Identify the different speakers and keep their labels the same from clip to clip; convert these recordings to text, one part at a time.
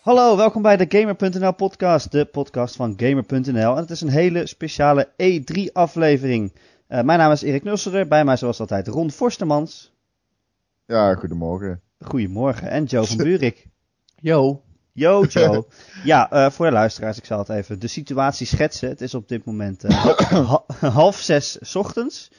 Speaker 1: Hallo, welkom bij de Gamer.nl podcast, de podcast van Gamer.nl. En het is een hele speciale E3 aflevering. Eh, mijn naam is Erik Nusselder, bij mij zoals altijd Ron Forstemans.
Speaker 2: Ja, goedemorgen.
Speaker 1: Goedemorgen, en Joe van Buurik.
Speaker 3: Yo.
Speaker 1: Yo Joe. Ja, eh, voor de luisteraars, ik zal het even de situatie schetsen. Het is op dit moment eh, ha- half zes 's ochtends.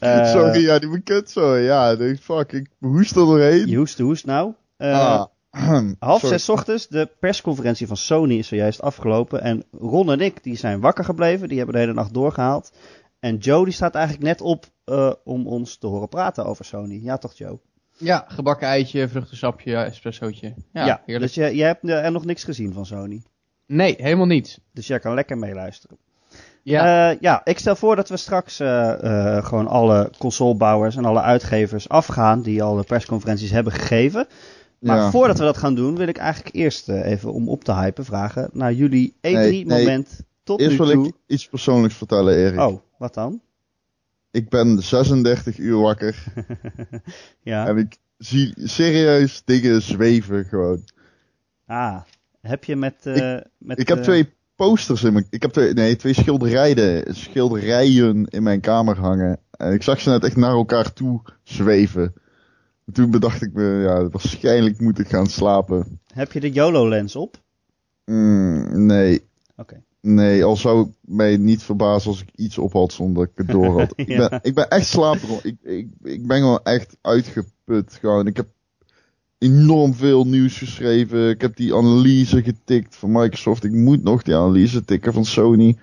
Speaker 1: Eh,
Speaker 2: sorry, ja, die bekend zo. Ja, die- fuck, ik hoest er doorheen.
Speaker 1: Je hoest, hoest nou. Eh,
Speaker 2: Ah,
Speaker 1: Half
Speaker 2: sorry.
Speaker 1: zes ochtends, de persconferentie van Sony is zojuist afgelopen. En Ron en ik die zijn wakker gebleven, die hebben de hele nacht doorgehaald. En Joe die staat eigenlijk net op eh, om ons te horen praten over Sony. Ja toch Joe?
Speaker 3: Ja, gebakken eitje, vruchtensapje, espressootje. Ja, heerlijk.
Speaker 1: Dus jij, jij hebt eh, er nog niks gezien van Sony.
Speaker 3: Nee, helemaal niet.
Speaker 1: Dus jij kan lekker meeluisteren.
Speaker 3: Ja,
Speaker 1: Eh, ja, ik stel voor dat we straks eh, eh, gewoon alle consolebouwers en alle uitgevers afgaan die al de persconferenties hebben gegeven. Maar
Speaker 2: ja.
Speaker 1: voordat we dat gaan doen, wil ik eigenlijk eerst eh, even om op te hypen vragen naar jullie E3
Speaker 2: Nee, nee.
Speaker 1: moment tot
Speaker 2: Eerst
Speaker 1: nu
Speaker 2: wil
Speaker 1: toe.
Speaker 2: ik iets persoonlijks vertellen, Erik.
Speaker 1: Oh, wat dan?
Speaker 2: Ik ben 36 uur wakker
Speaker 1: ja.
Speaker 2: en ik zie serieus dingen zweven gewoon.
Speaker 1: Ah, heb je met. eh, met
Speaker 2: Ik heb
Speaker 1: eh,
Speaker 2: twee posters in mijn... Ik heb twee, nee, twee schilderijen, schilderijen in mijn kamer hangen. En ik zag ze net echt naar elkaar toe zweven. Toen bedacht ik me, ja, waarschijnlijk moet ik gaan slapen.
Speaker 1: Heb je de YOLO-lens op?
Speaker 2: Mm, nee,
Speaker 1: Oké.
Speaker 2: Nee, al zou ik mij niet verbazen als ik iets op had zonder dat ik het door had. ik, ben, ik ben echt slaperig. Ik, ik, ik ben gewoon echt uitgeput. Gewoon. Ik heb enorm veel nieuws geschreven. Ik heb die analyse getikt van Microsoft. Ik moet nog die analyse tikken van Sony.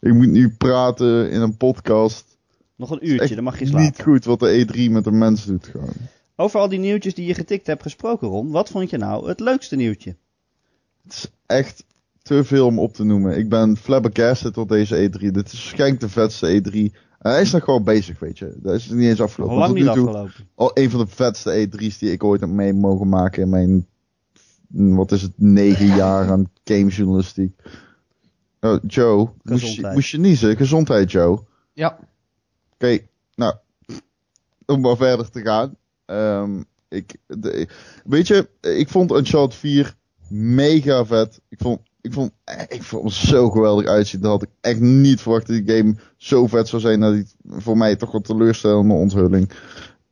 Speaker 2: Ik moet nu praten in een podcast.
Speaker 1: Nog een
Speaker 2: Echt
Speaker 1: uurtje, dan mag je slapen.
Speaker 2: Niet goed wat de E3 met de mens doet gewoon.
Speaker 1: Over al die nieuwtjes die je getikt hebt gesproken, Ron, wat vond je nou het leukste nieuwtje?
Speaker 2: Het is echt te veel om op te noemen. Ik ben flabbergasted door deze E3. Dit is waarschijnlijk de vetste E3. En hij is nog gewoon bezig, weet je. Dat is niet eens afgelopen.
Speaker 1: Lang
Speaker 2: Tot
Speaker 1: niet
Speaker 2: nu toe
Speaker 1: afgelopen.
Speaker 2: Al een van de vetste E3's die ik ooit heb mee mogen maken in mijn, mm, wat is het, negen jaar aan gamejournalistiek. Oh, Joe, moest je,
Speaker 1: Gezondheid.
Speaker 2: moest je niezen? Gezondheid, Joe. Oké,
Speaker 3: ja.
Speaker 2: nou, om maar verder te gaan. Ehm, ik, de- weet je, ik vond Uncharted 4 mega vet. Ik vond, ik vond, ik vond hem zo geweldig uitzien. Dat had ik echt niet verwacht dat die game zo vet zou zijn. Dat die voor mij toch een teleurstellende onthulling.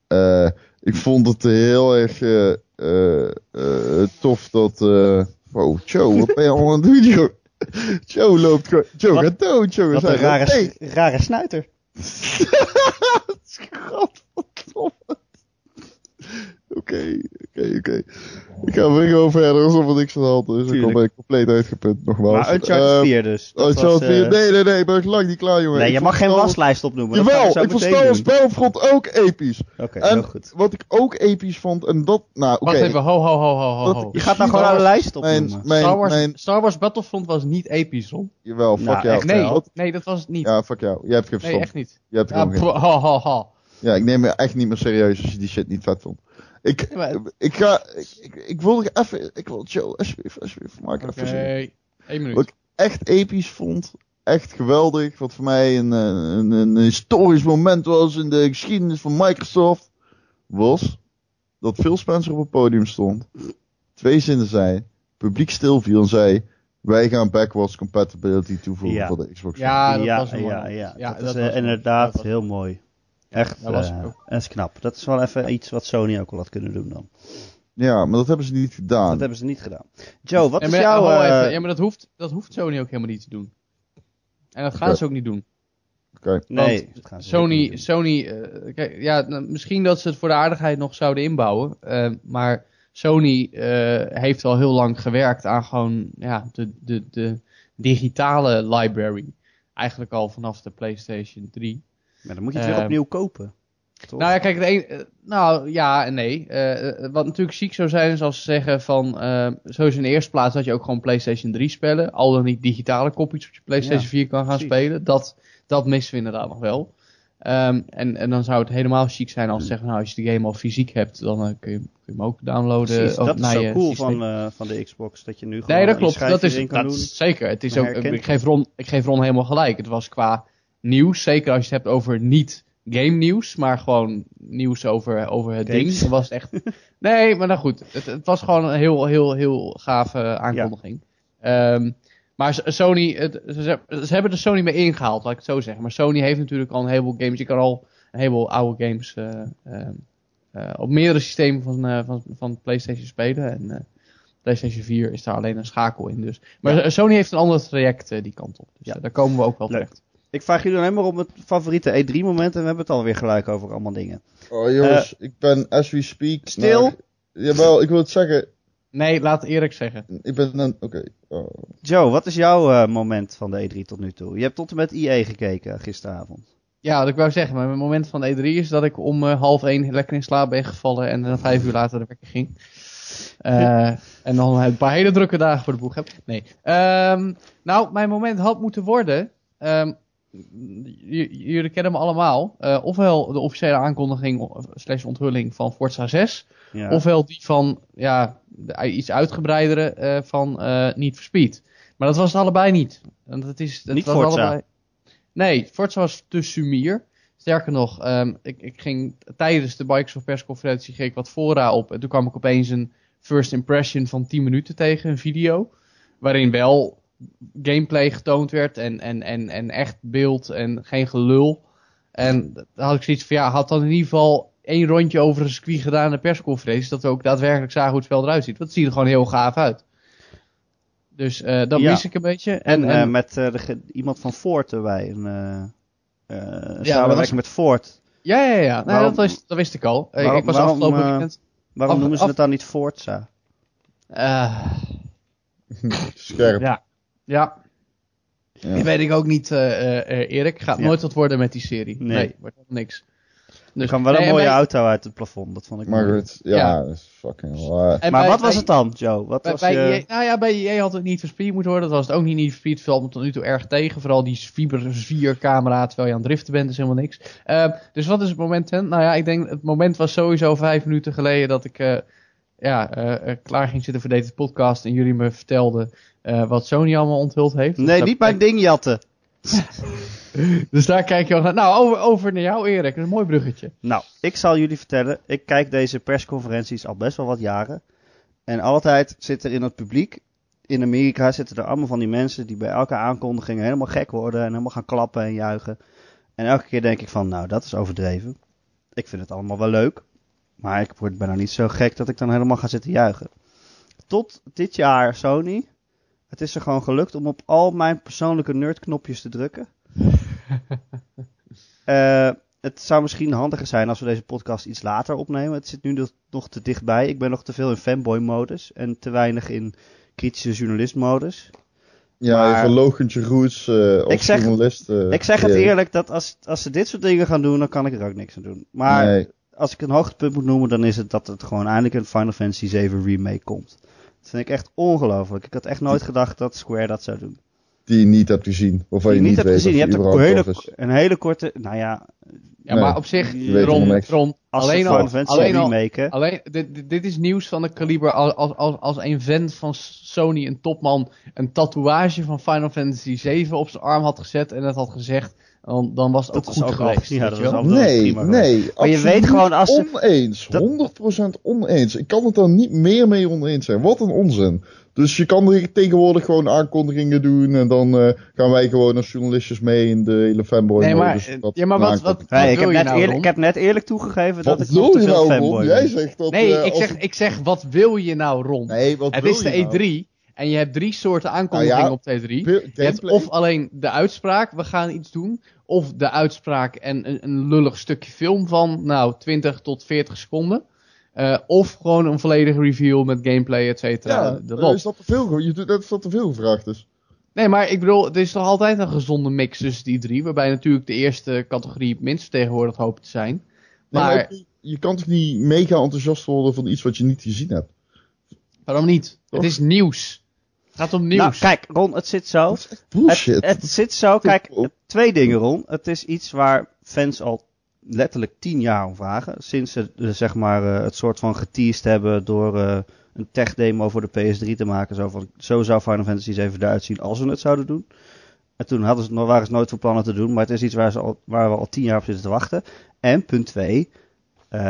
Speaker 2: Eh, ik vond het heel erg eh, eh, eh, tof dat. eh wow, Joe, wat ben je allemaal aan het doen, Joe? Joe loopt gewoon. Joe
Speaker 1: Wat-
Speaker 2: gaat dood, Joe.
Speaker 1: Wat
Speaker 2: Zij
Speaker 1: een
Speaker 2: gaat
Speaker 1: rare,
Speaker 2: tegen.
Speaker 1: rare snuiter.
Speaker 2: Godverdomme. Oké, oké, oké. Ik ga weer gewoon verder alsof er niks aan de hand is. Ik
Speaker 1: Tuurlijk.
Speaker 2: ben compleet uitgeput, nogmaals.
Speaker 1: Maar Uncharted
Speaker 2: Ehm,
Speaker 1: 4 dus. Dat
Speaker 2: Uncharted
Speaker 1: was, eh,
Speaker 2: 4. Nee, nee, nee, ik ben nog lang niet klaar, jongen.
Speaker 1: nee, je
Speaker 2: Ik
Speaker 1: mag
Speaker 2: vond
Speaker 1: geen
Speaker 2: Star Wars-
Speaker 1: waslijst opnoemen. dat gaan we zo
Speaker 2: Jawel, ik vond
Speaker 1: meteen
Speaker 2: Star Wars
Speaker 1: doen.
Speaker 2: Battlefront ook episch.
Speaker 1: Oké,
Speaker 2: en
Speaker 1: heel goed.
Speaker 2: wat ik ook episch vond, en dat... Nou, oké.
Speaker 3: Wacht even, ho, ho, ho, ho, ho,
Speaker 2: dat-
Speaker 3: ho.
Speaker 1: Je gaat nou
Speaker 2: Star
Speaker 1: gewoon een
Speaker 2: Wars-
Speaker 1: lijst
Speaker 2: Mijn,
Speaker 1: opnoemen.
Speaker 3: Star,
Speaker 2: mijn,
Speaker 3: Wars,
Speaker 2: mijn...
Speaker 3: Star Wars Battlefront was niet episch, Ron.
Speaker 2: Jawel, fuck
Speaker 1: Nou,
Speaker 2: jou.
Speaker 1: echt
Speaker 3: nee,
Speaker 1: wel.
Speaker 3: nee, dat was het niet.
Speaker 2: Ja, fuck jou. Jij hebt geen
Speaker 3: nee,
Speaker 2: verstand.
Speaker 3: echt niet.
Speaker 2: Jij hebt
Speaker 3: Ja,
Speaker 2: gewoon geen...
Speaker 3: pff, ho, ho, ho.
Speaker 2: Ja, ik neem je echt niet meer serieus als je die shit niet vet vond. Ik,
Speaker 3: Ja, maar-
Speaker 2: ik ga, ik, ik, ik wil nog even, ik wil Joe, alsjeblieft, alsjeblieft, maak
Speaker 3: Oké,
Speaker 2: even zin.
Speaker 3: één minuut.
Speaker 2: Wat- Echt episch vond, echt geweldig, wat voor mij een, eh, een, een historisch moment was in de geschiedenis van Microsoft, was dat Phil Spencer op het podium stond, twee zinnen zei, publiek stilviel en zei, wij gaan backwards compatibility toevoegen
Speaker 1: Ja.
Speaker 2: voor de Xbox.
Speaker 3: Ja, dat
Speaker 1: ja,
Speaker 3: was een mooi
Speaker 1: ja,
Speaker 3: moment.
Speaker 1: ja,
Speaker 3: Ja,
Speaker 1: dat,
Speaker 3: dat
Speaker 1: is eh,
Speaker 3: was een-
Speaker 1: inderdaad
Speaker 3: dat was-
Speaker 1: heel mooi. Echt,
Speaker 3: dat was
Speaker 1: eh,
Speaker 3: ook-
Speaker 1: dat is knap. Dat is wel even iets wat Sony ook al had kunnen doen dan.
Speaker 2: Ja, maar dat hebben ze niet gedaan.
Speaker 1: Oh, Dat hebben ze niet gedaan. Joe, wat
Speaker 3: Ja,
Speaker 1: is
Speaker 3: maar-
Speaker 1: jouw...
Speaker 3: ho,
Speaker 1: eh,
Speaker 3: even. Ja, maar dat hoeft, dat hoeft Sony ook helemaal niet te doen. En dat gaan
Speaker 2: Oké.
Speaker 3: ze ook niet doen.
Speaker 2: Oké.
Speaker 1: nee,
Speaker 3: want
Speaker 1: dat gaan ze zeker
Speaker 3: Sony,
Speaker 1: niet
Speaker 3: Sony eh, kijk, ja, nou, misschien dat ze het voor de aardigheid nog zouden inbouwen. eh, maar Sony eh, heeft al heel lang gewerkt aan gewoon ja, de, de, de digitale library. Eigenlijk al vanaf de PlayStation 3.
Speaker 1: doen. Maar dan moet je het weer
Speaker 3: Ehm,
Speaker 1: opnieuw kopen. Toch?
Speaker 3: Nou ja, kijk, het een, eh, nou ja en nee. Eh, eh, wat natuurlijk ziek zou zijn is als ze zeggen van, eh sowieso in de eerste plaats dat je ook gewoon PlayStation 3 spellen, al dan niet digitale kopies op je PlayStation
Speaker 1: Ja,
Speaker 3: 4 kan gaan
Speaker 1: precies.
Speaker 3: spelen. Dat, dat missen we inderdaad nog wel. Ehm, en, en dan zou het helemaal chic zijn
Speaker 1: Hmm.
Speaker 3: als ze zeggen, nou als je de game al fysiek hebt, dan eh, kun, je, kun je hem ook downloaden.
Speaker 1: Precies,
Speaker 3: op-
Speaker 1: dat is
Speaker 3: naar
Speaker 1: zo
Speaker 3: je
Speaker 1: cool
Speaker 3: systeem.
Speaker 1: van, eh, van de Xbox. Dat je nu gewoon
Speaker 3: Nee, dat
Speaker 1: een
Speaker 3: klopt.
Speaker 1: schijfje
Speaker 3: Dat is,
Speaker 1: erin kan
Speaker 3: dat
Speaker 1: doen.
Speaker 3: is zeker. Het is
Speaker 1: Dan
Speaker 3: ook,
Speaker 1: herkent
Speaker 3: ik, geef Ron, ik geef Ron helemaal gelijk. Het was qua nieuws, zeker als je het hebt over niet game nieuws, maar gewoon nieuws over, over het
Speaker 1: Games.
Speaker 3: ding. Dat was echt... nee, maar nou goed. Het, het was gewoon een heel, heel, heel gave aankondiging. Ehm, maar S- Sony, het, ze, ze- ze hebben er Sony mee ingehaald, laat ik het zo zeggen. Maar Sony heeft natuurlijk al een heleboel games. Je kan al een heleboel oude games eh, ehm, eh, op meerdere systemen van, eh, van, van PlayStation spelen. En eh, PlayStation 4 is daar alleen een schakel in. Dus. Maar S- Sony heeft een ander traject eh, die kant op. Dus
Speaker 1: Ja.
Speaker 3: eh, daar komen we ook wel
Speaker 1: Leuk.
Speaker 3: terecht.
Speaker 1: Ik vraag jullie alleen maar om het favoriete E3-moment en we hebben het alweer gelijk over allemaal dingen.
Speaker 2: Oh jongens, ik ben as we speak.
Speaker 1: Stil.
Speaker 2: naar- jawel, ik wil het zeggen.
Speaker 3: Nee, laat Erik zeggen.
Speaker 2: Ik ben een. Oké. oh.
Speaker 1: Joe, wat is jouw eh, moment van de E3 tot nu toe? Je hebt tot en met IE gekeken gisteravond.
Speaker 3: Ja, wat ik wou zeggen, maar mijn moment van de E3 is dat ik om eh, half één lekker in slaap ben gevallen en dan vijf uur later de wekker ging. Eh, en dan een paar hele drukke dagen voor de boeg heb. Nee. Ehm, nou, mijn moment had moeten worden. ehm, j- jullie kennen me allemaal. eh, ofwel de officiële aankondiging of- slash onthulling van Forza 6.
Speaker 1: Ja.
Speaker 3: Ofwel die van, ja, de- iets uitgebreidere eh, van eh Niet for Speed. Maar dat was het allebei niet. Want het is, het
Speaker 1: Niet
Speaker 3: was
Speaker 1: Forza.
Speaker 3: Allebei... Nee, Forza was te sumier. Sterker nog, ehm, ik, ik ging tijdens de Microsoft persconferentie ging ik wat fora op. En toen kwam ik opeens een first impression van 10 minuten tegen, een video. Waarin wel gameplay getoond werd en, en, en, en echt beeld en geen gelul. En dan had ik zoiets van, ja, had dan in ieder geval één rondje over een circuit gedaan in de persconferentie. Dat we ook daadwerkelijk zagen hoe het spel eruit ziet. Dat ziet er gewoon heel gaaf uit. Dus eh, dat
Speaker 1: Ja.
Speaker 3: mis ik een beetje.
Speaker 1: En, eh,
Speaker 3: en-
Speaker 1: met eh, de ge- iemand van Ford erbij. Een, eh, eh, een
Speaker 3: Ja,
Speaker 1: samenwerking
Speaker 3: maar-
Speaker 1: met Ford.
Speaker 3: Ja, ja, ja. Nee,
Speaker 1: Waarom-
Speaker 3: dat, wist, dat wist ik al. Eh,
Speaker 1: waarom-
Speaker 3: ik was
Speaker 1: waarom,
Speaker 3: afgelopen
Speaker 1: eh,
Speaker 3: weekend...
Speaker 1: Waarom
Speaker 3: Af-
Speaker 1: noemen ze
Speaker 3: af-
Speaker 1: het dan niet Forza?
Speaker 3: eh,
Speaker 2: Scherp.
Speaker 3: ja. Ja.
Speaker 2: Ja.
Speaker 3: Die weet ik ook niet, eh, eh, eh, Erik. Gaat
Speaker 1: Ja.
Speaker 3: nooit wat worden met die serie.
Speaker 1: Nee.
Speaker 3: Nee, wordt helemaal niks.
Speaker 1: Er
Speaker 3: Dus,
Speaker 1: kwam wel
Speaker 3: nee,
Speaker 1: een
Speaker 3: en
Speaker 1: mooie
Speaker 3: bij-
Speaker 1: auto uit het plafond, dat vond ik mooi.
Speaker 2: Margaret. Ja,
Speaker 3: Ja.
Speaker 2: dat is fucking waar.
Speaker 3: en
Speaker 1: Maar
Speaker 3: bij-
Speaker 1: wat was
Speaker 3: bij-
Speaker 1: het dan, Joe? Wat
Speaker 3: Bij,
Speaker 1: was
Speaker 3: bij
Speaker 1: je...
Speaker 3: EA nou ja, bij EA had het niet verspied moeten worden. Dat was het ook niet niet verspied. Valt me tot nu toe erg tegen. Vooral die fiber 4 camera terwijl je aan het driften bent is helemaal niks. Eh, dus wat is het moment? Hè? Nou ja, ik denk het moment was sowieso vijf minuten geleden dat ik eh, ja, eh, eh, klaar ging zitten voor deze podcast. En jullie me vertelden eh, wat Sony allemaal onthuld heeft.
Speaker 1: Nee,
Speaker 3: Dus
Speaker 1: niet
Speaker 3: daar-
Speaker 1: mijn ding jatten.
Speaker 3: Dus daar kijk je al naar. Nou, over, over naar jou Erik. Dat is een mooi bruggetje.
Speaker 1: Nou, ik zal jullie vertellen. Ik kijk deze persconferenties al best wel wat jaren. En altijd zit er in het publiek. In Amerika zitten er allemaal van die mensen die bij elke aankondiging helemaal gek worden. En helemaal gaan klappen en juichen. En elke keer denk ik van, nou, dat is overdreven. Ik vind het allemaal wel leuk. Maar ik word, ben nou niet zo gek dat ik dan helemaal ga zitten juichen. Tot dit jaar, Sony. Het is er gewoon gelukt om op al mijn persoonlijke nerdknopjes te drukken. Eh het zou misschien handiger zijn als we deze podcast iets later opnemen. Het zit nu nog- nog te dichtbij. Ik ben nog te veel in fanboy-modus en te weinig in kritische journalist-modus.
Speaker 2: Ja,
Speaker 1: maar-
Speaker 2: je verlogent je roots eh als
Speaker 1: Ik zeg-
Speaker 2: journalist. eh,
Speaker 1: ik zeg het
Speaker 2: Erik.
Speaker 1: eerlijk, dat als, als ze dit soort dingen gaan doen, dan kan ik er ook niks aan doen. Maar
Speaker 2: Nee.
Speaker 1: als ik een hoogtepunt moet noemen, dan is het dat het gewoon eindelijk een Final Fantasy 7 remake komt. Dat vind ik echt ongelooflijk. Ik had echt nooit gedacht dat Square dat zou doen.
Speaker 2: die je niet hebt gezien. Waarvan je
Speaker 1: Die
Speaker 2: niet,
Speaker 1: hebt
Speaker 2: weet
Speaker 1: gezien. Je
Speaker 2: of
Speaker 1: hebt
Speaker 2: die
Speaker 1: een
Speaker 2: überhaupt tof
Speaker 1: hele, een hele korte. Nou ja,
Speaker 3: Ja,
Speaker 2: Nee,
Speaker 3: maar op zich,
Speaker 1: je weet
Speaker 3: Ron,
Speaker 2: helemaal niks.
Speaker 3: Ron,
Speaker 1: als ze
Speaker 3: alleen
Speaker 1: Final
Speaker 3: al,
Speaker 1: Fantasy
Speaker 3: alleen al,
Speaker 1: remaken.
Speaker 3: Alleen, dit, dit- dit is nieuws van de kaliber als, als, als, als een vent van Sony, een topman, een tatoeage van Final Fantasy 7 op zijn arm had gezet en dat had gezegd, dan, dan was het
Speaker 1: Dat
Speaker 3: ook
Speaker 1: is
Speaker 3: goed
Speaker 1: ook al-
Speaker 3: geweest.
Speaker 1: ja,
Speaker 3: weet
Speaker 1: dat
Speaker 3: je
Speaker 1: is
Speaker 3: wel.
Speaker 1: al-
Speaker 2: is. Nee,
Speaker 1: prima geweest.
Speaker 2: nee.
Speaker 1: Maar je weet gewoon als ze-
Speaker 2: Oneens.
Speaker 1: dat-
Speaker 2: 100% oneens. Ik kan het daar niet meer mee oneens zijn. Wat een onzin. Dus je kan er tegenwoordig gewoon aankondigingen doen. En dan eh, gaan wij gewoon als journalistjes mee in de hele fanboy.
Speaker 3: Nee, maar,
Speaker 2: modus.
Speaker 3: eh,
Speaker 2: Dat
Speaker 3: ja, maar
Speaker 2: een
Speaker 3: wat-
Speaker 2: aankondiging.
Speaker 1: Hey,
Speaker 3: Wat
Speaker 1: ik,
Speaker 3: wil
Speaker 1: heb
Speaker 3: je
Speaker 1: net
Speaker 3: nou,
Speaker 1: eerlijk,
Speaker 3: Ron?
Speaker 1: ik heb net eerlijk toegegeven dat
Speaker 2: Wat
Speaker 1: ik nog
Speaker 2: wil
Speaker 1: te
Speaker 2: je
Speaker 1: veel
Speaker 2: nou,
Speaker 1: fanboy
Speaker 2: Ron?
Speaker 1: ben.
Speaker 2: Jij zegt dat.
Speaker 3: Nee,
Speaker 2: eh,
Speaker 3: ik
Speaker 2: als-
Speaker 3: zeg, ik zeg, wat wil je nou, Ron?
Speaker 2: Nee, wat
Speaker 3: het
Speaker 2: wil
Speaker 3: is de
Speaker 2: je
Speaker 1: E
Speaker 3: E3
Speaker 2: nou?
Speaker 3: en je hebt drie soorten aankondigingen
Speaker 2: Nou ja,
Speaker 3: op de E3.
Speaker 2: Veel-
Speaker 3: Je hebt
Speaker 2: gameplay?
Speaker 3: of alleen de uitspraak, we gaan iets doen. Of de uitspraak en een, een lullig stukje film van, nou, 20 tot 40 seconden. Eh, of gewoon een volledige reveal met gameplay, et cetera.
Speaker 2: Ja,
Speaker 3: de
Speaker 2: eh,
Speaker 3: lol.
Speaker 2: is dat te veel? ge- Je doet, dat is dat te veel gevraagd dus. is.
Speaker 3: Nee, maar ik bedoel, het is toch altijd een gezonde mix tussen die drie. Waarbij natuurlijk de eerste categorie het minst vertegenwoordigd hoopt te zijn.
Speaker 2: Nee,
Speaker 3: Maar-
Speaker 2: ook- je kan toch niet mega enthousiast worden van iets wat je niet gezien hebt?
Speaker 3: Waarom niet?
Speaker 2: Toch?
Speaker 3: Het is nieuws. Het gaat om nieuws.
Speaker 1: Nou, kijk, Ron, het zit zo.
Speaker 2: Dat is echt bullshit.
Speaker 1: Het, het zit zo. Kijk,
Speaker 2: Oh.
Speaker 1: twee dingen, Ron. Het is iets waar fans al letterlijk tien jaar om vragen. Sinds ze eh, zeg maar, eh, het soort van geteased hebben door eh, een tech-demo voor de PS3 te maken. Zo, van, zo zou Final Fantasy 7 eruit zien als we het zouden doen. En toen hadden ze, het nog- waren ze nooit van plannen te doen, maar het is iets waar, ze al, waar we al tien jaar op zitten te wachten. En punt twee, eh,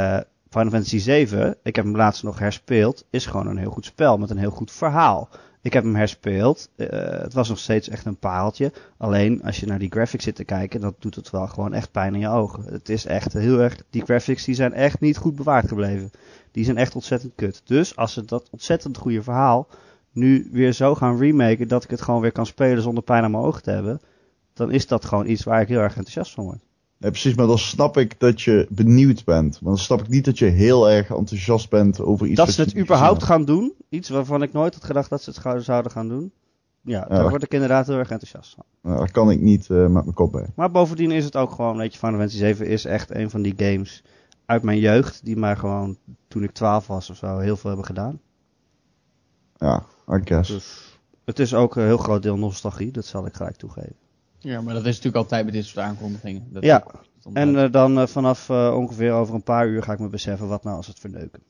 Speaker 1: Final Fantasy 7, ik heb hem laatst nog herspeeld, is gewoon een heel goed spel met een heel goed verhaal. Ik heb hem herspeeld, eh, het was nog steeds echt een paaltje. Alleen als je naar die graphics zit te kijken, dat doet het wel gewoon echt pijn in je ogen. Het is echt heel erg, die graphics die zijn echt niet goed bewaard gebleven. Die zijn echt ontzettend kut. Dus als ze dat ontzettend goede verhaal nu weer zo gaan remaken dat ik het gewoon weer kan spelen zonder pijn aan mijn ogen te hebben, dan is dat gewoon iets waar ik heel erg enthousiast van word.
Speaker 2: Nee, precies, maar dan snap ik dat je benieuwd bent. Maar dan snap ik niet dat je heel erg enthousiast bent over iets.
Speaker 1: dat
Speaker 2: wat
Speaker 1: ze
Speaker 2: je
Speaker 1: het
Speaker 2: niet
Speaker 1: überhaupt
Speaker 2: gezien
Speaker 1: gaan doen, iets waarvan ik nooit had gedacht dat ze het gauw zouden gaan doen, ja, daar
Speaker 2: dat-
Speaker 1: word ik inderdaad heel erg enthousiast van.
Speaker 2: hebt. Nou, daar kan ik niet eh, met mijn kop bij.
Speaker 1: Maar bovendien is het ook gewoon, weet je, Final Fantasy 7 is echt een van die games uit mijn jeugd die mij gewoon toen ik 12 was of zo heel veel hebben gedaan.
Speaker 2: Ja, I guess.
Speaker 1: Dus het is ook een heel groot deel nostalgie, dat zal ik gelijk toegeven.
Speaker 3: Ja, maar dat is natuurlijk altijd bij dit soort aankondigingen. Dat
Speaker 1: Ja,
Speaker 3: dat-
Speaker 1: En eh, dan eh, vanaf eh, ongeveer over een paar uur ga ik me beseffen wat nou als het verneuken.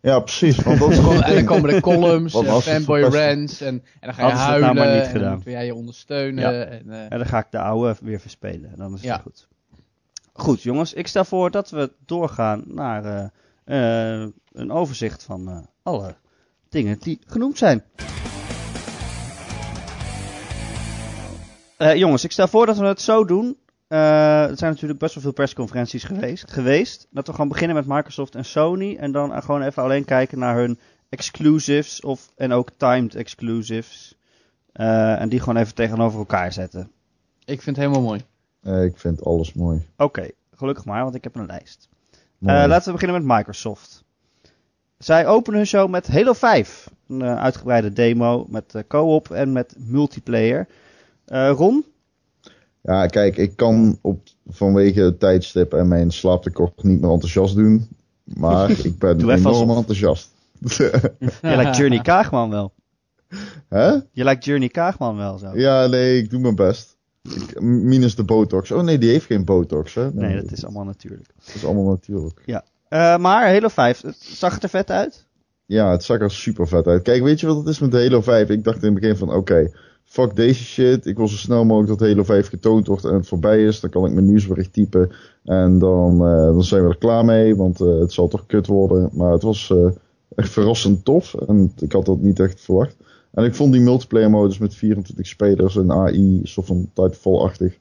Speaker 2: Ja, precies. Want dat is gewoon.
Speaker 3: Gewoon-
Speaker 2: het
Speaker 3: en dan
Speaker 2: ding.
Speaker 3: komen de columns,
Speaker 2: Want
Speaker 3: eh,
Speaker 2: als het
Speaker 3: fanboy
Speaker 2: verpest-
Speaker 3: rants en, en dan ga je
Speaker 1: Hadden ze het nou
Speaker 3: huilen
Speaker 1: maar niet
Speaker 3: en
Speaker 1: gedaan.
Speaker 3: dan wil jij je ondersteunen.
Speaker 1: Ja.
Speaker 3: En, eh,
Speaker 1: En dan ga ik de oude weer verspelen. En dan is het
Speaker 3: Ja.
Speaker 1: goed. Goed, jongens. Ik stel voor dat we doorgaan naar eh, eh, een overzicht van eh, alle dingen die genoemd zijn. Eh, jongens, ik stel voor dat we het zo doen. Eh, er zijn natuurlijk best wel veel persconferenties geweest, geweest. Dat we gewoon beginnen met Microsoft en Sony. En dan eh, gewoon even alleen kijken naar hun exclusives. Of, en ook timed exclusives. Eh, en die gewoon even tegenover elkaar zetten.
Speaker 3: ik vind het helemaal mooi.
Speaker 2: Eh, ik vind alles mooi.
Speaker 1: Oké, gelukkig maar, want ik heb een lijst.
Speaker 2: Mooi.
Speaker 1: Eh, laten we beginnen met Microsoft. Zij openen hun show met Halo 5. Een eh, uitgebreide demo met eh, co-op en met multiplayer. Eh Ron?
Speaker 2: Ja, kijk, ik kan op, vanwege het tijdstip en mijn slaaptekort niet meer enthousiast doen. Maar ik ben
Speaker 1: Doe even
Speaker 2: enorm
Speaker 1: alsof.
Speaker 2: enthousiast.
Speaker 1: Je lijkt Journey Kaagman wel.
Speaker 2: Hè?
Speaker 1: Je lijkt Journey Kaagman wel zo.
Speaker 2: Ja, nee, ik doe mijn best. Ik, minus de botox. Oh nee, die heeft geen botox, hè?
Speaker 1: Nee, dat is allemaal natuurlijk.
Speaker 2: dat is allemaal natuurlijk.
Speaker 1: Eh, maar Halo 5, het zag er vet uit.
Speaker 2: Ja, het zag er super vet uit. Kijk, weet je wat het is met Halo 5? Ik dacht in het begin van, oké, fuck deze shit. Ik wil zo snel mogelijk dat Halo 5 getoond wordt en het voorbij is. Dan kan ik mijn nieuwsbericht typen en dan, eh, dan zijn we er klaar mee, want eh, het zal toch kut worden. Maar het was eh, echt verrassend tof en ik had dat niet echt verwacht. En ik vond die multiplayer modus met 24 spelers en AI, een soort van Titanfall-achtig,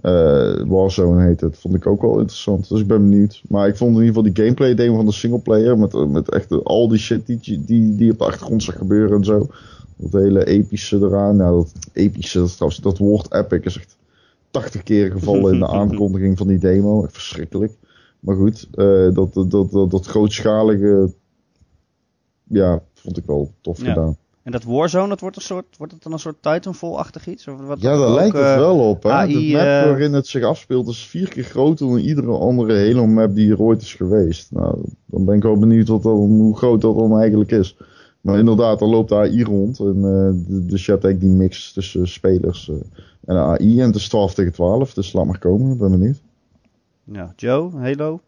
Speaker 2: eh, Warzone heet het, vond ik ook wel interessant. Dus ik ben benieuwd. Maar ik vond in ieder geval die gameplay demo van de singleplayer, met, eh, met echt al die shit die, die, die op de achtergrond zag gebeuren en zo. Dat hele epische eraan. Nou, dat epische, dat, is trouwens, dat woord epic is echt 80 keer gevallen in de aankondiging van die demo. Echt verschrikkelijk. Maar goed, eh, dat, dat, dat, dat, dat grootschalige, ja, vond ik wel tof
Speaker 1: Ja.
Speaker 2: gedaan.
Speaker 1: En dat Warzone, dat wordt, een soort, wordt het dan een soort Titanfall-achtig iets? Of wat
Speaker 2: Ja, daar
Speaker 1: ook,
Speaker 2: lijkt
Speaker 1: eh,
Speaker 2: het wel op. Hè?
Speaker 1: AI,
Speaker 2: de map
Speaker 1: eh,
Speaker 2: waarin het zich afspeelt is vier keer groter dan iedere andere Halo map die er ooit is geweest. Nou, dan ben ik wel benieuwd wat dan, hoe groot dat dan eigenlijk is. Maar inderdaad, er loopt AI rond. En eh, de- dus je hebt eigenlijk die mix tussen spelers eh, en AI. En het is 12 tegen 12, dus laat maar komen. Ik ben benieuwd.
Speaker 1: Ja, Joe, Halo.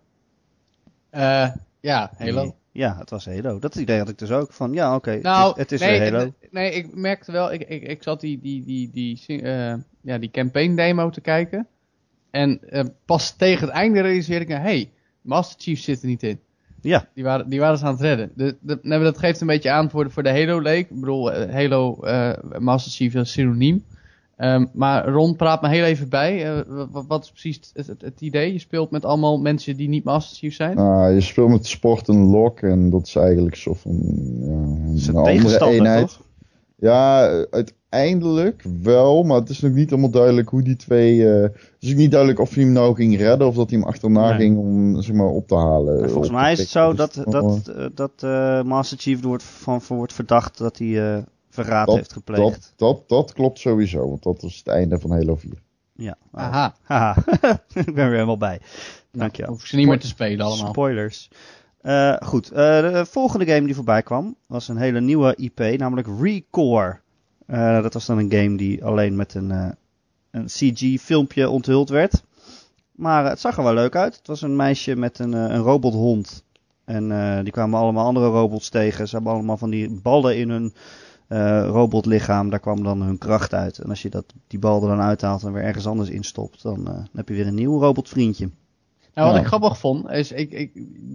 Speaker 3: Eh, ja, Halo.
Speaker 1: Ja, het was Halo. Dat idee had ik dus ook. Van ja, oké,
Speaker 3: Nou,
Speaker 1: het is, het is
Speaker 3: nee,
Speaker 1: weer Halo.
Speaker 3: eh, Nee, ik merkte wel, ik, ik, ik zat die, die, die, die, sing- eh, ja, die campaign demo te kijken. En eh, pas tegen het einde realiseerde ik me, hey, Master Chief zit er niet in.
Speaker 1: Ja.
Speaker 3: Die waren, die waren ze aan het redden. De, de, nee, maar dat geeft een beetje aan voor de, voor de Halo-leek. Ik bedoel, eh, Halo, eh, Master Chief, dat is synoniem. Ehm, maar Ron praat me heel even bij. Eh, wa- wa- wat, is precies het, het, het idee? Je speelt met allemaal mensen die niet Master Chief zijn?
Speaker 2: Nou, je speelt met sport en lok. En dat is eigenlijk zo van ja, een,
Speaker 1: Zijn
Speaker 2: andere
Speaker 1: tegenstander,
Speaker 2: eenheid.
Speaker 1: toch?
Speaker 2: Ja, uiteindelijk wel, maar het is nog niet helemaal duidelijk hoe die twee. eh, het is ook niet duidelijk of hij hem nou ging redden of dat hij hem achterna
Speaker 1: Nee.
Speaker 2: ging om zeg maar, op te halen.
Speaker 1: En volgens
Speaker 2: eh, Op
Speaker 1: mij is
Speaker 2: te
Speaker 1: het zo
Speaker 2: pikken.
Speaker 1: dat,
Speaker 2: Dus, oh,
Speaker 1: dat, eh, dat eh, Master Chief er wordt van voor wordt verdacht dat hij eh, verraad heeft
Speaker 2: dat,
Speaker 1: gepleegd.
Speaker 2: dat, dat klopt sowieso, want dat is het einde van Halo 4.
Speaker 1: Ja. Oh.
Speaker 3: Aha. Nou,
Speaker 1: Haha. Ik ben weer helemaal bij. Dankjewel.
Speaker 3: Hoef ze niet meer te spelen allemaal.
Speaker 1: Spoilers. Eh, goed, eh, de volgende game die voorbij kwam was een hele nieuwe IP, namelijk Recore. Eh, dat was dan een game die alleen met een, eh, een CG-filmpje onthuld werd. Maar eh, het zag er wel leuk uit. Het was een meisje met een, eh, een robothond. En eh, die kwamen allemaal andere robots tegen. Ze hebben allemaal van die ballen in hun eh, robotlichaam, daar kwam dan hun kracht uit. En als je dat, die bal er dan uithaalt en weer ergens anders instopt, dan, eh, dan heb je weer een nieuw robotvriendje.
Speaker 3: Nou, wat
Speaker 2: Ja.
Speaker 3: ik grappig vond, is ik, ik,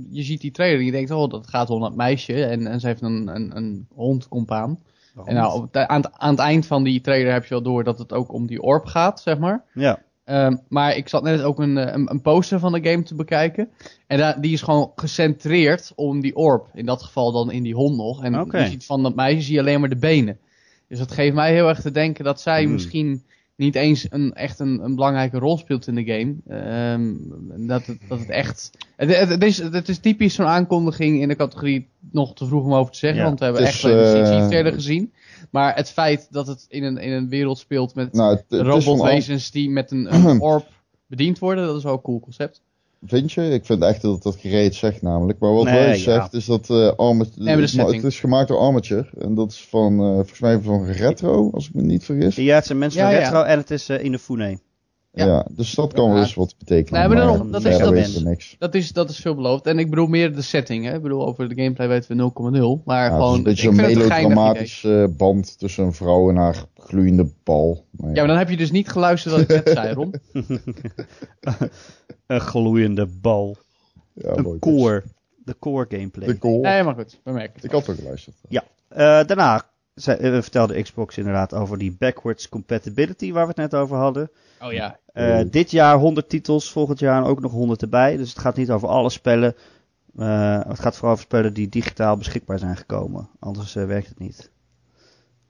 Speaker 3: je ziet die trailer en je denkt, oh, dat gaat wel om dat meisje. En, en ze heeft een, een, een hond compaan. En nou, op het- aan, het- aan het eind van die trailer heb je wel door dat het ook om die orb gaat, zeg maar.
Speaker 1: Ja,
Speaker 3: Ehm, maar ik zat net ook een, eh, een, een poster van de game te bekijken. En daar, die is gewoon gecentreerd om die orb. In dat geval dan in die hond nog. En
Speaker 1: Oké.
Speaker 3: je ziet van dat meisje zie je alleen maar de benen. Dus dat geeft mij heel erg te denken dat zij
Speaker 1: Hmm.
Speaker 3: misschien niet eens een, echt een, een belangrijke rol speelt in de game. Ehm, dat, het, dat het echt... Het, het, het is, het is typisch zo'n aankondiging in de categorie nog te vroeg om over te zeggen.
Speaker 1: Ja,
Speaker 3: want we hebben
Speaker 2: het
Speaker 3: echt
Speaker 2: is,
Speaker 3: wel
Speaker 2: eh,
Speaker 3: uh... verder gezien. Maar het feit dat het in een, in een wereld speelt met
Speaker 2: Nou, het, het is van alles,
Speaker 3: robotwezens die met een, een orb bediend worden. Dat is wel een cool concept.
Speaker 2: vind je? Ik vind echt dat dat gereed zegt namelijk. Maar wat
Speaker 1: Nee,
Speaker 2: hij
Speaker 1: ja.
Speaker 2: zegt is dat eh Armature...
Speaker 3: maar de setting.
Speaker 2: het is gemaakt door Armature. En dat is van, eh, volgens mij van Retro, als ik me niet vergis. Ja,
Speaker 1: ja het zijn mensen
Speaker 3: Ja,
Speaker 1: van
Speaker 3: ja.
Speaker 1: Retro en het is eh, in de Fune.
Speaker 3: ja.
Speaker 2: dus dat kan wel eens wat betekenen.
Speaker 3: Nee, maar
Speaker 1: daarom, dat is-
Speaker 2: verder
Speaker 1: dat
Speaker 2: is
Speaker 1: is-
Speaker 2: er niks.
Speaker 3: Dat is, dat is veelbelovend. En ik bedoel meer de setting. Hè? Ik bedoel, over de gameplay weten we 0,0. Maar
Speaker 2: Ja, het is
Speaker 3: gewoon,
Speaker 2: een beetje
Speaker 3: ik
Speaker 2: een
Speaker 3: vind het geinig idee.
Speaker 2: melodramatisch eh, band tussen een vrouw en haar gloeiende bal. Nou
Speaker 3: Ja, maar dan heb je dus niet geluisterd wat ik net zei, Ron.
Speaker 1: Een gloeiende bal.
Speaker 2: ja, mooi,
Speaker 1: een
Speaker 2: dus.
Speaker 1: core. De core gameplay.
Speaker 2: De koor.
Speaker 3: Nee, maar goed, we merken het.
Speaker 2: Ik had ook geluisterd.
Speaker 1: Eh, daarna zei, eh, vertelde Xbox inderdaad over die backwards compatibility waar we het net over hadden.
Speaker 3: Oh ja.
Speaker 1: Eh,
Speaker 2: Oeh.
Speaker 1: Dit jaar 100 titels, volgend jaar ook nog 100 erbij. Dus het gaat niet over alle spellen. Eh, het gaat vooral over spellen die digitaal beschikbaar zijn gekomen. Anders eh, werkt het niet.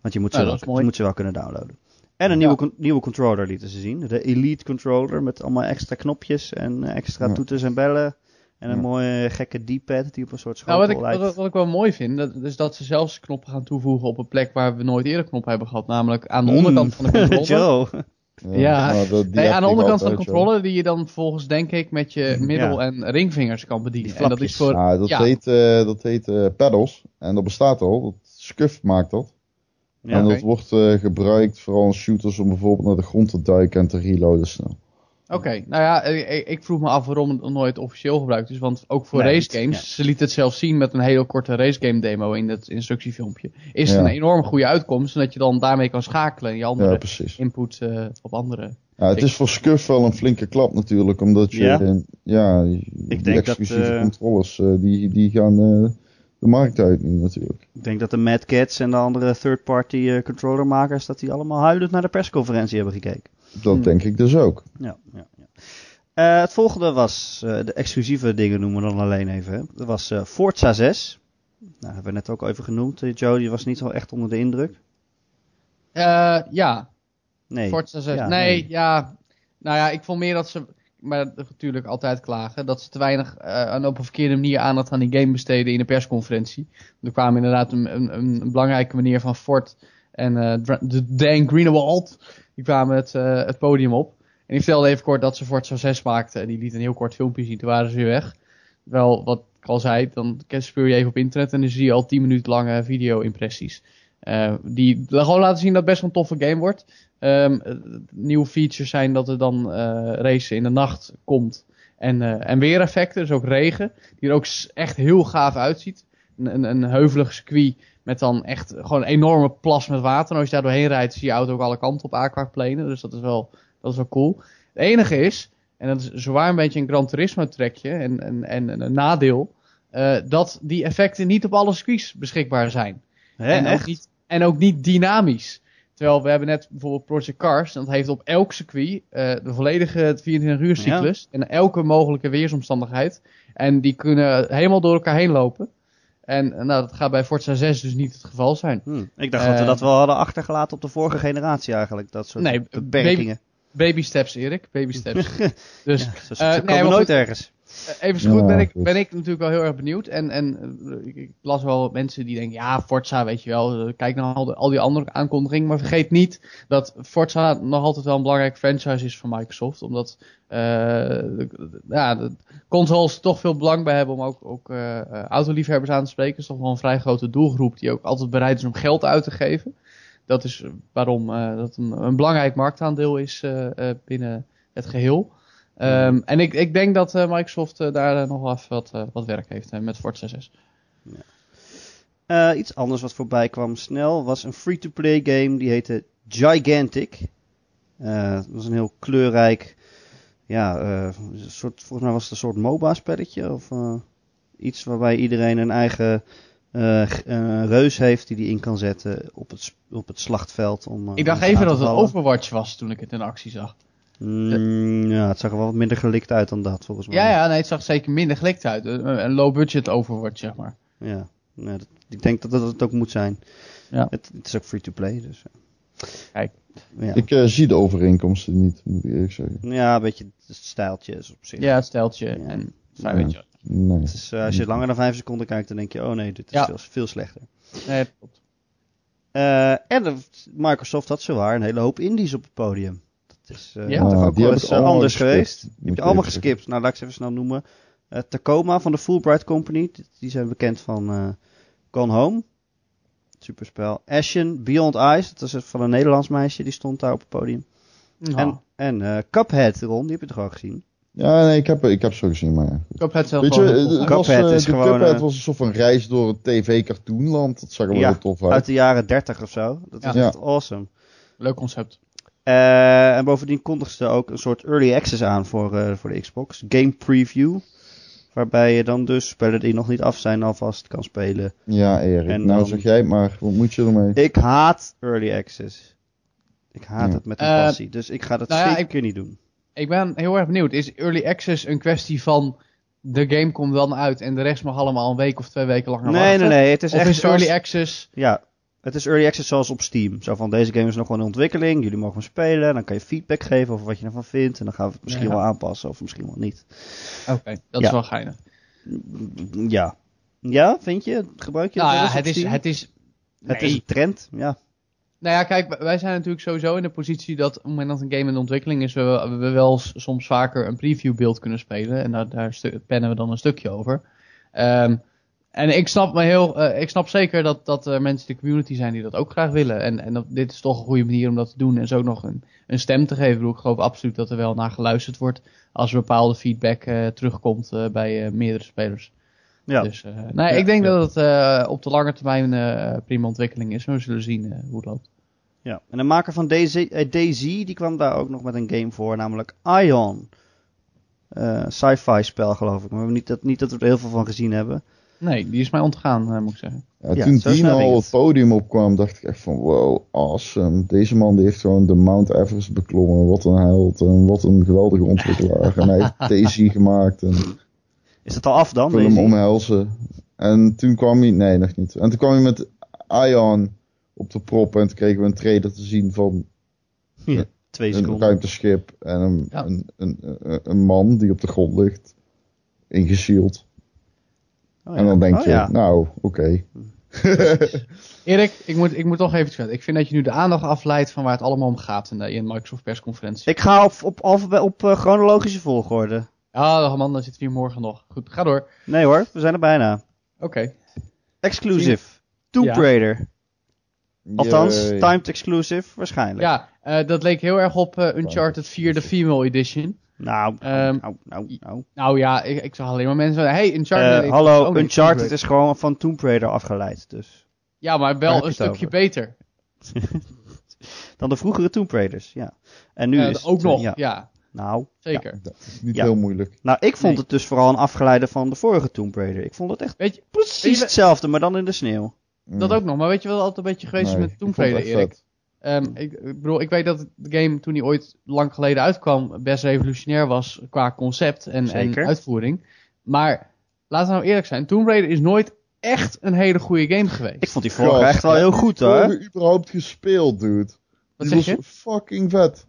Speaker 1: Want je moet, ze
Speaker 3: Nou,
Speaker 1: wel,
Speaker 3: dat is mooi.
Speaker 1: je moet ze wel kunnen downloaden. En een
Speaker 3: Ja.
Speaker 1: nieuwe, con- nieuwe controller lieten ze zien. De Elite Controller met allemaal extra knopjes en eh, extra
Speaker 2: Ja.
Speaker 1: toeters en bellen. En een
Speaker 2: Ja.
Speaker 1: mooie gekke D-pad die op een soort
Speaker 3: Nou,
Speaker 1: schotel
Speaker 3: wat ik,
Speaker 1: lijkt.
Speaker 3: wat, wat ik wel mooi vind, dat, is dat ze zelfs knoppen gaan toevoegen op een plek waar we nooit eerder knoppen hebben gehad. Namelijk aan de
Speaker 2: Mm.
Speaker 3: onderkant van de
Speaker 1: Hmm.
Speaker 3: controller.
Speaker 1: Joe,
Speaker 3: Ja.
Speaker 2: nou, dat- die
Speaker 3: Nee,
Speaker 2: heb
Speaker 3: aan de
Speaker 2: ik
Speaker 3: onderkant van de
Speaker 2: altijd, joh.
Speaker 3: controller die je dan vervolgens, denk ik, met je middel- en ringvingers kan bedienen.
Speaker 1: Die
Speaker 3: En dat
Speaker 1: flapjes.
Speaker 3: is voor
Speaker 2: Ja, dat
Speaker 3: Ja.
Speaker 2: heet, eh dat heet eh, pedals. En dat bestaat al. Dat Scuf maakt dat.
Speaker 1: Ja,
Speaker 2: en dat
Speaker 3: oké.
Speaker 2: wordt eh, gebruikt vooral in shooters om bijvoorbeeld naar de grond te duiken en te reloaden snel.
Speaker 3: Oké, nou ja, eh, ik, ik vroeg me af waarom het nog nooit officieel gebruikt is. Want ook voor
Speaker 1: Nee,
Speaker 3: race games,
Speaker 1: ja.
Speaker 3: ze liet het zelf zien met een hele korte race game demo in het instructiefilmpje. Is het
Speaker 2: Ja.
Speaker 3: een enorm goede uitkomst, zodat je dan daarmee kan schakelen en je andere
Speaker 2: Ja, precies.
Speaker 3: input eh, op andere.
Speaker 2: Ja, het is voor Scuf wel een flinke klap natuurlijk, omdat je...
Speaker 1: Ja.
Speaker 2: eh, ja, die
Speaker 1: denk dat,
Speaker 2: exclusieve
Speaker 1: eh,
Speaker 2: controllers, eh, die, die gaan eh, de markt uit nu natuurlijk.
Speaker 1: ik denk dat de Mad Cats en de andere third-party eh, controllermakers... dat die allemaal huilend naar de persconferentie hebben gekeken.
Speaker 2: Dat
Speaker 3: Hmm.
Speaker 2: denk ik dus ook.
Speaker 1: Ja, ja, ja. Eh, het volgende was, eh, de exclusieve dingen noemen we dan alleen even. hè. Dat was eh, Forza 6. Nou, dat hebben we net ook even genoemd. Eh, Joe, die was niet zo echt onder de indruk.
Speaker 3: Eh, ja,
Speaker 1: Nee.
Speaker 3: Forza 6.
Speaker 1: Ja,
Speaker 3: nee,
Speaker 1: nee.
Speaker 3: ja. Nou ja, ik vond meer dat ze, maar dat- natuurlijk altijd klagen, dat ze te weinig eh, en op een verkeerde manier aandacht aan die game besteden in de persconferentie. Er kwamen inderdaad een, een, een belangrijke meneer van Ford en eh, Dra- de Dan Greenwald, die kwamen het, eh, het podium op. En die vertelde even kort dat ze Forza 6 maakten en die liet een heel kort filmpje zien, toen waren ze weer weg. Wel, wat ik al zei, dan speel je even op internet en dan zie je al 10 minuten lange video-impressies. Eh, die gewoon laten zien dat het best wel een toffe game wordt. Ehm, eh, nieuwe features zijn dat er dan eh racen in de nacht komt. En, eh en weereffecten, dus ook regen. Die er ook s- echt heel gaaf uitziet. Een, een, een heuvelig circuit met dan echt gewoon een enorme plas met water. En als je daar doorheen rijdt, zie je auto ook alle kanten op aquaplanen. Dus dat is wel, dat is wel cool. Het enige is, en dat is zowaar een beetje een Gran Turismo trekje en, en, en, en een nadeel... eh, dat die effecten niet op alle circuits beschikbaar zijn
Speaker 1: Hè,
Speaker 3: en,
Speaker 1: echt?
Speaker 3: Ook niet, en ook niet dynamisch. Terwijl we hebben net bijvoorbeeld Project Cars. en Dat heeft op elk circuit eh, de volledige 24 uur cyclus. En elke mogelijke weersomstandigheid. En die kunnen helemaal door elkaar heen lopen. En eh, nou, dat gaat bij Forza 6 dus niet het geval zijn.
Speaker 1: Hm, Ik dacht
Speaker 3: Eh,
Speaker 1: dat we dat wel hadden achtergelaten op de vorige generatie eigenlijk. Dat soort
Speaker 3: Nee,
Speaker 1: beperkingen.
Speaker 3: Baby steps, Erik. Baby steps. dus
Speaker 1: Ja, ze ze
Speaker 3: nee,
Speaker 1: komen
Speaker 3: maar
Speaker 1: nooit
Speaker 3: goed.
Speaker 1: ergens.
Speaker 3: Eh, Even zo goed
Speaker 2: Ja,
Speaker 3: ben, ik,
Speaker 2: goed.
Speaker 3: ben ik natuurlijk wel heel erg benieuwd. En, en eh, ik, ik las wel mensen die denken, ja, Forza, weet je wel, eh, kijk naar al, de- al die andere aankondigingen. Maar vergeet niet dat Forza nog altijd wel een belangrijk franchise is voor Microsoft. Omdat eh, de- de- ja, de consoles er toch veel belang bij hebben om ook, ook eh, eh, autoliefhebbers aan te spreken. Het is toch wel een vrij grote doelgroep die ook altijd bereid is om geld uit te geven. Dat is waarom eh, dat een, een belangrijk marktaandeel is eh, eh, binnen het geheel. Ehm, en ik, ik denk dat eh, Microsoft eh, daar eh, nog wel even wat, eh, wat werk heeft eh, met Forza 6.
Speaker 1: Eh, iets anders wat voorbij kwam snel was een free-to-play game die heette Gigantic. Eh, het was een heel kleurrijk, ja, eh, een soort, volgens mij was het een soort MOBA-spelletje of eh, iets waarbij iedereen een eigen eh, g- eh, reus heeft die die in kan zetten op het, s- op het slachtveld. Om, eh,
Speaker 3: Ik dacht
Speaker 1: mensen aan
Speaker 3: even
Speaker 1: te
Speaker 3: dat het
Speaker 1: vallen.
Speaker 3: Overwatch was toen ik het in actie zag.
Speaker 1: Mm, ja, het zag er wel wat minder gelikt uit dan dat volgens mij.
Speaker 3: Ja, ja, nee, het zag zeker minder gelikt uit. eh, Een- Een low-budget Overwatch, zeg maar.
Speaker 1: Ja, nee, dat- ik denk dat dat het ook moet zijn.
Speaker 3: Ja.
Speaker 1: Het, het is ook free-to-play, dus... eh.
Speaker 3: Kijk.
Speaker 1: Ja.
Speaker 2: Ik eh, zie de overeenkomsten niet, moet ik eerlijk zeggen.
Speaker 1: ja, een beetje het stijltje is op zich.
Speaker 3: Ja, het steltje.
Speaker 1: Ja.
Speaker 3: En, nou,
Speaker 2: Ja.
Speaker 3: weet je,
Speaker 2: Nee.
Speaker 1: Het is, eh, als je langer dan vijf seconden kijkt, dan denk je, oh nee, dit is
Speaker 3: Ja.
Speaker 1: veel, veel slechter.
Speaker 3: nee, dat klopt.
Speaker 1: Eh, en de- Microsoft had zowaar een hele hoop indies op het podium. Dat is eh,
Speaker 3: Ja.
Speaker 1: toch
Speaker 2: Ah,
Speaker 1: ook
Speaker 2: die
Speaker 1: wel
Speaker 2: heb
Speaker 1: eens
Speaker 2: ik
Speaker 1: eh,
Speaker 2: allemaal
Speaker 1: anders
Speaker 2: geskipt,
Speaker 1: geweest. Die
Speaker 2: moet
Speaker 1: heb
Speaker 2: ik
Speaker 1: je allemaal
Speaker 2: eerlijk
Speaker 1: geskipt. Nou, laat ik ze even snel noemen. Eh, Tacoma van de Fulbright Company. Die- Die zijn bekend van eh, Gone Home. Superspel. Ashen, Beyond Eyes. Dat is het van een Nederlands meisje. Die stond daar op het podium. En,
Speaker 3: Nou,
Speaker 1: en eh, Cuphead, Ron. Die heb je toch ook gezien?
Speaker 2: Ja, nee, ik heb, ik heb zo gezien, maar ja.
Speaker 3: ik hoop het zelf
Speaker 2: Weet je,
Speaker 3: wel.
Speaker 2: eh, het was,
Speaker 1: Cuphead
Speaker 2: eh,
Speaker 1: is
Speaker 2: de
Speaker 1: gewoon,
Speaker 2: Cuphead
Speaker 1: eh,
Speaker 2: was alsof een reis door het tv-cartoonland. Dat zag er wel
Speaker 1: Ja,
Speaker 2: heel tof uit.
Speaker 1: Uit de jaren 30 of zo. Dat is
Speaker 2: Ja.
Speaker 1: echt awesome.
Speaker 3: Leuk concept.
Speaker 1: Eh, en bovendien kondigden ze ook een soort early access aan voor, eh, voor de Xbox. Game preview. Waarbij je dan dus spellen die nog niet af zijn alvast kan spelen.
Speaker 2: Ja, Erik.
Speaker 1: En
Speaker 2: nou,
Speaker 1: dan-
Speaker 2: zeg jij het maar. Wat moet je ermee?
Speaker 1: Ik haat early access. Ik haat
Speaker 2: Ja.
Speaker 1: het met een
Speaker 3: Eh,
Speaker 1: passie. Dus ik ga dat
Speaker 3: nou ja,
Speaker 1: zeker niet doen.
Speaker 3: Ik ben heel erg benieuwd. Is early access een kwestie van de game komt dan uit en de rest mag allemaal een week of twee weken langer
Speaker 1: Nee,
Speaker 3: wachten?
Speaker 1: nee, nee. Het is
Speaker 3: Of
Speaker 1: echt
Speaker 3: is
Speaker 1: zoals-
Speaker 3: early access...
Speaker 1: Ja, het is early access zoals op Steam. Zo van deze game is nog wel in ontwikkeling. Jullie mogen hem spelen. Dan kan je feedback geven over wat je ervan vindt. En dan gaan we het misschien
Speaker 3: Ja.
Speaker 1: wel aanpassen of misschien wel niet.
Speaker 3: Oké, dat
Speaker 1: Ja.
Speaker 3: is wel geinig.
Speaker 1: Ja. Ja, vind je? Gebruik je
Speaker 3: Nou
Speaker 1: wel
Speaker 3: ja,
Speaker 1: eens op
Speaker 3: het is...
Speaker 1: Steam?
Speaker 3: Het is
Speaker 1: Het
Speaker 3: nee.
Speaker 1: is een trend. Ja.
Speaker 3: Nou ja, kijk, wij zijn natuurlijk sowieso in de positie dat op het moment dat een game in ontwikkeling is, we, we wel s- soms vaker een previewbeeld kunnen spelen. En daar, daar stu- pennen we dan een stukje over. Ehm, en ik snap, me heel, eh, ik snap zeker dat, dat er mensen in de community zijn die dat ook graag willen. En, en dat, dit is toch een goede manier om dat te doen en zo ook nog een, een stem te geven. Ik bedoel, Ik geloof absoluut dat er wel naar geluisterd wordt als er bepaalde feedback eh, terugkomt eh, bij eh, meerdere spelers.
Speaker 1: Ja.
Speaker 3: Dus eh, nee, ik denk dat het eh, op de lange termijn eh, prima ontwikkeling is. We zullen zien eh, hoe het loopt.
Speaker 1: Ja, en de maker van DayZ, eh, DayZ, die kwam daar ook nog met een game voor, namelijk Ion. Eh, sci-fi spel, geloof ik. Maar niet dat, niet dat we er heel veel van gezien hebben.
Speaker 3: Nee, die is mij ontgaan, eh, moet ik zeggen.
Speaker 2: Ja,
Speaker 1: Ja,
Speaker 2: toen
Speaker 1: zo
Speaker 2: Dino
Speaker 1: snap ik
Speaker 2: al
Speaker 1: het.
Speaker 2: het podium opkwam, dacht ik echt van wow, awesome. Deze man die heeft gewoon de Mount Everest beklommen. Wat een held en wat een geweldige ontwikkelaar. en hij heeft Daisy gemaakt en ik
Speaker 1: Is dat al af dan?
Speaker 2: wil hem
Speaker 1: DayZ?
Speaker 2: omhelzen. En toen kwam hij, nee nog niet. En toen kwam hij met Ion op de prop en toen kregen we een trailer te zien van
Speaker 1: Ja, twee
Speaker 2: een
Speaker 1: seconden.
Speaker 2: ruimteschip en een,
Speaker 3: Ja.
Speaker 2: een, een, een, een man die op de grond ligt. Ingeshield.
Speaker 1: Oh, ja.
Speaker 2: En dan denk
Speaker 1: Oh,
Speaker 2: je,
Speaker 1: ja.
Speaker 2: nou oké.
Speaker 3: Erik, ik moet, ik moet toch even zeggen. Ik vind dat je nu de aandacht afleidt van waar het allemaal om gaat in de, in de Microsoft persconferentie.
Speaker 1: Ik ga op, op, alfabe- op eh, chronologische volgorde.
Speaker 3: Ja, oh, man, dan zitten we hier morgen nog. Goed, ga door.
Speaker 1: Nee hoor, we zijn er bijna.
Speaker 3: Oké.
Speaker 1: Exclusive. Tomb
Speaker 3: Ja.
Speaker 1: Raider. Althans,
Speaker 2: Yay.
Speaker 1: timed exclusive waarschijnlijk.
Speaker 3: Ja, eh, dat leek heel erg op eh, Uncharted 4, de Female Edition.
Speaker 1: Nou,
Speaker 3: Ehm,
Speaker 1: nou, nou, nou.
Speaker 3: Nou ja, ik, ik zag alleen maar mensen. Hey,
Speaker 1: Eh,
Speaker 3: Uncharted. ik- oh,
Speaker 1: hallo,
Speaker 3: nee,
Speaker 1: Uncharted
Speaker 3: Tomb
Speaker 1: is gewoon van Tomb Raider afgeleid. Dus.
Speaker 3: Raider. Ja, maar
Speaker 1: Waar heb
Speaker 3: wel
Speaker 1: je
Speaker 3: een
Speaker 1: het
Speaker 3: stukje
Speaker 1: over?
Speaker 3: beter.
Speaker 1: Dan de vroegere Tomb Raiders, ja. En nu
Speaker 3: Eh,
Speaker 1: is het,
Speaker 3: ook
Speaker 1: eh,
Speaker 3: nog, ja.
Speaker 1: ja. Nou,
Speaker 3: zeker.
Speaker 2: Niet
Speaker 1: Ja.
Speaker 2: heel moeilijk.
Speaker 1: Nou, ik vond
Speaker 3: Nee.
Speaker 1: het dus vooral een afgeleide van de vorige Tomb Raider. Ik vond het echt
Speaker 3: Weet je, weet
Speaker 1: precies
Speaker 3: je-
Speaker 1: hetzelfde, maar dan in de sneeuw.
Speaker 2: Mm.
Speaker 3: dat ook nog. Maar weet je wat altijd een beetje geweest
Speaker 2: Hmm. Nee,
Speaker 3: is
Speaker 2: ik
Speaker 3: met Tomb
Speaker 2: vond het
Speaker 3: Raider,
Speaker 2: echt
Speaker 3: Erik?
Speaker 2: vet.
Speaker 3: Ehm, ik, ik bedoel, ik weet dat de game toen die ooit lang geleden uitkwam best revolutionair was qua concept en, en
Speaker 1: Zeker.
Speaker 3: uitvoering. Maar laten we nou eerlijk zijn, Tomb Raider is nooit echt een hele goede game geweest.
Speaker 1: Ik vond die vorige
Speaker 2: Klopt.
Speaker 1: echt wel heel goed,
Speaker 2: Hoe
Speaker 1: hoor.
Speaker 2: hebben we überhaupt gespeeld, dude? Die
Speaker 3: Wat zeg
Speaker 2: was
Speaker 3: je?
Speaker 2: fucking vet.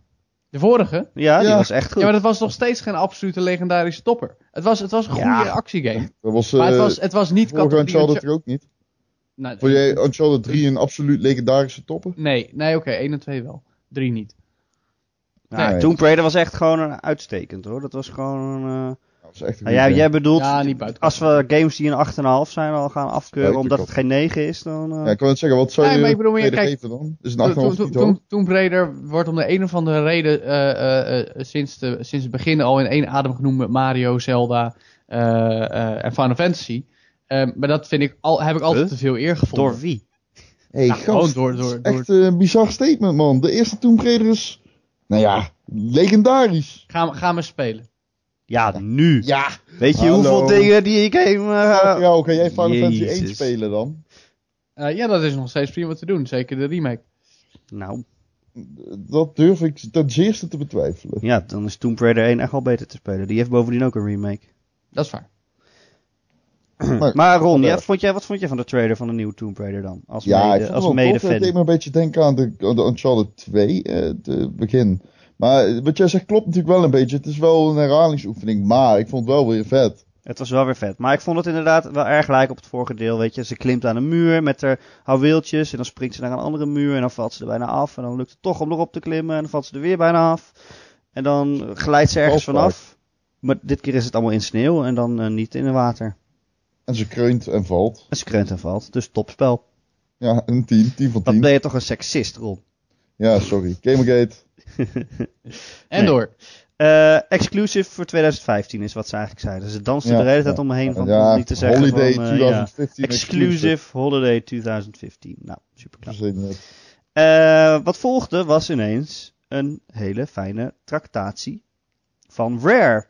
Speaker 3: De vorige?
Speaker 1: Ja, die
Speaker 2: Ja.
Speaker 1: was echt goed.
Speaker 3: Ja, maar dat was nog steeds geen absolute legendarische topper. Het was, het was een goede
Speaker 1: Ja.
Speaker 3: actiegame.
Speaker 2: Dat was,
Speaker 3: Maar het
Speaker 2: eh,
Speaker 3: was, het was niet
Speaker 2: vorige
Speaker 3: categorie...
Speaker 2: Uncharted er ook niet.
Speaker 3: Nou,
Speaker 2: Vond jij Uncharted 3 een absoluut legendarische topper?
Speaker 3: Nee, nee oké, 1 en 2 wel. 3 niet.
Speaker 1: Nou,
Speaker 2: Nee.
Speaker 1: Tomb Raider was echt gewoon een uitstekend, hoor. Dat was gewoon... eh,
Speaker 2: Dat was echt een
Speaker 1: Nou, jij,
Speaker 2: goede
Speaker 1: jij bedoelt,
Speaker 3: Ja, niet buiten.
Speaker 1: als we games die een 8,5 zijn al gaan afkeuren
Speaker 2: Buiten
Speaker 1: omdat het
Speaker 2: kop.
Speaker 1: geen 9 is, dan... eh,
Speaker 2: game. Ja, ik kan het zeggen, wat zou
Speaker 3: Nee,
Speaker 2: je
Speaker 3: maar ik bedoel, maar
Speaker 2: tweede
Speaker 3: kijk,
Speaker 2: geven dan? Is
Speaker 3: Toen-
Speaker 2: een 8,5
Speaker 3: toen- toen-
Speaker 2: niet hoog?
Speaker 3: toen- Tomb Raider wordt om de een of andere reden eh, eh, eh, sinds, de, sinds het begin al in één adem genoemd met Mario, Zelda eh, eh, en Final Fantasy. Eh, Ehm, maar dat vind ik al, heb ik altijd
Speaker 1: Huh?
Speaker 3: te veel eer gevonden.
Speaker 1: Door wie?
Speaker 2: Hey,
Speaker 3: Ja, Nou, gewoon
Speaker 2: gast,
Speaker 3: door-
Speaker 2: dat is
Speaker 3: door- door-
Speaker 2: echt eh, een bizar statement, man. De eerste Tomb Raider is, nou ja, legendarisch.
Speaker 3: Ga, me- ga maar spelen.
Speaker 1: Ja, nu.
Speaker 2: Ja,
Speaker 1: Weet je
Speaker 2: Hallo.
Speaker 1: hoeveel dingen die ik game... eh,
Speaker 2: ja oké, jij Final Fantasy
Speaker 1: Jezus.
Speaker 2: 1 spelen dan?
Speaker 3: Eh, ja, dat is nog steeds prima te doen. Zeker de remake.
Speaker 1: Nou,
Speaker 2: Dat durf ik ten zeerste te betwijfelen.
Speaker 1: ja, dan is Tomb Raider 1 echt wel beter te spelen. Die heeft bovendien ook een remake.
Speaker 3: Dat is waar.
Speaker 2: Maar-
Speaker 1: Maar Ron,
Speaker 2: vandaag.
Speaker 1: ja, vond jij, wat vond jij van de trailer van de nieuwe Tomb Raider dan? Als
Speaker 2: Ja, ik
Speaker 1: mede,
Speaker 2: vond
Speaker 1: als
Speaker 2: het wel
Speaker 1: mede
Speaker 2: tof. Het deed me een beetje denken aan de, aan de Uncharted 2, eh, het begin. Maar eh, wat jij zegt klopt natuurlijk wel een beetje. Het is wel een herhalingsoefening, maar ik vond het wel weer vet.
Speaker 1: Het was wel weer vet. Maar ik vond het inderdaad wel erg lijk op het vorige deel. Weet je, ze klimt aan een muur met haar houweeltjes. En dan springt ze naar een andere muur. En dan valt ze er bijna af. En dan lukt het toch om erop te klimmen. En dan valt ze er weer bijna af. En dan glijdt ze ergens
Speaker 2: Wel vaak.
Speaker 1: vanaf. Maar dit keer is het allemaal in sneeuw. En dan eh, niet in het water.
Speaker 2: En ze kreunt en valt.
Speaker 1: En ze kreunt en valt. Dus topspel.
Speaker 2: Ja, een 10, 10 van
Speaker 1: Dan
Speaker 2: 10.
Speaker 1: ben je toch een seksist, Ron.
Speaker 2: Ja, sorry. Gamergate.
Speaker 3: En
Speaker 1: Nee.
Speaker 3: door.
Speaker 1: Eh exclusive voor 2015 is wat ze eigenlijk zeiden. Ze dansten
Speaker 2: Ja,
Speaker 1: er de hele tijd
Speaker 2: ja.
Speaker 1: om me heen. Van,
Speaker 2: ja,
Speaker 1: om niet te zeggen
Speaker 2: Holiday
Speaker 1: van, eh, ja.
Speaker 2: 2015.
Speaker 1: Exclusive Holiday 2015. Nou, super knap.
Speaker 2: exclusive. Verzin het.
Speaker 1: Eh, wat volgde was ineens een hele fijne tractatie van Rare.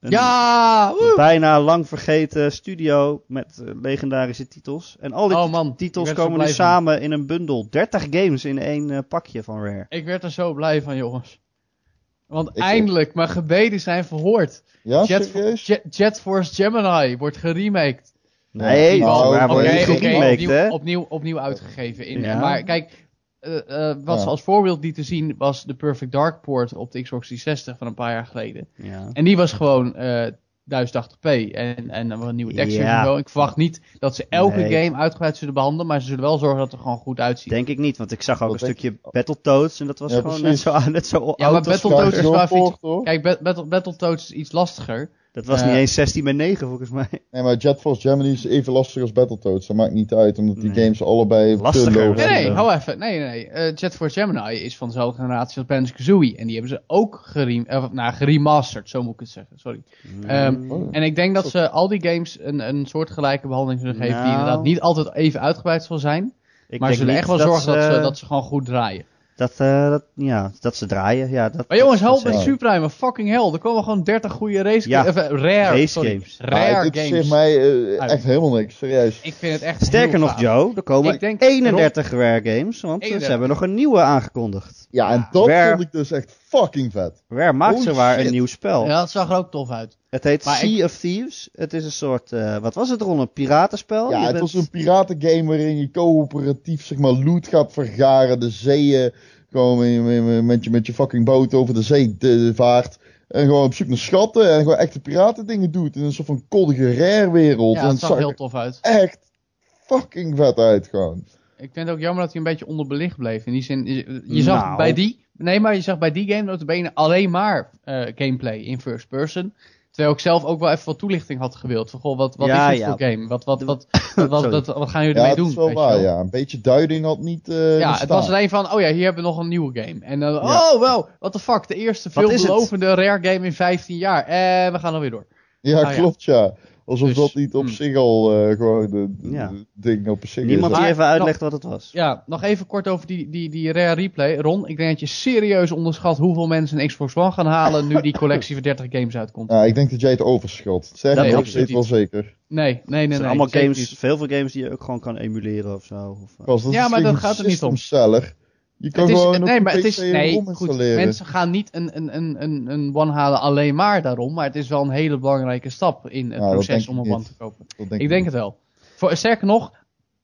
Speaker 1: Een
Speaker 3: Ja! woe!
Speaker 1: bijna lang vergeten studio met eh, legendarische titels. En al die
Speaker 3: Oh man.
Speaker 1: titels
Speaker 3: ik werd er
Speaker 1: komen nu
Speaker 3: blij van.
Speaker 1: samen in een bundel. 30 games in één eh, pakje van Rare.
Speaker 3: Ik werd er zo blij van, jongens. Want
Speaker 2: Ik ook.
Speaker 3: eindelijk, mijn gebeden zijn verhoord.
Speaker 2: Ja,
Speaker 3: Jet,
Speaker 2: serieus?
Speaker 3: Jet, Jet Force Gemini wordt geremaked.
Speaker 1: Nee,
Speaker 2: Nou,
Speaker 1: maar
Speaker 2: oké,
Speaker 1: wordt niet
Speaker 2: oké,
Speaker 1: geremaked,
Speaker 3: opnieuw,
Speaker 1: hè?
Speaker 3: opnieuw, opnieuw uitgegeven. In,
Speaker 1: Ja.
Speaker 3: Maar kijk, eh, eh, wat
Speaker 2: Ja.
Speaker 3: ze als voorbeeld lieten zien was de Perfect Dark port op de Xbox 360 van een paar jaar geleden.
Speaker 1: Ja.
Speaker 3: En die was gewoon eh 1080p en, en dan wel een nieuwe texture
Speaker 1: Ja.
Speaker 3: en zo. Ik verwacht niet dat ze elke
Speaker 1: Nee.
Speaker 3: game uitgebreid zullen behandelen, maar ze zullen wel zorgen dat het er gewoon goed uitziet.
Speaker 1: Denk ik niet, want ik zag ook
Speaker 2: Dat
Speaker 1: een
Speaker 2: denk
Speaker 1: stukje Battletoads en dat was
Speaker 2: Ja,
Speaker 1: gewoon net
Speaker 2: precies.
Speaker 1: zo, net zo
Speaker 3: ja, maar
Speaker 1: oud als
Speaker 3: Battletoads
Speaker 1: vroeger.
Speaker 3: is wel even iets...
Speaker 2: Skyfall, hoor.
Speaker 3: Kijk, Bat- Battle- Battletoads is iets lastiger.
Speaker 1: Dat was
Speaker 3: Eh,
Speaker 1: niet eens 16 bij 9 volgens mij.
Speaker 2: Nee, maar Jet Force Gemini is even lastig als Battletoads. Dat maakt niet uit, omdat die
Speaker 1: Nee.
Speaker 2: games allebei
Speaker 1: Lastiger.
Speaker 2: te low
Speaker 3: Nee,
Speaker 1: Ja,
Speaker 3: nee,
Speaker 1: ja.
Speaker 3: hou even. Nee, nee, nee. Eh, Jet Force Gemini is van dezelfde generatie als Banjo-Kazooie. En die hebben ze ook gerem eh, nou, geremasterd, zo moet ik het zeggen. Sorry. Ehm,
Speaker 2: Oh.
Speaker 3: En ik denk dat ze al die games een, een soortgelijke behandeling zullen geven... die
Speaker 1: Nou.
Speaker 3: inderdaad niet altijd even uitgebreid zal zijn...
Speaker 1: Ik
Speaker 3: maar ze
Speaker 1: denk
Speaker 3: zullen
Speaker 1: niet
Speaker 3: echt wel
Speaker 1: dat
Speaker 3: zorgen dat ze,
Speaker 1: ze-
Speaker 3: dat ze gewoon goed draaien.
Speaker 1: Dat, eh, dat, ja, dat ze draaien. Ja, dat,
Speaker 3: Maar jongens,
Speaker 1: dat-
Speaker 3: help
Speaker 1: dat
Speaker 3: met
Speaker 1: zeker.
Speaker 3: Supreme. Fucking hell. Er komen gewoon 30 goede race
Speaker 1: Ja,
Speaker 3: games. rare,
Speaker 1: race
Speaker 3: sorry,
Speaker 1: games.
Speaker 3: Rare
Speaker 2: Ah, dit zegt
Speaker 3: games.
Speaker 2: mij eh,
Speaker 3: Uit.
Speaker 2: echt helemaal niks, serieus.
Speaker 3: Ik vind het echt
Speaker 1: Sterker
Speaker 3: heel
Speaker 1: nog,
Speaker 3: gaaf.
Speaker 1: Joe, er komen
Speaker 3: Ik denk-
Speaker 1: 31 Rare Games, want eh, ze
Speaker 3: 31.
Speaker 1: hebben nog een nieuwe aangekondigd.
Speaker 2: Ja, en dat
Speaker 1: Rare-
Speaker 2: vond ik dus echt fucking vet.
Speaker 1: Rare maakt
Speaker 2: Oh,
Speaker 1: ze waar een
Speaker 2: shit.
Speaker 1: nieuw spel.
Speaker 3: Ja, dat zag er ook tof uit.
Speaker 1: Het heet
Speaker 3: Maar
Speaker 1: Sea of Thieves. Het is een soort, eh, wat was het Ron, een
Speaker 3: Oh,
Speaker 1: piratenspel?
Speaker 2: ja,
Speaker 1: Je
Speaker 2: het
Speaker 1: bent-
Speaker 2: was een piratengame waarin je coöperatief zeg maar loot gaat vergaren, de zeeën gewoon met, je- met, met je, met je fucking boot over de zee de- vaart. En gewoon op zoek naar schatten en gewoon echte piraten dingen doet. In een soort van koddige rare wereld.
Speaker 3: Ja,
Speaker 2: en
Speaker 3: dat
Speaker 2: het
Speaker 3: zag
Speaker 2: zag
Speaker 3: heel
Speaker 2: er
Speaker 3: tof uit.
Speaker 2: echt fucking vet uit gewoon.
Speaker 3: Ik vind het ook jammer dat hij een beetje onderbelicht bleef. In die zin, je, je zag
Speaker 1: Nou.
Speaker 3: bij die... Nee, maar je zag bij die game notabene alleen maar eh, gameplay in first person. Terwijl ik zelf ook wel even wat toelichting had gewild. Van, goh, wat, wat
Speaker 1: Ja,
Speaker 3: is dit
Speaker 1: ja.
Speaker 3: voor game? Wat, wat, wat, wat, wat,
Speaker 1: Sorry.
Speaker 3: wat, wat gaan jullie
Speaker 2: Ja, dat
Speaker 3: ermee doen?
Speaker 2: is wel
Speaker 3: weet je
Speaker 2: waar,
Speaker 3: wel?
Speaker 2: ja. Een beetje duiding had niet eh
Speaker 3: Ja, het
Speaker 2: bestaan.
Speaker 3: was alleen van, oh ja, hier hebben we nog een nieuwe game. En dan,
Speaker 1: Ja.
Speaker 3: oh wow, what the fuck, de eerste
Speaker 1: Wat is het?
Speaker 3: veelbelovende rare game in 15 jaar. En we gaan alweer door.
Speaker 2: Ja,
Speaker 3: Ah, ja.
Speaker 2: klopt, ja. Alsof
Speaker 3: Dus,
Speaker 2: dat niet op
Speaker 3: hmm.
Speaker 2: zich al eh, gewoon de, de-
Speaker 1: Ja.
Speaker 2: de ding op zich
Speaker 1: Niemand
Speaker 2: is.
Speaker 1: die
Speaker 3: Maar-
Speaker 1: even uitlegt wat het was.
Speaker 3: Ja, nog even kort over die, die, die rare replay. Ron, ik denk dat je serieus onderschat hoeveel mensen een Xbox One gaan halen nu die collectie van 30 games uitkomt.
Speaker 2: Ja, ik denk dat jij het overschat. Zeg
Speaker 1: Dat
Speaker 2: ik
Speaker 1: absoluut
Speaker 2: weet wel
Speaker 3: niet.
Speaker 2: zeker.
Speaker 3: Nee, nee, nee.
Speaker 1: Het
Speaker 3: nee
Speaker 1: zijn allemaal
Speaker 3: zeker
Speaker 1: games,
Speaker 3: niet.
Speaker 1: veel veel games die je ook gewoon kan emuleren of zo. Of, eh,
Speaker 2: Gast, dat
Speaker 3: Ja,
Speaker 2: is
Speaker 3: maar
Speaker 2: geen
Speaker 3: dat gaat er niet om.
Speaker 2: systeemseller. Je kan
Speaker 3: Het is,
Speaker 2: gewoon op
Speaker 3: nee,
Speaker 2: je
Speaker 3: maar het is,
Speaker 2: PC een
Speaker 3: nee,
Speaker 2: ROM
Speaker 3: goed,
Speaker 2: installeren.
Speaker 3: mensen gaan niet een, een, een, een, een one halen alleen maar daarom, maar het is wel een hele belangrijke stap in het
Speaker 2: Nou, dat
Speaker 3: proces
Speaker 2: denk
Speaker 3: om
Speaker 2: ik
Speaker 3: een one
Speaker 2: niet. Oh,
Speaker 3: te kopen.
Speaker 2: Dat denk
Speaker 3: Ik denk het wel. Voor, sterker nog,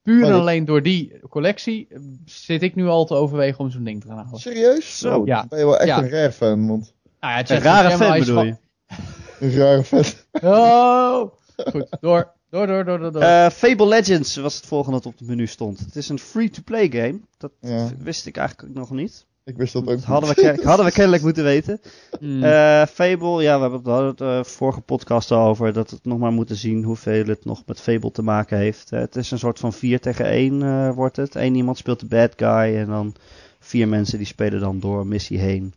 Speaker 3: puur
Speaker 2: Maar
Speaker 3: en
Speaker 2: dit-
Speaker 3: alleen door die collectie eh, zit ik nu al te overwegen om zo'n ding te gaan halen.
Speaker 2: Serieus?
Speaker 1: Zo,
Speaker 2: Zo,
Speaker 3: ja.
Speaker 2: dan ben je wel echt
Speaker 3: Ja.
Speaker 2: een rare fan, want
Speaker 3: Nou ja, het
Speaker 1: een
Speaker 3: zegt
Speaker 1: rare
Speaker 3: Gemini
Speaker 1: fan
Speaker 3: is
Speaker 1: bedoel je?
Speaker 3: van-
Speaker 2: een rare fan.
Speaker 3: Oh! Goed, door, door, door, door, door. door.
Speaker 1: Eh, Fable Legends was het volgende dat op het menu stond. Het is een free-to-play game. Dat
Speaker 2: Ja.
Speaker 1: wist ik eigenlijk ook nog niet.
Speaker 2: Ik wist dat ook
Speaker 1: Dat
Speaker 2: niet.
Speaker 1: hadden we, ken- hadden we kennelijk moeten weten.
Speaker 2: Mm.
Speaker 3: Hmm.
Speaker 1: Eh, Fable, ja, we hebben het- we hadden het eh, vorige podcast al over dat we het nog maar moeten zien hoeveel het nog met Fable te maken heeft. Eh, het is een soort van 4 tegen 1 eh, wordt het. Eén iemand speelt de bad guy en dan vier mensen die spelen dan door een missie heen.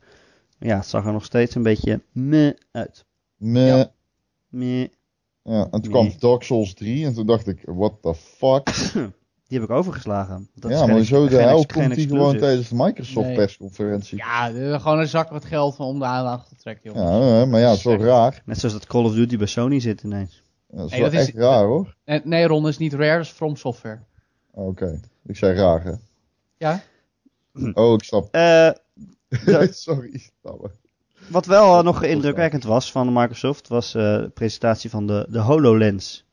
Speaker 1: Ja, het zag er nog steeds een beetje meh uit.
Speaker 2: Meh.
Speaker 1: Meh.
Speaker 2: Ja, en toen
Speaker 1: Nee.
Speaker 2: kwam Dark Souls 3 en toen dacht ik, what the fuck?
Speaker 1: Die heb ik overgeslagen. Dat is
Speaker 2: ja,
Speaker 1: geen
Speaker 2: maar
Speaker 1: ex-
Speaker 2: zo de
Speaker 1: geen ex-
Speaker 2: hel
Speaker 1: geen
Speaker 2: komt die
Speaker 1: exclusive.
Speaker 2: gewoon tijdens de Microsoft
Speaker 3: Nee.
Speaker 2: persconferentie. Ja,
Speaker 3: Ja, eh, gewoon een zak wat geld van om de aandacht te trekken, joh.
Speaker 2: eh, maar ja, het is wel
Speaker 3: Zeg.
Speaker 2: raar.
Speaker 1: Net zoals dat Call of Duty bij Sony zit ineens.
Speaker 2: Ja, dat is
Speaker 3: Nee,
Speaker 2: wel
Speaker 3: dat is-
Speaker 2: echt raar hoor. Oh,
Speaker 3: Nee, nee, Ron, dat is niet Rare, dat is From Software.
Speaker 2: Oké, ik zei raar hè.
Speaker 3: Ja?
Speaker 2: Oh, ik snap.
Speaker 1: Eh, Ja.
Speaker 2: Sorry, ik snap het.
Speaker 1: wat wel eh, nog indrukwekkend was van Microsoft was eh, de presentatie van de, de HoloLens.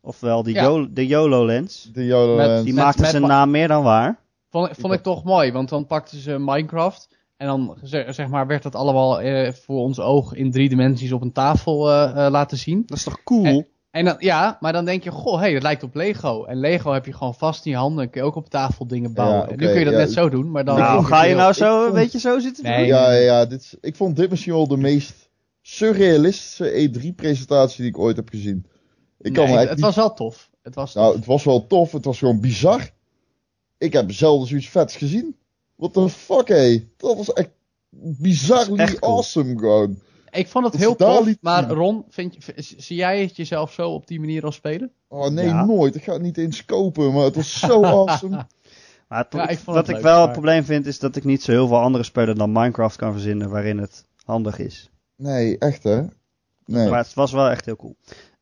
Speaker 1: Ofwel die
Speaker 3: Ja.
Speaker 1: Yo- de YOLO-lens.
Speaker 2: De Jodolens.
Speaker 1: Die
Speaker 3: Met-
Speaker 1: maakte
Speaker 3: met-
Speaker 1: zijn naam meer dan waar.
Speaker 3: Vond, ik- vond ik toch mooi, want dan pakten ze Minecraft. En dan zeg, zeg maar, werd dat allemaal eh, voor ons oog in drie dimensies op een tafel eh, eh, laten zien.
Speaker 1: Dat is toch cool?
Speaker 3: Eh, En dan, ja, maar dan denk je, goh, hey, het lijkt op Lego. En Lego heb je gewoon vast in je handen. Dan kun je ook op tafel dingen bouwen.
Speaker 2: Ja,
Speaker 3: En
Speaker 2: oké,
Speaker 3: nu kun je dat
Speaker 2: ja.
Speaker 3: net zo doen, maar dan...
Speaker 1: nou,
Speaker 2: vond
Speaker 1: ga
Speaker 2: het
Speaker 1: je
Speaker 2: heel-
Speaker 1: nou
Speaker 2: ik
Speaker 1: zo een
Speaker 2: vond-
Speaker 1: beetje zo zitten
Speaker 3: Nee.
Speaker 1: doen?
Speaker 2: Ja, ja dit is, ik vond dit misschien wel de meest surrealistische E3-presentatie die ik ooit heb gezien. Ik kan
Speaker 3: Nee,
Speaker 2: me echt
Speaker 3: het, het
Speaker 2: niet-
Speaker 3: was wel tof. Het was tof.
Speaker 2: Nou, het was wel tof, het was gewoon bizar. Ik heb zelden zoiets vets gezien. What the fuck, hé. Dat was echt bizarly
Speaker 1: Echt cool.
Speaker 2: awesome gewoon.
Speaker 3: ik vond het
Speaker 2: het
Speaker 3: heel
Speaker 2: is daar
Speaker 3: tof,
Speaker 2: liet-
Speaker 3: maar Ron, vind je, v- zie jij het jezelf zo op die manier al spelen?
Speaker 2: Oh nee,
Speaker 1: Ja.
Speaker 2: nooit. Ik ga het niet eens kopen, maar het was zo awesome.
Speaker 1: Maar het-
Speaker 3: Ja, ik vond het
Speaker 1: wat ik
Speaker 3: leuk,
Speaker 1: wel
Speaker 3: maar-
Speaker 1: het probleem vind is dat ik niet zo heel veel andere spelen dan Minecraft kan verzinnen waarin het handig is.
Speaker 2: Nee, echt hè. Nee.
Speaker 1: Maar het was wel echt heel cool.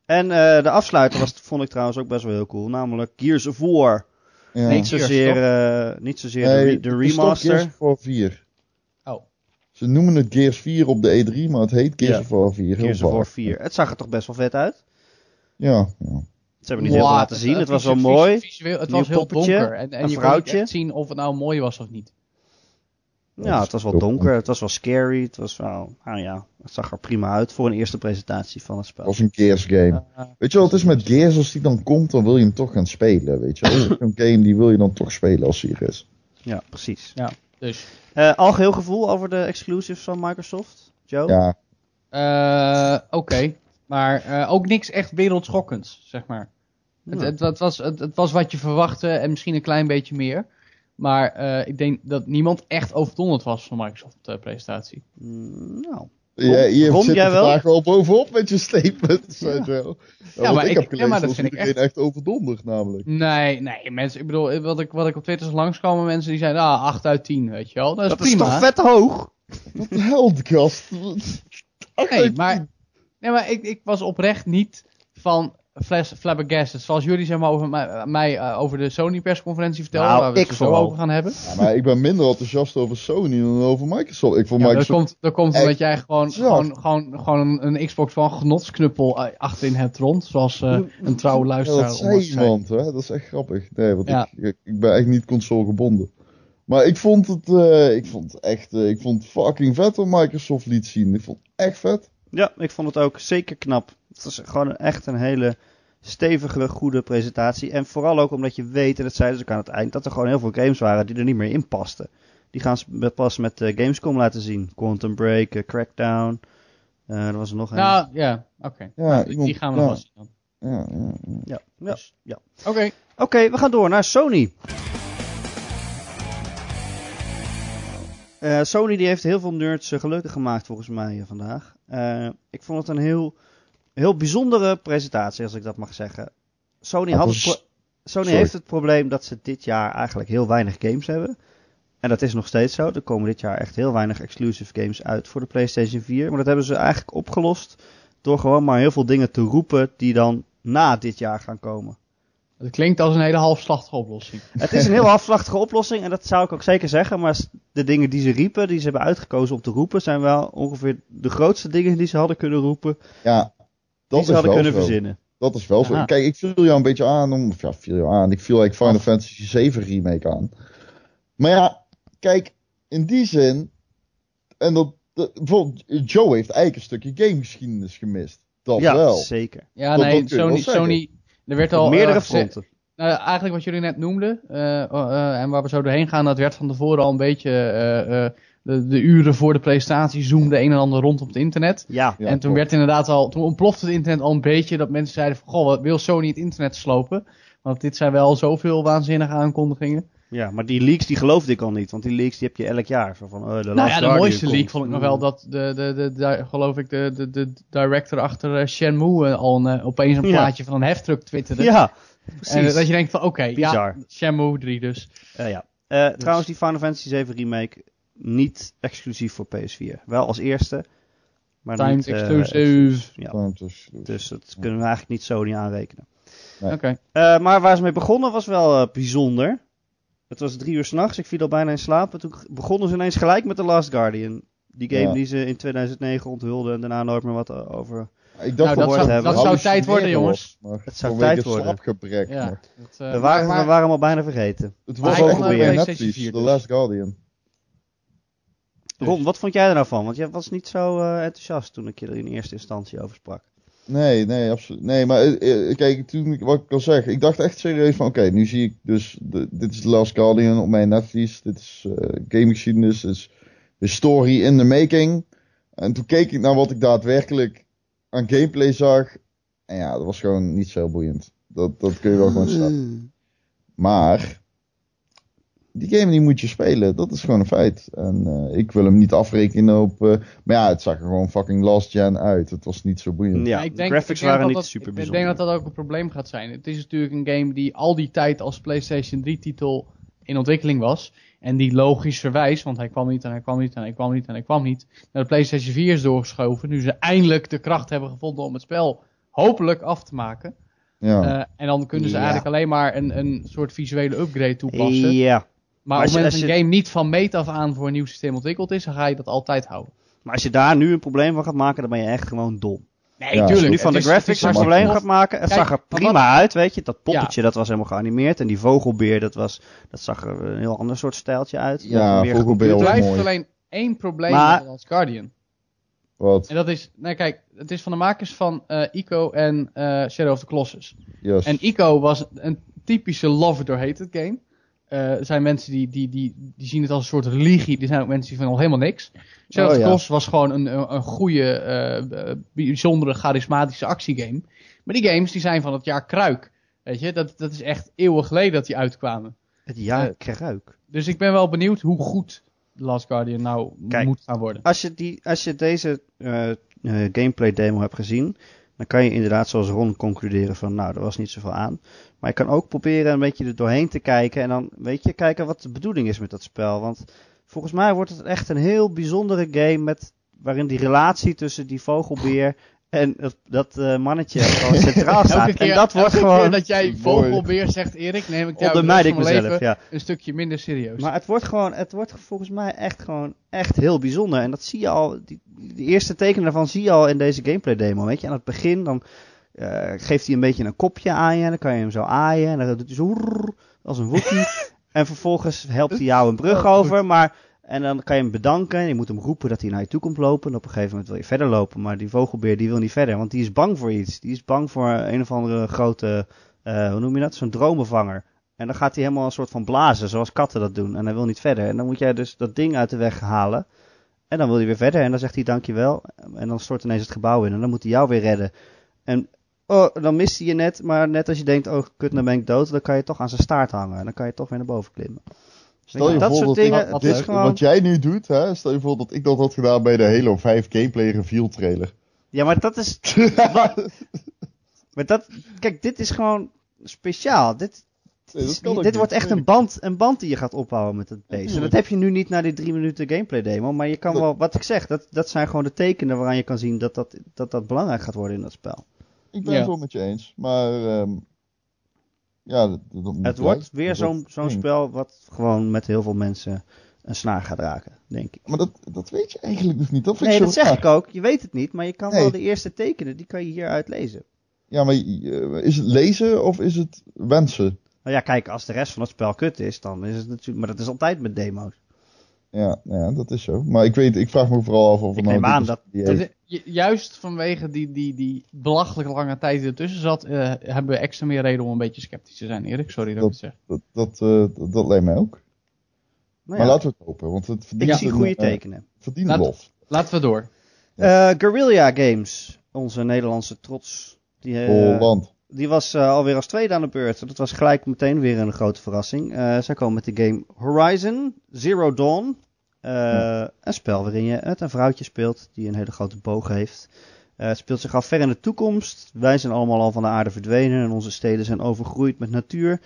Speaker 1: En eh, de afsluiter was, vond ik trouwens ook best wel heel cool. Namelijk Gears of War.
Speaker 2: Ja.
Speaker 1: Niet
Speaker 3: Nee, Gears,
Speaker 1: zozeer,
Speaker 3: toch?
Speaker 1: eh, niet zozeer de, re-
Speaker 2: Nee,
Speaker 1: de
Speaker 2: het is toch Gears
Speaker 1: remaster.
Speaker 2: of War 4.
Speaker 3: Oh.
Speaker 2: Ze noemen het Gears 4 op de E3, maar het heet Gears
Speaker 1: Ja.
Speaker 2: of War 4. Heel
Speaker 1: Gears of War
Speaker 2: vaag.
Speaker 1: 4. Het zag er toch best wel vet uit.
Speaker 2: Ja, ja.
Speaker 1: Ze hebben niet heel veel
Speaker 3: Wow,
Speaker 1: laten zien. Het was wel
Speaker 3: visu-
Speaker 1: mooi.
Speaker 3: Visueel, het
Speaker 1: Nieuw
Speaker 3: was heel
Speaker 1: poppetje,
Speaker 3: donker.
Speaker 1: een
Speaker 3: En, en je kon niet
Speaker 1: vrouwtje.
Speaker 3: echt zien of het nou mooi was of niet.
Speaker 1: Ja, het was wel donker. Het was wel scary. Het was wel, nou ja, het zag er prima uit voor een eerste presentatie van het
Speaker 2: Het
Speaker 1: spel.
Speaker 2: was een Gears game.
Speaker 3: Eh,
Speaker 2: Weet je wel, het is met Gears, als die dan komt, dan wil je hem toch gaan spelen, weet je wel. Het is Zo'n game, die wil je dan toch spelen als die er is.
Speaker 1: Ja, precies.
Speaker 3: dus,
Speaker 1: Eh algeheel gevoel over de exclusives van Microsoft,
Speaker 3: Oh.
Speaker 1: Joe?
Speaker 2: Ja,
Speaker 3: eh, oké. Maar eh, ook niks echt wereldschokkends, zeg maar. Het,
Speaker 1: Ja.
Speaker 3: het, het was, het, het was wat je verwachtte en misschien een klein beetje meer. Maar eh, ik denk dat niemand echt overdonderd was van eh, Microsoft-presentatie.
Speaker 1: Mm, nou,
Speaker 2: jij, je
Speaker 1: Ron,
Speaker 2: zit
Speaker 1: jij
Speaker 2: er
Speaker 1: wel?
Speaker 2: vandaag wel bovenop met je statements, weet je wel. Ja, want
Speaker 3: maar
Speaker 2: ik,
Speaker 3: ik-
Speaker 2: heb
Speaker 3: ja,
Speaker 2: gelezen
Speaker 3: maar dat
Speaker 2: dat
Speaker 3: vind ik
Speaker 2: iedereen echt... overdonderd, namelijk.
Speaker 3: Nee, nee, mensen. Ik bedoel, wat ik, wat ik op Twitter zag langskomen, mensen die zeiden, ah, 8 uit 10, weet je wel. Dat is
Speaker 1: dat
Speaker 3: prima.
Speaker 1: is toch vet hoog?
Speaker 2: Wat de hel, gast. Ach,
Speaker 3: Nee,
Speaker 2: ik-
Speaker 3: maar, nee, maar ik, ik was oprecht niet van flash, flabbergasted. Zoals jullie zeg maar, over mij, mij, eh, over de Sony-persconferentie vertelden,
Speaker 1: Nou,
Speaker 3: waar we
Speaker 1: ik
Speaker 3: het zo
Speaker 1: vooral.
Speaker 3: over gaan hebben.
Speaker 2: Ja, maar ik ben minder enthousiast over Sony dan over Microsoft. Ik vond
Speaker 3: Ja, dat
Speaker 2: Microsoft...
Speaker 3: komt, dat komt
Speaker 2: Echt
Speaker 3: omdat jij gewoon,
Speaker 2: bizar.
Speaker 3: gewoon, gewoon, gewoon een, een Xbox van genotsknuppel eh, achterin hebt rond, zoals eh, een
Speaker 2: Ja,
Speaker 3: trouwe luisteraar
Speaker 2: dat
Speaker 3: onlangs
Speaker 2: zei iemand, hè? dat is echt grappig. Nee, want
Speaker 3: Ja.
Speaker 2: ik, ik, ik ben echt niet consolegebonden. Maar ik vond het, eh, ik vond het echt, eh, ik vond het fucking vet wat Microsoft liet zien. Ik vond het echt vet.
Speaker 1: Ja, ik vond het ook zeker knap. Het was gewoon een- echt een hele stevige, goede presentatie. En vooral ook omdat je weet, en dat zeiden ze ook aan het eind, dat er gewoon heel veel games waren die er niet meer in pasten. Die gaan ze met- pas met eh, Gamescom laten zien. Quantum Break, eh, Crackdown. Eh er was er nog een.
Speaker 3: Nou, ja, oké.
Speaker 2: Ja,
Speaker 3: Die,
Speaker 2: iemand-
Speaker 3: die gaan we
Speaker 2: ja,
Speaker 3: nog wel zien dan.
Speaker 2: Ja, ja, ja.
Speaker 1: ja, ja, ja.
Speaker 3: Oké.
Speaker 1: Oké, we gaan door naar Sony. Eh, Sony die heeft heel veel nerds eh, gelukkig gemaakt volgens mij eh, vandaag. Eh, ik vond het een heel, heel bijzondere presentatie, als ik dat mag zeggen. Sony,
Speaker 2: Dat
Speaker 1: had het
Speaker 2: was-
Speaker 1: pro- Sony
Speaker 2: sorry.
Speaker 1: heeft het probleem dat ze dit jaar eigenlijk heel weinig games hebben. En dat is nog steeds zo. Er komen dit jaar echt heel weinig exclusive games uit voor de PlayStation 4. Maar dat hebben ze eigenlijk opgelost door gewoon maar heel veel dingen te roepen die dan na dit jaar gaan komen.
Speaker 3: Dat klinkt als een hele halfslachtige oplossing.
Speaker 1: Het is een heel afslachtige oplossing en dat zou ik ook zeker zeggen. Maar s- de dingen die ze riepen, die ze hebben uitgekozen om te roepen, zijn wel ongeveer de grootste dingen die ze hadden kunnen roepen.
Speaker 2: Ja,
Speaker 1: die
Speaker 2: dat
Speaker 1: ze
Speaker 2: is
Speaker 1: hadden
Speaker 2: wel
Speaker 1: kunnen
Speaker 2: zo.
Speaker 1: verzinnen.
Speaker 2: Dat is wel zo.
Speaker 1: Aha.
Speaker 2: Kijk, ik viel jou een beetje aan om, of ja, viel jou aan. Ik viel eigenlijk Final Fantasy 7 remake aan. Maar ja, kijk, in die zin, en dat, dat- bijvoorbeeld Joe heeft eigenlijk een stukje gamegeschiedenis gemist. Dat
Speaker 1: ja,
Speaker 2: wel.
Speaker 1: zeker.
Speaker 3: Ja,
Speaker 2: Dat-
Speaker 3: nee,
Speaker 2: dat kun je wel
Speaker 3: Sony,
Speaker 2: zeggen.
Speaker 3: Sony, er werd
Speaker 1: Op
Speaker 3: al...
Speaker 1: meerdere
Speaker 3: eh, gezegd-
Speaker 1: fronten.
Speaker 3: Nou, eigenlijk wat jullie net noemden, eh, eh, eh, en waar we zo doorheen gaan, dat werd van tevoren al een beetje. eh, eh, de, de uren voor de presentatie zoomde een en ander rond op het internet.
Speaker 1: Ja.
Speaker 2: Ja,
Speaker 3: en toen
Speaker 2: klopt.
Speaker 3: werd inderdaad al, toen ontplofte het internet al een beetje dat mensen zeiden van goh, wat wil Sony het internet slopen? Want dit zijn wel zoveel waanzinnige aankondigingen.
Speaker 1: Ja, maar die leaks die geloofde ik al niet. Want die leaks die heb je elk jaar. Zo van, eh, de
Speaker 3: Nou ja,
Speaker 1: laatste
Speaker 3: de
Speaker 1: Guardian
Speaker 3: mooiste
Speaker 1: komt. Mm.
Speaker 3: leak vond ik nog wel dat, de, de, de, de- geloof ik, de, de, de director achter eh, Shenmue eh, al een, eh, opeens een
Speaker 1: Ja.
Speaker 3: plaatje van een heftruck twitterde.
Speaker 1: Ja,
Speaker 3: en eh,
Speaker 1: precies.
Speaker 3: dat je denkt van, oké, ja, Dus-
Speaker 1: Bizar.
Speaker 3: Shenmue 3 dus.
Speaker 1: Eh, ja. Eh, Trouwens, die Final Fantasy 7 remake niet exclusief voor PS4. Wel als eerste. Maar niet,
Speaker 3: Timed
Speaker 1: eh,
Speaker 3: exclusive.
Speaker 1: Ja.
Speaker 2: Gewoon tussen-
Speaker 1: Dus dat kunnen we eigenlijk niet Sony aanrekenen.
Speaker 2: Ja.
Speaker 3: Oké.
Speaker 1: Eh, maar waar ze mee begonnen was wel eh, bijzonder. Het was drie uur s'nachts, ik viel al bijna in slaap. En toen begonnen ze ineens gelijk met The Last Guardian. Die game
Speaker 2: Ja.
Speaker 1: die ze in 2009 onthulden en daarna nooit meer wat eh, over.
Speaker 2: Ik
Speaker 3: Nou,
Speaker 2: dacht
Speaker 3: dat
Speaker 1: gehoord
Speaker 3: zou,
Speaker 1: hebben.
Speaker 3: dat zou tijd worden, jongens.
Speaker 1: Het zou tijd worden.
Speaker 2: Slapgebrek.
Speaker 3: Ja.
Speaker 2: maar
Speaker 3: Dat, eh,
Speaker 1: we, waren,
Speaker 3: maar-
Speaker 1: we waren hem al bijna vergeten.
Speaker 2: Het
Speaker 3: Maar
Speaker 2: was
Speaker 1: hij
Speaker 2: ook
Speaker 1: kwam
Speaker 2: op
Speaker 1: bij
Speaker 2: Netflix,
Speaker 3: PlayStation 4
Speaker 2: The
Speaker 3: dus.
Speaker 2: Last Guardian.
Speaker 1: Ron, wat vond jij er nou van? Want jij was niet zo eh, enthousiast toen ik je er in eerste instantie over sprak.
Speaker 2: Nee, nee, absoluut. Nee, maar eh, eh, kijk, toen, ik- wat ik al zeg, ik dacht echt serieus van, oké, nu zie ik dus, de- dit is The Last Guardian op mijn netvlies, dit is eh gamegeschiedenis, dit is story in the making. En toen keek ik naar wat ik daadwerkelijk aan gameplay zag, en ja, dat was gewoon niet zo boeiend. Dat, dat kun je wel gewoon staan. Maar, die game die moet je spelen, dat is gewoon een feit. En eh, ik wil hem niet afrekenen op, eh, maar ja, het zag er gewoon fucking last gen uit, het was niet zo boeiend.
Speaker 1: Ja,
Speaker 3: ik
Speaker 1: de
Speaker 3: denk-
Speaker 1: graphics
Speaker 3: ik denk
Speaker 1: waren
Speaker 3: dat
Speaker 1: niet
Speaker 3: dat-
Speaker 1: super
Speaker 3: Ik
Speaker 1: bijzonder.
Speaker 3: denk dat dat ook een probleem gaat zijn. Het is natuurlijk een game die al die tijd als PlayStation 3-titel in ontwikkeling was. En die logischerwijs, want hij kwam niet en hij kwam niet en hij kwam niet en hij kwam niet, naar de PlayStation 4 is doorgeschoven. Nu ze eindelijk de kracht hebben gevonden om het spel hopelijk af te maken.
Speaker 2: Ja.
Speaker 3: Eh, en dan kunnen ze
Speaker 1: Oh. Ja.
Speaker 3: eigenlijk alleen maar een, een soort visuele upgrade toepassen.
Speaker 1: Ja,
Speaker 3: maar
Speaker 1: als
Speaker 3: op
Speaker 1: je-
Speaker 3: het moment
Speaker 1: als
Speaker 3: dat een
Speaker 1: je-
Speaker 3: game niet van meet af aan voor een nieuw systeem ontwikkeld is, dan ga je dat altijd houden.
Speaker 1: maar als je daar nu een probleem van gaat maken, dan ben je echt gewoon dom.
Speaker 3: Nee,
Speaker 2: Ja,
Speaker 1: Als je nu
Speaker 2: tuurlijk,
Speaker 1: van de
Speaker 3: Het is- het is
Speaker 1: graphics een
Speaker 3: hartstikke
Speaker 1: probleem
Speaker 3: tof.
Speaker 1: gaat maken, het
Speaker 3: Kijk,
Speaker 1: zag er
Speaker 3: maar
Speaker 1: prima uit, weet je. Dat poppetje, dat was helemaal geanimeerd. En die vogelbeer, dat, was, dat zag er een heel ander soort stijltje uit.
Speaker 2: Ja,
Speaker 1: Weer
Speaker 2: vogelbeer
Speaker 1: gecomputer.
Speaker 2: was
Speaker 3: Er blijft
Speaker 2: mooi.
Speaker 3: alleen één probleem
Speaker 1: Maar-
Speaker 3: met als Guardian.
Speaker 2: Wat?
Speaker 3: En dat is, nou kijk, het is van de makers van eh, Ico en eh, Shadow of the Colossus.
Speaker 2: Yes.
Speaker 3: En Ico was een typische lover heet het game. Eh, er zijn mensen die, die, die, die zien het als een soort religie. Er zijn ook mensen die van al helemaal niks.
Speaker 1: Oh,
Speaker 3: Shadow of the
Speaker 1: ja.
Speaker 3: Colossus was gewoon een, een, een goede, eh, eh, bijzondere, charismatische actiegame. Maar die games die zijn van het jaar Kruik. Weet je, dat, dat is echt eeuwen geleden dat die uitkwamen.
Speaker 1: Het jaar
Speaker 3: Eh,
Speaker 1: kruik.
Speaker 3: Dus ik ben wel benieuwd hoe goed The Last Guardian nou
Speaker 1: Kijk.
Speaker 3: moet gaan worden.
Speaker 1: Als je, die, als je deze eh, eh, gameplay demo hebt gezien, dan kan je inderdaad zoals Ron concluderen van nou, er was niet zoveel aan. Maar je kan ook proberen een beetje er doorheen te kijken en dan weet je, kijken wat de bedoeling is met dat spel. Want volgens mij wordt het echt een heel bijzondere game met, waarin die relatie tussen die vogelbeer en dat, dat eh, mannetje gewoon centraal staat.
Speaker 3: Elke keer-
Speaker 1: en dat wordt
Speaker 3: elke keer
Speaker 1: gewoon,
Speaker 3: dat jij
Speaker 2: Mooi.
Speaker 3: vogelbeer zegt, Erik, neem ik jou de
Speaker 1: ondermijd
Speaker 3: rest
Speaker 1: ik
Speaker 3: van mijn
Speaker 1: mezelf.
Speaker 3: leven
Speaker 1: Ja.
Speaker 3: een stukje minder serieus.
Speaker 1: Maar het wordt gewoon, het wordt volgens mij echt gewoon echt heel bijzonder. En dat zie je al, die, die eerste tekenen daarvan zie je al in deze gameplay demo. Weet je, aan het begin dan eh, geeft hij een beetje een kopje aan je. En dan kan je hem zo aaien. En dan doet hij zo roer, als een woekie. en vervolgens helpt hij jou een brug
Speaker 3: Oh, goed.
Speaker 1: over. Maar, en dan kan je hem bedanken. En je moet hem roepen dat hij naar je toe komt lopen. En op een gegeven moment wil je verder lopen. Maar die vogelbeer die wil niet verder. Want die is bang voor iets. Die is bang voor een of andere grote, eh, hoe noem je dat? Zo'n dromenvanger. En dan gaat hij helemaal een soort van blazen, zoals katten dat doen. En hij wil niet verder. En dan moet jij dus dat ding uit de weg halen. En dan wil hij weer verder. En dan zegt hij dankjewel. En dan stort ineens het gebouw in. En dan moet hij jou weer redden. En oh, dan mist hij je net. Maar net als je denkt, oh kut, dan ben ik dood. Dan kan je toch aan zijn staart hangen. En dan kan je toch weer naar boven klimmen.
Speaker 2: Stel je
Speaker 1: dat
Speaker 2: voor
Speaker 1: soort
Speaker 2: dat
Speaker 1: dingen,
Speaker 2: ik-
Speaker 1: het
Speaker 2: dit-
Speaker 1: is gewoon-
Speaker 2: Wat jij nu doet, hè? stel je voor dat ik dat had gedaan bij de Halo 5 gameplay reveal trailer.
Speaker 1: Ja, maar dat is... maar dat... Kijk, dit is gewoon speciaal. Dit,
Speaker 2: Nee,
Speaker 1: Het
Speaker 2: dat
Speaker 1: is
Speaker 2: kan
Speaker 1: niet-
Speaker 2: ook
Speaker 1: Dus dit
Speaker 2: niet.
Speaker 1: wordt echt
Speaker 2: Nee.
Speaker 1: een band, een band die je gaat opbouwen met het beest. En dat
Speaker 2: Natuurlijk.
Speaker 1: heb je nu niet na die drie minuten gameplay demo. Maar je kan
Speaker 2: Dat-
Speaker 1: wel, wat ik zeg, dat, dat zijn gewoon de tekenen waaraan je kan zien dat dat, dat, dat belangrijk gaat worden in dat spel.
Speaker 2: Ik ben
Speaker 3: Ja.
Speaker 2: het wel met je eens, maar... ehm, ja, dat, dat moet
Speaker 1: Het
Speaker 2: blijven.
Speaker 1: wordt weer
Speaker 2: Dat-
Speaker 1: zo'n zo'n
Speaker 2: ding.
Speaker 1: spel wat gewoon met heel veel mensen een snaar gaat raken, denk ik.
Speaker 2: Maar dat, dat weet je eigenlijk dus niet. Dat vind
Speaker 1: Nee,
Speaker 2: ik
Speaker 1: dat
Speaker 2: zo
Speaker 1: zeg
Speaker 2: raar.
Speaker 1: ik ook. Je weet het niet, maar je kan wel
Speaker 2: Nee.
Speaker 1: de eerste tekenen, die kan je hieruit lezen.
Speaker 2: Ja, maar eh, is het lezen of is het wensen?
Speaker 1: Nou ja, kijk, als de rest van het spel kut is, dan is het natuurlijk... Maar dat is altijd met demo's. Nou
Speaker 2: Ja, ja, dat is zo. Maar ik weet, ik vraag me vooral af of
Speaker 1: Ik
Speaker 2: het nou...
Speaker 1: neem aan
Speaker 2: dit is
Speaker 1: dat-
Speaker 2: die
Speaker 3: Dat
Speaker 2: heeft.
Speaker 3: is- eh, ju- juist vanwege die, die, die belachelijk lange tijd die ertussen zat, eh, hebben we extra meer reden om een beetje sceptisch te zijn, Erik. Sorry dat, ik het zeg.
Speaker 2: Dat, dat, eh, dat, dat lijkt mij ook.
Speaker 1: Nou
Speaker 2: Maar
Speaker 1: ja,
Speaker 2: laten we het hopen, want het verdient
Speaker 1: ik zie
Speaker 2: een,
Speaker 1: goede
Speaker 2: eh,
Speaker 1: tekenen.
Speaker 2: verdient
Speaker 3: Laten-
Speaker 2: lof.
Speaker 3: Laten we door.
Speaker 1: Eh Guerrilla Games, onze Nederlandse trots. Die, eh,
Speaker 2: Oh, Holland.
Speaker 1: Die was eh, alweer als tweede aan de beurt. Dat was gelijk meteen weer een grote verrassing. Eh, zij komen met de game Horizon Zero Dawn. Eh, Een spel waarin je het een vrouwtje speelt die een hele grote boog heeft. Eh, het speelt zich af ver in de toekomst. Wij zijn allemaal al van de aarde verdwenen en onze steden zijn overgroeid met natuur.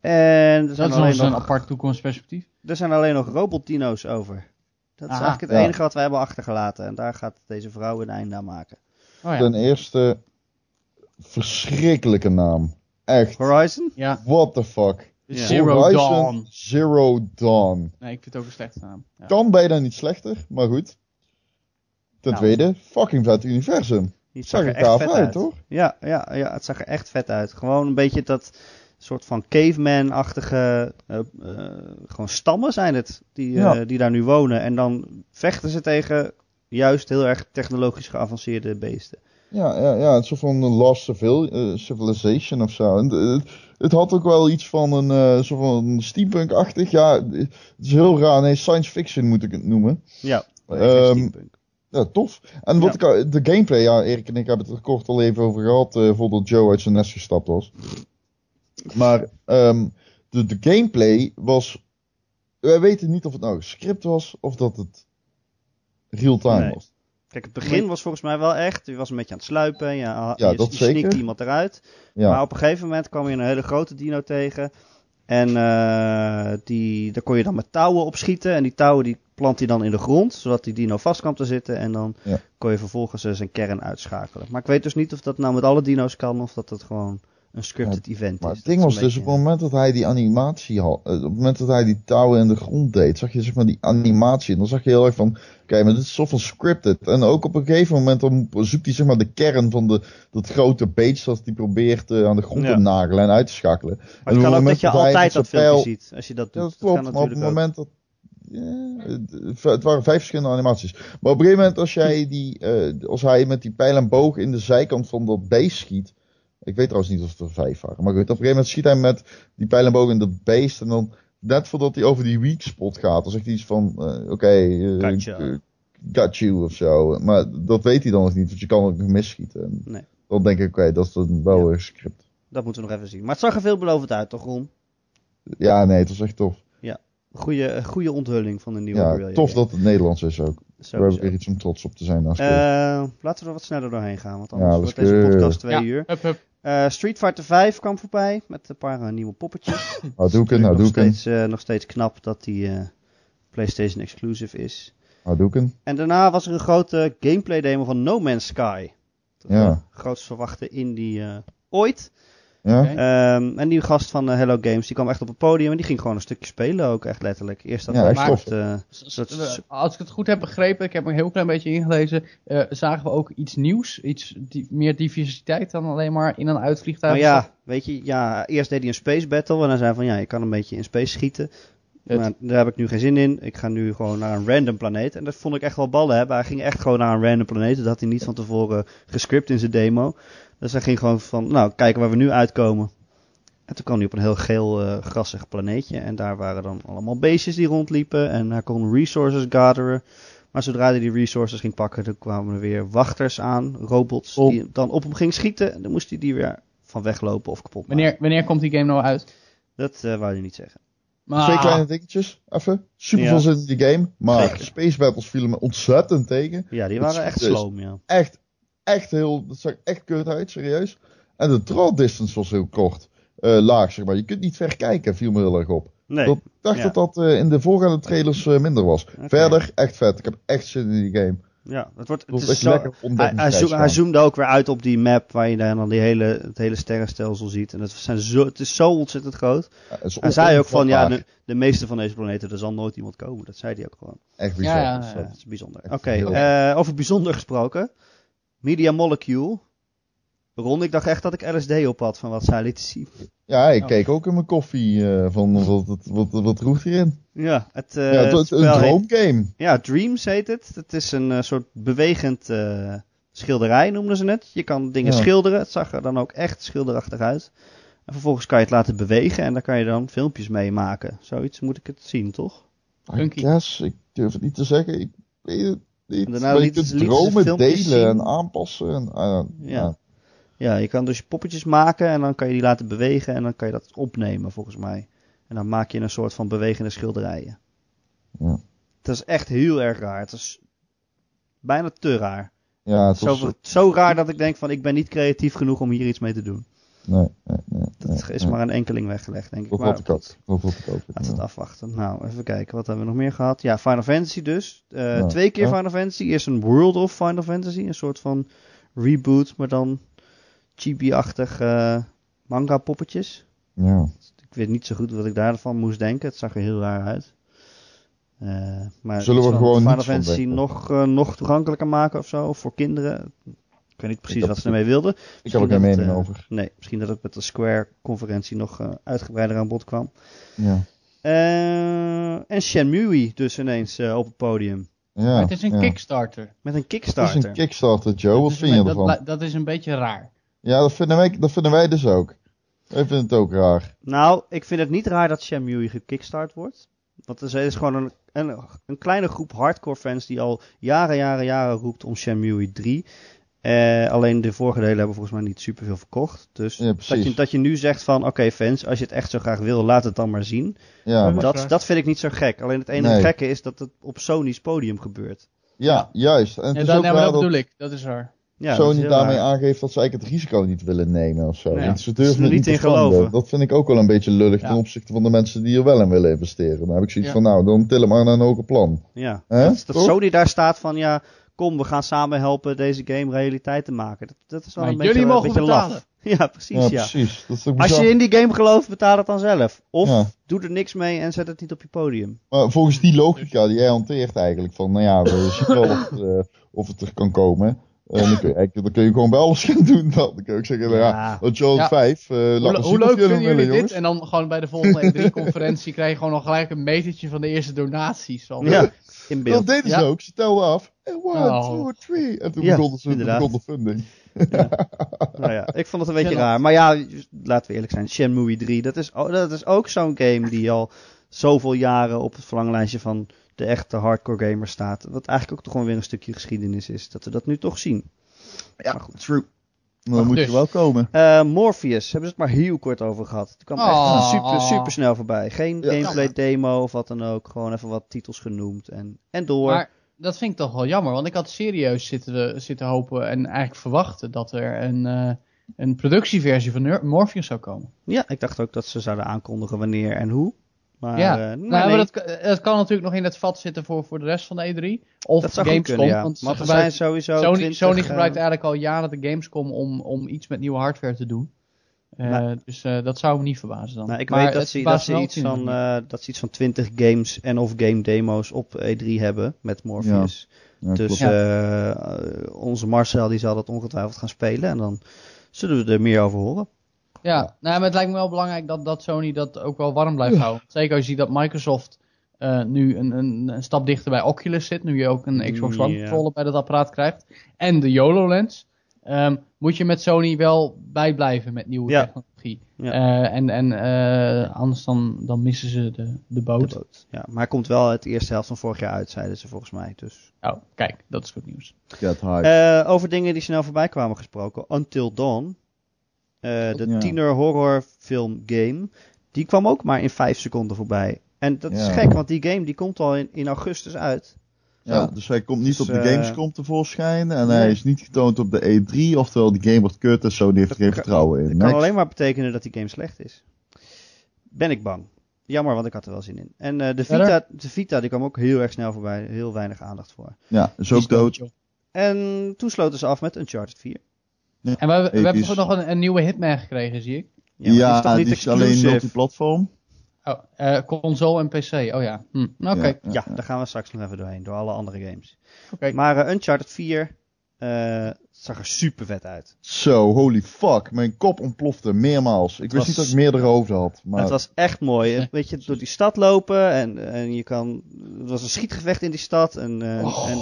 Speaker 1: En er
Speaker 3: Dat
Speaker 1: zijn,
Speaker 3: is
Speaker 1: alleen
Speaker 3: ons een
Speaker 1: nog,
Speaker 3: apart toekomstperspectief.
Speaker 1: er zijn alleen nog robotdino's over. Dat is
Speaker 3: Aha,
Speaker 1: eigenlijk het
Speaker 2: ja.
Speaker 1: enige wat wij hebben achtergelaten. En daar gaat deze vrouw een einde aan maken.
Speaker 3: Oh ja.
Speaker 2: Ten eerste, verschrikkelijke naam. Echt.
Speaker 1: Horizon?
Speaker 3: ja.
Speaker 2: What the fuck.
Speaker 1: Ja.
Speaker 3: Zero
Speaker 2: Horizon
Speaker 3: Dawn.
Speaker 2: Zero Dawn.
Speaker 3: Nee, ik vind het ook een slechte naam. Ja.
Speaker 2: Kan bijna niet slechter, maar goed. Ten
Speaker 1: Nou.
Speaker 2: tweede, fucking vet universum.
Speaker 1: Die zag
Speaker 2: Zag
Speaker 1: er
Speaker 2: ik
Speaker 1: echt
Speaker 2: gaaf
Speaker 1: vet
Speaker 2: uit,
Speaker 1: uit.
Speaker 2: toch?
Speaker 1: Ja, ja, ja, het zag er echt vet uit. Gewoon een beetje dat soort van caveman-achtige eh, eh, gewoon stammen zijn het die, eh,
Speaker 2: Ja.
Speaker 1: die daar nu wonen. En dan vechten ze tegen juist heel erg technologisch geavanceerde beesten.
Speaker 2: Ja, ja, ja, een soort van Lost Civil, eh, Civilization of zo. En, eh, het, het had ook wel iets van een eh, soort van steampunk-achtig. Ja, het is heel raar. Nee, science fiction moet ik het noemen.
Speaker 1: Ja,
Speaker 2: Ehm,
Speaker 1: steampunk.
Speaker 2: Ja, tof. En wat ik, al- de gameplay, ja, Erik en ik hebben het er kort al even over gehad, eh voordat Joe uit zijn nest gestapt was. Maar ehm, de, de gameplay was. Wij weten niet of het nou gescript was of dat het real-time
Speaker 1: Nee.
Speaker 2: was.
Speaker 1: Kijk, het begin was volgens mij wel echt. Je was een beetje aan het sluipen. en Je, ja,
Speaker 2: Ja,
Speaker 1: je,
Speaker 2: dat
Speaker 1: je sneakte
Speaker 2: zeker.
Speaker 1: iemand eruit.
Speaker 2: Ja,
Speaker 1: Maar op een gegeven moment kwam je een hele grote dino tegen. En eh, die, daar kon je dan met touwen op schieten. En die touwen die plant hij dan in de grond, zodat die dino vast kan te zitten. En dan
Speaker 2: Ja.
Speaker 1: kon je vervolgens eh, zijn kern uitschakelen. Maar ik weet dus niet of dat nou met alle dino's kan, of dat dat gewoon een scripted event
Speaker 2: maar
Speaker 1: is.
Speaker 2: het ding
Speaker 1: Dat
Speaker 2: was
Speaker 1: is een
Speaker 2: dus op
Speaker 1: beetje-
Speaker 2: het moment dat hij die animatie had, eh, op het moment dat hij die touwen in de grond deed, zag je zeg maar die animatie. En dan zag je heel erg van, oké, maar dit is soort van scripted. En ook op een gegeven moment dan zoekt hij zeg maar de kern van de, dat grote beest dat hij probeert eh, aan de grond
Speaker 1: Ja.
Speaker 2: te nagelen en uit te schakelen.
Speaker 1: Maar
Speaker 2: en op
Speaker 1: het
Speaker 2: het
Speaker 1: kan ook dat
Speaker 2: moment
Speaker 1: je
Speaker 2: dat hij
Speaker 1: altijd
Speaker 2: met
Speaker 1: dat
Speaker 2: zijn
Speaker 1: filmpje
Speaker 2: pijl-
Speaker 1: ziet, als je dat
Speaker 2: Ja,
Speaker 1: doet.
Speaker 2: dat
Speaker 1: Dat kan
Speaker 2: klopt, maar op het
Speaker 1: natuurlijk ook.
Speaker 2: moment dat... Ja, het- het waren vijf verschillende animaties. Maar op een gegeven moment als, jij die, eh, als hij met die pijl en boog in de zijkant van dat beest schiet... Ik weet trouwens niet of het er vijf waren. Maar goed, op een gegeven moment schiet hij met die pijl en boog in dat beest. En dan net voordat hij over die weak spot gaat, dan zegt hij iets van... eh, Oké, eh,
Speaker 1: Gotcha.
Speaker 2: eh, got you of zo. Maar dat weet hij dan nog niet, want je kan ook nog misschieten. En
Speaker 1: Nee.
Speaker 2: Dan denk ik, oké, dat is dan wel
Speaker 1: Ja.
Speaker 2: weer script.
Speaker 1: Dat moeten we nog even zien. Maar het zag er veelbelovend uit, toch Ron?
Speaker 2: Ja, nee, het was echt tof.
Speaker 1: Goede, goede onthulling eh, van de nieuwe
Speaker 2: Ja,
Speaker 1: Guerrilla
Speaker 2: tof
Speaker 1: Game.
Speaker 2: dat het Nederlands is ook. Daar heb
Speaker 1: Sowieso.
Speaker 2: ik weer iets om trots op te zijn. Als ik-
Speaker 1: Eh, laten we er wat sneller doorheen gaan, want
Speaker 2: Ja,
Speaker 1: anders
Speaker 2: dat
Speaker 1: wordt
Speaker 2: is
Speaker 1: deze
Speaker 2: keurig.
Speaker 1: podcast twee
Speaker 3: Ja,
Speaker 1: uur.
Speaker 3: hup, hup.
Speaker 1: Eh, Street Fighter 5 kwam voorbij met een paar eh, nieuwe poppetjes.
Speaker 2: Hadouken,
Speaker 1: nog,
Speaker 2: Hadouken,
Speaker 1: steeds, eh, nog steeds knap dat die eh, PlayStation exclusive is.
Speaker 2: Hadouken.
Speaker 1: En daarna was er een grote gameplay demo van No Man's Sky. Dat
Speaker 2: Ja.
Speaker 1: de grootst verwachte indie eh ooit.
Speaker 2: Ja?
Speaker 3: Oké.
Speaker 1: Ehm, en die gast van eh, Hello Games die kwam echt op het podium en die ging gewoon een stukje spelen ook, echt letterlijk. Eerst dat
Speaker 2: Ja,
Speaker 1: hij
Speaker 2: echt
Speaker 1: een
Speaker 2: tof.
Speaker 1: soort, eh,
Speaker 3: S-
Speaker 1: Dat
Speaker 3: s-
Speaker 1: is-
Speaker 3: Als ik het goed heb begrepen, ik heb er een heel klein beetje ingelezen, eh, zagen we ook iets nieuws, iets di- meer diversiteit dan alleen maar in een uitvliegtuig.
Speaker 1: Nou ja, weet je, ja, eerst deed hij een space battle en hij zei van ja, je kan een beetje in space schieten.
Speaker 3: Het-
Speaker 1: Maar daar heb ik nu geen zin in. Ik ga nu gewoon naar een random planeet. En dat vond ik echt wel ballen hebben. Hij ging echt gewoon naar een random planeet. Dat had hij niet van tevoren gescript in zijn demo. Dus hij ging gewoon van, nou, kijken waar we nu uitkomen. En toen kwam hij op een heel geel, eh, grassig planeetje. En daar waren dan allemaal beestjes die rondliepen. En hij kon resources gatheren. Maar zodra hij die resources ging pakken, dan kwamen er weer wachters aan. Robots
Speaker 3: Om.
Speaker 1: die dan op hem gingen schieten. En dan moest hij die weer van weglopen of kapot maken.
Speaker 3: Wanneer, wanneer komt die game nou uit?
Speaker 1: Dat eh wou hij niet zeggen.
Speaker 3: Maar,
Speaker 2: Twee kleine dingetjes, even. Super
Speaker 1: Ah. Ja.
Speaker 2: veel zin in die game, maar
Speaker 1: Zeker.
Speaker 2: Space Battles vielen me ontzettend tegen.
Speaker 1: Ja, die
Speaker 2: Het
Speaker 1: waren echt
Speaker 2: schieten is-
Speaker 1: sloom, ja.
Speaker 2: Echt, echt heel, dat zag echt kut uit, serieus. En de draw distance was heel kort, eh, laag zeg maar. Je kunt niet ver kijken, viel me heel erg op.
Speaker 1: Nee.
Speaker 2: Dat- Ik dacht
Speaker 1: Ja.
Speaker 2: dat dat eh, in de voorgaande trailers eh, minder was. Verder, echt vet. Ik heb echt zin in die game.
Speaker 1: Ja, het wordt. Het
Speaker 2: Het was
Speaker 1: is
Speaker 2: echt
Speaker 1: zo,
Speaker 2: lekker
Speaker 1: hij, hij, zo-
Speaker 2: ontdekkingsreis.
Speaker 1: hij
Speaker 2: gewoon.
Speaker 1: zoomde ook weer uit op die map waar je dan die hele, het hele sterrenstelsel ziet. En het, zijn zo, het is zo ontzettend groot.
Speaker 2: Ja, het is
Speaker 1: Hij zei ook van ja,
Speaker 2: onopvatbaar.
Speaker 1: de, de meeste van deze planeten, er zal nooit iemand komen. Dat zei hij ook gewoon.
Speaker 2: Echt bizar.
Speaker 3: Ja, ja,
Speaker 1: Dus, eh,
Speaker 3: ja.
Speaker 1: dat is bijzonder. Oké,
Speaker 2: Echt heel-
Speaker 1: eh, over bijzonder gesproken. Media Molecule. Ron, ik dacht echt dat ik LSD op had van wat zij liet zien.
Speaker 2: Ja, ik
Speaker 3: Oh.
Speaker 2: keek ook in mijn koffie eh, van wat, wat, wat, wat roept hierin.
Speaker 1: Ja, het, eh,
Speaker 2: ja, het
Speaker 1: het
Speaker 2: was
Speaker 1: spel
Speaker 2: een
Speaker 1: heet-
Speaker 2: droomgame.
Speaker 1: Ja, Dreams heet het. Het is een eh, soort bewegend eh, schilderij, noemden ze het. Je kan dingen
Speaker 2: Ja.
Speaker 1: schilderen. Het zag er dan ook echt schilderachtig uit. En vervolgens kan je het laten bewegen en daar kan je dan filmpjes mee maken. Zoiets moet ik het zien, toch?
Speaker 3: Funky.
Speaker 2: I guess, ik durf het niet te zeggen. Ik weet het niet.
Speaker 1: En daarna
Speaker 2: Maar je
Speaker 1: lieten
Speaker 2: kunt
Speaker 1: ze- lieten ze nou
Speaker 2: dromen
Speaker 1: filmpjes
Speaker 2: delen
Speaker 1: zien.
Speaker 2: en aanpassen. En, eh,
Speaker 1: Ja. Ja, je kan dus poppetjes maken en dan kan je die laten bewegen en dan kan je dat opnemen volgens mij. En dan maak je een soort van bewegende schilderijen.
Speaker 2: Ja.
Speaker 1: Het is echt heel erg raar. Het is bijna te raar.
Speaker 2: Ja, het was...
Speaker 1: Zo, zo raar dat ik denk van ik ben niet creatief genoeg om hier iets mee te doen.
Speaker 2: Nee, nee, nee.
Speaker 1: Dat is maar een enkeling weggelegd, denk ik.
Speaker 2: Of
Speaker 1: Maar
Speaker 2: had ik ook. Of had ik ook.
Speaker 1: Laten we
Speaker 2: ja.
Speaker 1: het afwachten. Nou, even kijken. Wat hebben we nog meer gehad? Ja, Final Fantasy dus. Eh,
Speaker 2: Ja.
Speaker 1: Twee keer
Speaker 2: Ja.
Speaker 1: Final Fantasy. Eerst een World of Final Fantasy. Een soort van reboot, maar dan chibi-achtig eh, manga-poppetjes.
Speaker 2: Ja.
Speaker 1: Ik weet niet zo goed wat ik daarvan moest denken. Het zag er heel raar uit. Eh, maar
Speaker 2: Zullen we
Speaker 1: iets van
Speaker 2: gewoon
Speaker 1: Final
Speaker 2: niets van
Speaker 1: Fantasy
Speaker 2: denken?
Speaker 1: nog, eh, nog toegankelijker maken of zo? Voor kinderen? Ik weet niet precies
Speaker 2: heb-
Speaker 1: wat ze ermee wilden.
Speaker 2: Ik heb er
Speaker 1: Misschien
Speaker 2: geen
Speaker 1: dat het,
Speaker 2: mening
Speaker 1: eh,
Speaker 2: over.
Speaker 1: Nee, misschien dat het met de Square-conferentie nog eh, uitgebreider aan bod kwam.
Speaker 2: Ja.
Speaker 1: Eh, en Shenmue dus ineens eh, op het podium.
Speaker 2: ja.
Speaker 3: het is een
Speaker 2: ja.
Speaker 3: Kickstarter.
Speaker 1: Met een
Speaker 2: Het
Speaker 1: Kickstarter.
Speaker 2: is een Kickstarter, Joe. Wat
Speaker 3: Dus
Speaker 2: vind je
Speaker 3: dat,
Speaker 2: ervan?
Speaker 3: dat, dat is een beetje raar.
Speaker 2: Ja, dat vinden, wij, dat vinden wij dus ook. Wij vinden het ook raar.
Speaker 1: nou, ik vind het niet raar dat Shenmue gekickstart wordt. Want er is gewoon een, een, een kleine groep hardcore fans die al jaren, jaren, jaren roept om Shenmue 3. Eh, alleen de vorige delen hebben volgens mij niet superveel verkocht. Dus
Speaker 2: Ja,
Speaker 1: dat, je,
Speaker 2: precies.
Speaker 1: dat je nu zegt van, oké fans, als je het echt zo graag wil, laat het dan maar zien.
Speaker 2: Ja, maar,
Speaker 1: dat, dat vind ik niet zo gek. Alleen het enige
Speaker 2: Nee.
Speaker 1: gekke is dat het op Sony's podium gebeurt.
Speaker 2: ja juist. En het
Speaker 3: Ja,
Speaker 2: is
Speaker 3: dat,
Speaker 2: ook
Speaker 3: nee,
Speaker 2: raar
Speaker 3: maar dat
Speaker 2: dat
Speaker 3: bedoel ik. Dat is raar.
Speaker 1: Ja, dat is
Speaker 2: Sony
Speaker 1: heel
Speaker 2: daarmee
Speaker 1: raar.
Speaker 2: aangeeft dat ze eigenlijk het risico niet willen nemen of zo.
Speaker 1: Ja.
Speaker 2: Want ze
Speaker 1: Ze
Speaker 2: durven
Speaker 1: er
Speaker 2: het
Speaker 1: niet
Speaker 2: niet
Speaker 1: in
Speaker 2: te veranderen.
Speaker 1: geloven.
Speaker 2: Dat vind ik ook wel een beetje lullig
Speaker 3: Ja.
Speaker 2: ten opzichte van de mensen die er wel in willen investeren. Dan heb ik zoiets
Speaker 3: Ja.
Speaker 2: van, nou, dan til hem maar naar een hoger plan.
Speaker 1: Ja,
Speaker 2: Hè?
Speaker 1: dat, dat
Speaker 2: Toch?
Speaker 1: Sony daar staat van ja, kom, we gaan samen helpen deze game realiteit te maken. Dat, dat is wel
Speaker 3: Maar
Speaker 1: een beetje,
Speaker 3: jullie
Speaker 1: een
Speaker 3: mogen
Speaker 1: beetje
Speaker 3: betalen.
Speaker 1: laf. Ja, precies. Ja,
Speaker 2: ja, precies. Dat is toch
Speaker 1: Als
Speaker 2: bizar?
Speaker 1: je in die game gelooft, betaal het dan zelf. Of
Speaker 2: Ja.
Speaker 1: doe er niks mee en zet het niet op je podium.
Speaker 2: Maar volgens die logica die jij hanteert eigenlijk, van nou ja, we zien wel of het, eh, of het er kan komen. Eh, dan, kun je, eigenlijk- dan kun je gewoon bij alles gaan doen dan. Dan kun je ook zeggen, nou ja,
Speaker 1: Ja.
Speaker 2: dat Joel
Speaker 3: Ja.
Speaker 2: 5, eh, laat
Speaker 3: Hoe,
Speaker 2: maar
Speaker 3: hoe
Speaker 2: zien of
Speaker 3: leuk
Speaker 2: jullie
Speaker 3: vinden
Speaker 2: hem willen,
Speaker 3: jullie dit?
Speaker 2: jongens.
Speaker 3: En dan gewoon bij de volgende E3-conferentie krijg je gewoon al gelijk een metertje van de eerste donaties. Van.
Speaker 1: Ja, in
Speaker 2: Dat
Speaker 1: beeld.
Speaker 2: deden ze
Speaker 3: Ja.
Speaker 2: ook, ze telden af. En one,
Speaker 3: Oh.
Speaker 2: two, three. En toen
Speaker 1: Ja,
Speaker 2: begonnen ze
Speaker 1: inderdaad.
Speaker 2: begon de funding.
Speaker 1: Nou ja, ik vond het een beetje
Speaker 3: Gênant.
Speaker 1: raar. Maar ja, laten we eerlijk zijn. Shenmue 3, dat is, o- dat is ook zo'n game die al zoveel jaren op het verlanglijstje van de echte hardcore gamers staat. Wat eigenlijk ook toch gewoon weer een stukje geschiedenis is. Dat we dat nu toch zien.
Speaker 2: Ja, true.
Speaker 3: Ach,
Speaker 2: Dan moet
Speaker 3: dus.
Speaker 2: je wel komen.
Speaker 1: Eh, Morpheus, hebben ze het maar heel kort over gehad. Het kwam
Speaker 3: Oh.
Speaker 1: echt super, super snel voorbij. Geen
Speaker 2: Ja.
Speaker 1: gameplay demo of wat dan ook. Gewoon even wat titels genoemd en, en door.
Speaker 3: Maar dat vind ik toch wel jammer, want ik had serieus zitten, zitten hopen en eigenlijk verwachten dat er een, eh, een productieversie van Nor- Morpheus zou komen.
Speaker 1: Ja, ik dacht ook dat ze zouden aankondigen wanneer en hoe. Maar
Speaker 3: ja,
Speaker 1: eh, nee,
Speaker 3: nou,
Speaker 1: nee,
Speaker 3: Maar
Speaker 1: dat,
Speaker 3: dat, eh, dat kan natuurlijk nog in het vat zitten voor, voor de rest van de E3.
Speaker 1: zou
Speaker 3: Of Gamescom,
Speaker 1: goed kunnen, ja.
Speaker 3: want ze
Speaker 1: Want er zijn
Speaker 3: gebruiken-
Speaker 1: sowieso
Speaker 3: Sony,
Speaker 1: 20,
Speaker 3: Sony
Speaker 1: eh,
Speaker 3: gebruikt eigenlijk al jaren de Gamescom om, om iets met nieuwe hardware te doen. Eh,
Speaker 1: Nou.
Speaker 3: dus eh, dat zou me niet verbazen dan.
Speaker 1: nou, ik
Speaker 3: Maar
Speaker 1: weet dat
Speaker 3: het
Speaker 1: ze, dat,
Speaker 3: verbaast
Speaker 1: ze
Speaker 3: wel
Speaker 1: iets
Speaker 3: op die
Speaker 1: van, eh,
Speaker 3: manier.
Speaker 1: dat ze iets van 20 games en of game demo's op E3 hebben met Morpheus.
Speaker 2: Ja,
Speaker 1: Dus
Speaker 2: klopt.
Speaker 1: eh, eh, onze Marcel die zal dat ongetwijfeld gaan spelen. En dan zullen we er meer over horen.
Speaker 3: Ja, nou, ja, maar het lijkt me wel belangrijk dat, dat Sony dat ook wel warm blijft houden. Zeker als je ziet dat Microsoft eh, nu een, een, een stap dichter bij Oculus zit. Nu je ook een Xbox One
Speaker 1: Ja.
Speaker 3: controller bij dat apparaat krijgt. En de YOLO-lens. ehm, moet je met Sony wel bijblijven met nieuwe
Speaker 1: Ja.
Speaker 3: technologie.
Speaker 1: Ja.
Speaker 3: Eh, en en eh, anders dan, dan missen ze de, de boot.
Speaker 1: De boot. Ja, maar hij komt wel het eerste helft van vorig jaar uit, zeiden ze volgens mij. Dus.
Speaker 3: Oh, kijk, dat is goed nieuws.
Speaker 2: Get hype.
Speaker 1: Eh, over dingen die snel voorbij kwamen gesproken. Until Dawn. Eh, de
Speaker 2: Ja.
Speaker 1: tiener horrorfilm game. Die kwam ook maar in vijf seconden voorbij. En dat is
Speaker 2: Ja.
Speaker 1: gek, want die game die komt al in, in augustus uit.
Speaker 2: ja,
Speaker 1: zo.
Speaker 2: dus hij komt niet
Speaker 1: Dus,
Speaker 2: op de
Speaker 1: eh,
Speaker 2: Gamescom tevoorschijn. En
Speaker 1: nee.
Speaker 2: hij is niet getoond op de E3. Oftewel, die game wordt kut en Sony heeft er
Speaker 1: Dat
Speaker 2: geen
Speaker 1: kan-
Speaker 2: vertrouwen in.
Speaker 1: Dat kan
Speaker 2: Next.
Speaker 1: alleen maar betekenen dat die game slecht is. Ben ik bang. Jammer, want ik had er wel zin in. En eh, de,
Speaker 3: Verder?
Speaker 1: Vita, de Vita die kwam ook heel erg snel voorbij. Heel weinig aandacht voor.
Speaker 2: Ja, is ook
Speaker 3: Die is
Speaker 2: dood.
Speaker 3: dood,
Speaker 1: En toen sloten ze af met Uncharted 4.
Speaker 3: joh. En we, we hebben
Speaker 2: Episch.
Speaker 3: toch nog een, een nieuwe Hitman gekregen, zie ik.
Speaker 2: Ja,
Speaker 1: maar
Speaker 2: die is, alleen
Speaker 1: exclusive?
Speaker 2: multiplatform.
Speaker 3: Oh, eh, console en PC. Oh ja. Hm, Oké.
Speaker 2: Ja.
Speaker 1: Ja, daar gaan we straks nog even doorheen. Door alle andere games.
Speaker 3: Oké.
Speaker 1: Maar eh, Uncharted 4 eh, zag er super vet uit.
Speaker 2: Zo, holy fuck. Mijn kop ontplofte meermaals. Ik wist
Speaker 1: was-
Speaker 2: niet dat ik meerdere hoofden had. Maar
Speaker 1: Het was echt mooi.
Speaker 3: Ja.
Speaker 1: Een beetje door die stad lopen en, en je kan. Het was een schietgevecht in die stad. En, eh,
Speaker 2: Oh.
Speaker 1: en,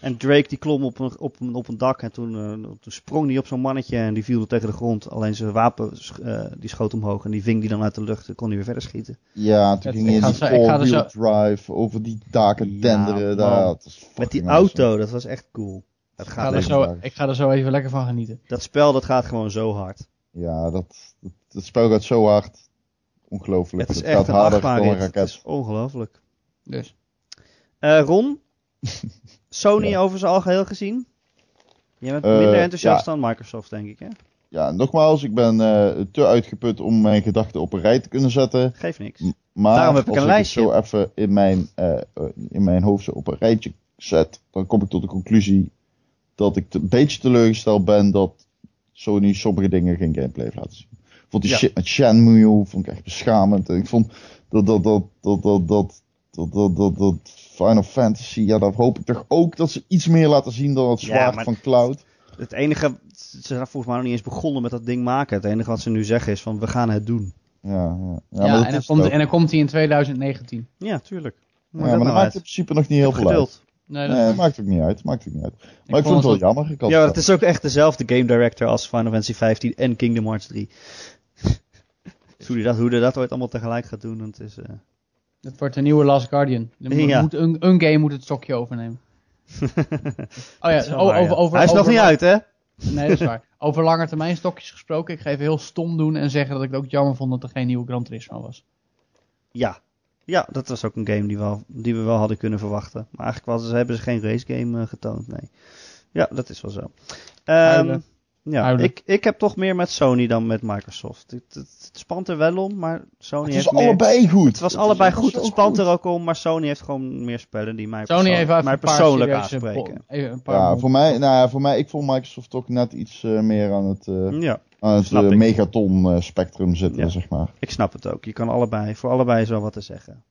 Speaker 1: en Drake die klom op een, op een, op een dak en toen, eh, toen sprong hij op zo'n mannetje en die viel er tegen de grond. Alleen zijn wapen sch- eh, die schoot omhoog en die ving die dan uit de lucht en kon hij weer verder schieten.
Speaker 2: ja, toen
Speaker 3: Het-
Speaker 2: ging
Speaker 3: ik
Speaker 2: je in
Speaker 3: ga
Speaker 2: die
Speaker 3: zo- ik ga er zo-
Speaker 2: four-wheel drive over die daken
Speaker 1: Ja,
Speaker 2: tenderen.
Speaker 1: man.
Speaker 2: daar. Dat is
Speaker 1: Met die
Speaker 2: fucking awesome.
Speaker 1: auto, dat was echt cool. Dat,
Speaker 3: Ik ga,
Speaker 1: gaat
Speaker 3: er
Speaker 2: Deze
Speaker 1: echt-
Speaker 3: zo,
Speaker 2: vraag.
Speaker 3: ik ga er zo even lekker van genieten.
Speaker 1: dat spel dat gaat gewoon zo hard.
Speaker 2: Ja, dat, dat, dat spel gaat zo hard. Ongelooflijk.
Speaker 1: Het is
Speaker 2: Het
Speaker 1: echt
Speaker 2: gaat
Speaker 1: een
Speaker 2: harder dan
Speaker 1: achtbaan
Speaker 2: een
Speaker 1: rit. Het
Speaker 2: raket.
Speaker 1: is ongelooflijk.
Speaker 3: Dus.
Speaker 1: Eh, Ron, Sony
Speaker 2: Ja.
Speaker 1: over zijn algeheel gezien. Jij bent
Speaker 2: Eh,
Speaker 1: minder enthousiast
Speaker 2: ja.
Speaker 1: dan Microsoft, denk ik. Hè?
Speaker 2: Ja, nogmaals, ik ben eh, te uitgeput om mijn gedachten op een rij te kunnen zetten.
Speaker 1: Geeft niks.
Speaker 2: M- Maar
Speaker 1: Daarom heb ik
Speaker 2: als
Speaker 1: een
Speaker 2: ik het
Speaker 1: lijstje.
Speaker 2: zo even in mijn, eh, eh, in mijn hoofd zo op een rijtje zet, dan kom ik tot de conclusie dat ik te- een beetje teleurgesteld ben dat Sony sommige dingen geen gameplay heeft laten zien. Ik vond die
Speaker 1: Ja.
Speaker 2: shit met Shenmue vond ik echt beschamend. En ik vond dat dat dat dat dat dat dat dat, dat, dat Final Fantasy, ja, daar hoop ik toch ook dat ze iets meer laten zien dan het
Speaker 1: Ja,
Speaker 2: zwaard
Speaker 1: maar-
Speaker 2: van Cloud.
Speaker 1: Het enige, ze zijn volgens mij nog niet eens begonnen met dat ding maken. Het enige wat ze nu zeggen is van, we gaan het doen.
Speaker 2: Ja, ja. ja, maar dat
Speaker 3: Ja, en,
Speaker 2: is
Speaker 3: dan
Speaker 2: het
Speaker 3: komt,
Speaker 2: ook.
Speaker 3: en dan komt hij in 2019.
Speaker 1: Ja, tuurlijk.
Speaker 2: Ja,
Speaker 1: Maar
Speaker 2: maar
Speaker 1: dat
Speaker 2: dat
Speaker 1: nou
Speaker 2: maakt
Speaker 1: uit.
Speaker 2: in principe nog niet heel veel uit.
Speaker 1: Geduld.
Speaker 3: Nee, dat
Speaker 2: Nee, maakt ook niet uit. Maakt ook niet uit. Maar ik,
Speaker 3: vond
Speaker 2: vond het wel
Speaker 3: het
Speaker 2: jammer. Ik had
Speaker 1: Ja, maar het is ook echt dezelfde game director als Final Fantasy 15 en Kingdom Hearts 3. hoe die dat, hoe die dat ooit allemaal tegelijk gaat doen. want Het is,
Speaker 3: Oh
Speaker 1: eh,
Speaker 3: Het wordt een nieuwe Last Guardian. Er moet-
Speaker 1: Ja.
Speaker 3: moet een, een game moet het stokje overnemen. Oh
Speaker 1: dat is
Speaker 3: ja,
Speaker 1: wel
Speaker 3: o-
Speaker 1: waar, ja.
Speaker 3: over, over,
Speaker 1: Hij is nog
Speaker 3: over-
Speaker 1: niet uit, hè?
Speaker 3: Nee, dat is waar. Over lange termijn stokjes gesproken. Ik ga even heel stom doen en zeggen dat ik het ook jammer vond dat er geen nieuwe Gran Turismo was.
Speaker 1: Ja. Ja, dat was ook een game die, wel, die we wel hadden kunnen verwachten. Maar eigenlijk was, hebben ze geen race game eh, getoond, nee. Ja, dat is wel zo. Ehm,
Speaker 3: Huilen.
Speaker 1: ja,
Speaker 3: Huilen.
Speaker 1: ik, ik heb toch meer met Sony dan met Microsoft. Het, het, het spant er wel om, maar Sony
Speaker 2: Het
Speaker 1: heeft
Speaker 2: was
Speaker 1: meer...
Speaker 2: allebei goed.
Speaker 1: Het was allebei goed, het spant
Speaker 2: er
Speaker 1: er ook om, maar Sony heeft gewoon meer spellen die mij,
Speaker 3: Sony
Speaker 1: persoon-
Speaker 3: heeft even
Speaker 1: mij
Speaker 3: een paar
Speaker 1: persoonlijk
Speaker 3: serieuze
Speaker 1: aanspreken.
Speaker 3: po- even een paar
Speaker 2: Ja,
Speaker 3: mond-
Speaker 2: voor mij, nou, ja, voor mij, ik vond Microsoft ook net iets eh, meer aan het, eh,
Speaker 1: Ja,
Speaker 2: aan het
Speaker 1: snap
Speaker 2: eh,
Speaker 1: ik.
Speaker 2: megaton eh, spectrum zitten,
Speaker 1: Ja.
Speaker 2: zeg maar.
Speaker 1: ik snap het ook. Je kan allebei, voor allebei is wel wat te zeggen.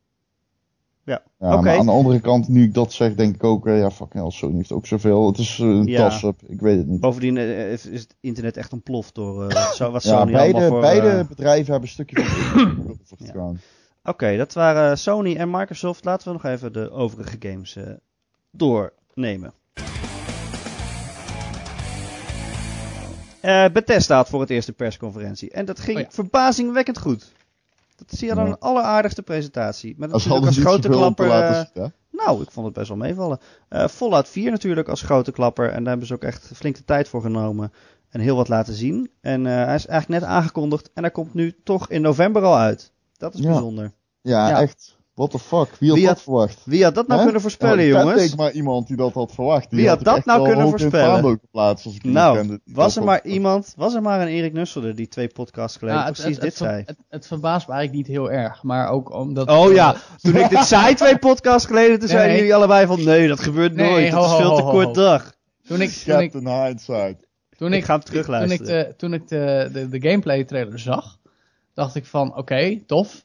Speaker 2: Ja,
Speaker 1: Oké.
Speaker 2: Maar aan de andere kant, nu ik dat zeg, denk ik ook, eh, ja, fuck hell, Sony heeft ook zoveel. Het is eh, een
Speaker 1: Ja.
Speaker 2: tas-up, ik weet het niet.
Speaker 1: Bovendien eh, is, is het internet echt ontploft door eh, zo was
Speaker 2: Ja,
Speaker 1: Sony allemaal
Speaker 2: beide,
Speaker 1: voor...
Speaker 2: beide
Speaker 1: eh,
Speaker 2: bedrijven hebben een stukje van de
Speaker 1: Ja.
Speaker 2: gedaan.
Speaker 1: Oké, dat waren Sony en Microsoft. Laten we nog even de overige games eh, doornemen. Eh Bethesda had voor het eerst een persconferentie. En dat ging
Speaker 3: Oh ja.
Speaker 1: verbazingwekkend goed. Dat zie je dan
Speaker 2: Ja.
Speaker 1: een alleraardigste presentatie. Met
Speaker 2: Als
Speaker 1: natuurlijk
Speaker 2: hadden
Speaker 1: als
Speaker 2: ze niet
Speaker 1: grote
Speaker 2: zoveel om te
Speaker 1: klapper... eh,
Speaker 2: laten zien, hè?
Speaker 1: nou, ik vond het best wel meevallen. Eh, Fallout 4 natuurlijk als grote klapper. En daar hebben ze ook echt flink de tijd voor genomen. En heel wat laten zien. En eh, hij is eigenlijk net aangekondigd. En hij komt nu toch in november al uit. Dat is
Speaker 2: Ja.
Speaker 1: bijzonder.
Speaker 2: Ja,
Speaker 3: Ja.
Speaker 2: echt. What the fuck? Wie had
Speaker 1: Wie
Speaker 2: dat
Speaker 1: had-
Speaker 2: verwacht?
Speaker 1: Wie had dat nou
Speaker 2: Hè?
Speaker 1: kunnen
Speaker 2: Ja,
Speaker 1: voorspellen,
Speaker 2: ik ken
Speaker 1: jongens?
Speaker 2: denk maar iemand die dat had verwacht. Die
Speaker 1: Wie had
Speaker 2: ik
Speaker 1: dat
Speaker 2: echt
Speaker 1: nou
Speaker 2: wel
Speaker 1: kunnen
Speaker 2: hoog in het
Speaker 1: voorspellen?
Speaker 2: vaandel geplaatst, als ik iemand
Speaker 1: Nou,
Speaker 2: kende die
Speaker 1: was
Speaker 2: dat
Speaker 1: er
Speaker 2: had
Speaker 1: maar iemand, was er maar een Erik Nusselder die twee podcasts geleden
Speaker 3: Ja, Nou, het-
Speaker 1: precies
Speaker 3: het- het
Speaker 1: dit
Speaker 3: ver-
Speaker 1: zei.
Speaker 3: Het, het verbaast me eigenlijk niet heel erg, maar ook omdat...
Speaker 1: Oh ja, toen ik dit zei twee podcasts geleden, toen
Speaker 3: Nee.
Speaker 1: zeiden jullie allebei van nee, dat gebeurt
Speaker 3: Nee,
Speaker 1: nooit,
Speaker 3: ho,
Speaker 1: dat is
Speaker 3: ho,
Speaker 1: veel te
Speaker 3: ho,
Speaker 1: kort
Speaker 3: ho.
Speaker 1: dag.
Speaker 3: Toen ik, toen ik,
Speaker 2: Captain Hindsight.
Speaker 3: toen
Speaker 1: Ik
Speaker 3: ik,
Speaker 1: ga hem
Speaker 3: toen ik, eh,
Speaker 1: terugluisteren.
Speaker 3: de, toen ik de, de, de gameplay trailer zag, dacht ik van oké, tof.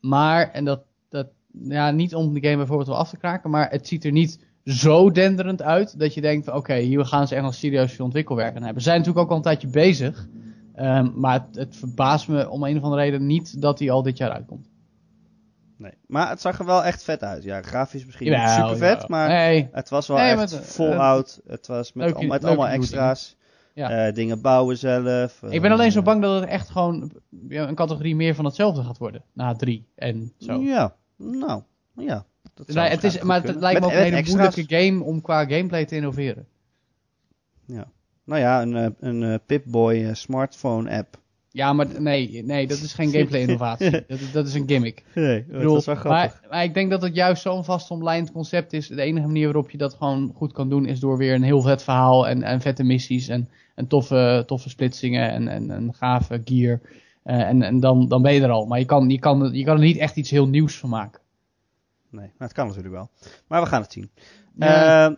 Speaker 3: Maar, en dat, dat, ja, niet om de game bijvoorbeeld wel af te kraken, maar het ziet er niet zo denderend uit dat je denkt van oké, hier gaan ze echt nog serieus veel ontwikkelwerk aan hebben. Ze zijn natuurlijk ook al een tijdje bezig, ehm, maar het, het verbaast me om een of andere reden niet dat die al dit jaar uitkomt.
Speaker 1: Nee. Maar het zag er wel echt vet uit. Ja, grafisch misschien niet
Speaker 3: Jawel,
Speaker 1: super vet,
Speaker 3: jawel.
Speaker 1: maar
Speaker 3: Nee,
Speaker 1: het was wel
Speaker 3: Nee,
Speaker 1: echt
Speaker 3: maar het- eh,
Speaker 1: Fallout. het was met,
Speaker 3: Leuke-
Speaker 1: al- met
Speaker 3: leuke
Speaker 1: allemaal
Speaker 3: nieuwe
Speaker 1: extra's.
Speaker 3: dingen.
Speaker 1: Eh, dingen bouwen zelf.
Speaker 3: ik ben alleen zo
Speaker 1: eh,
Speaker 3: bang dat het echt gewoon ja, een categorie meer van hetzelfde gaat worden. Na drie en zo.
Speaker 1: Ja, nou, ja. dat zou
Speaker 3: Nee, het is,
Speaker 1: waarschijnlijk
Speaker 3: maar
Speaker 1: goed
Speaker 3: het
Speaker 1: kunnen.
Speaker 3: lijkt me
Speaker 1: Met-
Speaker 3: ook een hele
Speaker 1: met extra's.
Speaker 3: moeilijke game om qua gameplay te innoveren.
Speaker 1: Nou ja, een, eh, een eh, Pip-Boy eh, smartphone app.
Speaker 3: Ja, maar nee, nee dat is geen gameplay-innovatie. dat, is- dat is een gimmick.
Speaker 1: Nee,
Speaker 3: Ik bedoel, maar, maar ik denk dat het juist zo'n vastomlijnd concept is. De enige manier waarop je dat gewoon goed kan doen is door weer een heel vet verhaal en, en vette missies en, en toffe, toffe splitsingen en, en, en gave gear. Eh, en en dan, dan ben je er al. Maar je kan, je, kan, je kan er niet echt iets heel nieuws van maken.
Speaker 1: Nee, maar het kan natuurlijk wel. Maar we gaan het zien.
Speaker 3: Ja.
Speaker 1: Eh,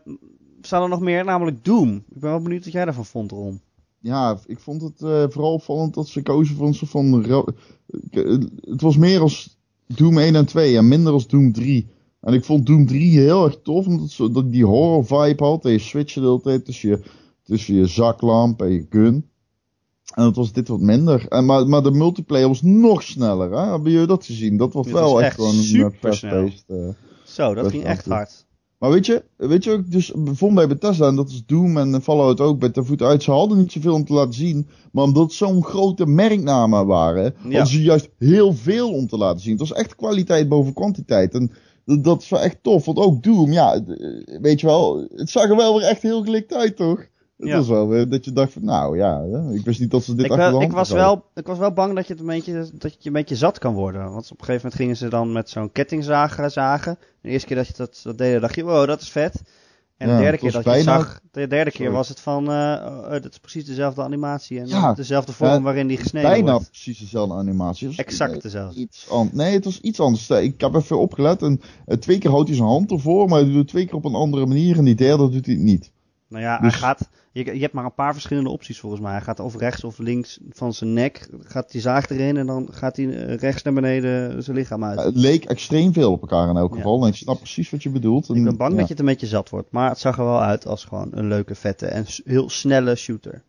Speaker 1: staan er nog meer, namelijk Doom. Ik ben wel benieuwd wat jij daarvan vond, Ron.
Speaker 2: Ja, ik vond het eh, vooral opvallend dat ze kozen voor een soort van... ra- Ik, eh, Het was meer als Doom 1 en 2 en minder als Doom 3. En ik vond Doom 3 heel erg tof, omdat ze, dat die horror vibe had. En je switchte de hele tijd tussen je, tussen je zaklamp en je gun. En dat was dit wat minder. En, maar, maar de multiplayer was nog sneller. Hè? Hebben jullie dat gezien? Dat was
Speaker 1: Dit
Speaker 2: wel
Speaker 1: was
Speaker 2: echt
Speaker 1: echt
Speaker 2: gewoon een eh,
Speaker 1: supersnel.
Speaker 2: fast-paced, eh,
Speaker 1: Zo, dat
Speaker 2: Best
Speaker 1: ging
Speaker 2: wel
Speaker 1: echt
Speaker 2: goed.
Speaker 1: hard.
Speaker 2: Maar weet je, weet je, wat ik dus vond bij Bethesda, en dat is Doom en Fallout ook bij de voet uit, ze hadden niet zoveel om te laten zien, maar omdat het zo'n grote merknamen waren,
Speaker 1: Ja.
Speaker 2: hadden ze juist heel veel om te laten zien. Het was echt kwaliteit boven kwantiteit. En Dat, dat is wel echt tof. Want ook Doom, ja, d- eh, weet je wel, het zag er wel weer echt heel gelikt uit, toch? Het
Speaker 1: Ja.
Speaker 2: was wel weer dat je dacht van, nou ja, hè, ik wist niet dat ze dit
Speaker 1: Ik,
Speaker 2: achter de
Speaker 1: wel,
Speaker 2: hand
Speaker 1: ik, was
Speaker 2: hadden.
Speaker 1: wel, ik was wel bang dat je, het een beetje, dat je een beetje zat kan worden. Want op een gegeven moment gingen ze dan met zo'n kettingzager zagen. De eerste keer dat je dat, dat deed, dacht je, wow, dat is vet. En
Speaker 2: Ja,
Speaker 1: de derde
Speaker 2: het
Speaker 1: keer dat
Speaker 2: was
Speaker 1: je het
Speaker 2: bijna-
Speaker 1: zag, de derde keer
Speaker 2: Sorry.
Speaker 1: was het van, eh, eh, dat is precies dezelfde animatie. En
Speaker 2: Ja,
Speaker 1: dezelfde vorm
Speaker 2: ja,
Speaker 1: waarin die gesneden
Speaker 2: Bijna
Speaker 1: wordt.
Speaker 2: precies dezelfde animatie. Het was-
Speaker 1: Exact
Speaker 2: nee,
Speaker 1: dezelfde.
Speaker 2: Iets an- nee, het was iets anders. Eh, Ik heb even opgelet en eh, twee keer houdt hij zijn hand ervoor, maar hij doet het twee keer op een andere manier en die derde doet hij het niet.
Speaker 1: Nou ja,
Speaker 2: Dus-
Speaker 1: hij gaat, je, je hebt maar een paar verschillende opties volgens mij. Hij gaat of rechts of links van zijn nek, gaat die zaag erin en dan gaat hij eh, rechts naar beneden zijn lichaam uit.
Speaker 2: Eh, Het leek extreem veel op elkaar in elk
Speaker 1: Ja,
Speaker 2: geval en ik snap precies wat je bedoelt.
Speaker 1: Ik ben bang
Speaker 2: ja.
Speaker 1: dat je het een beetje zat wordt. Maar het zag er wel uit als gewoon een leuke, vette en s- heel snelle shooter.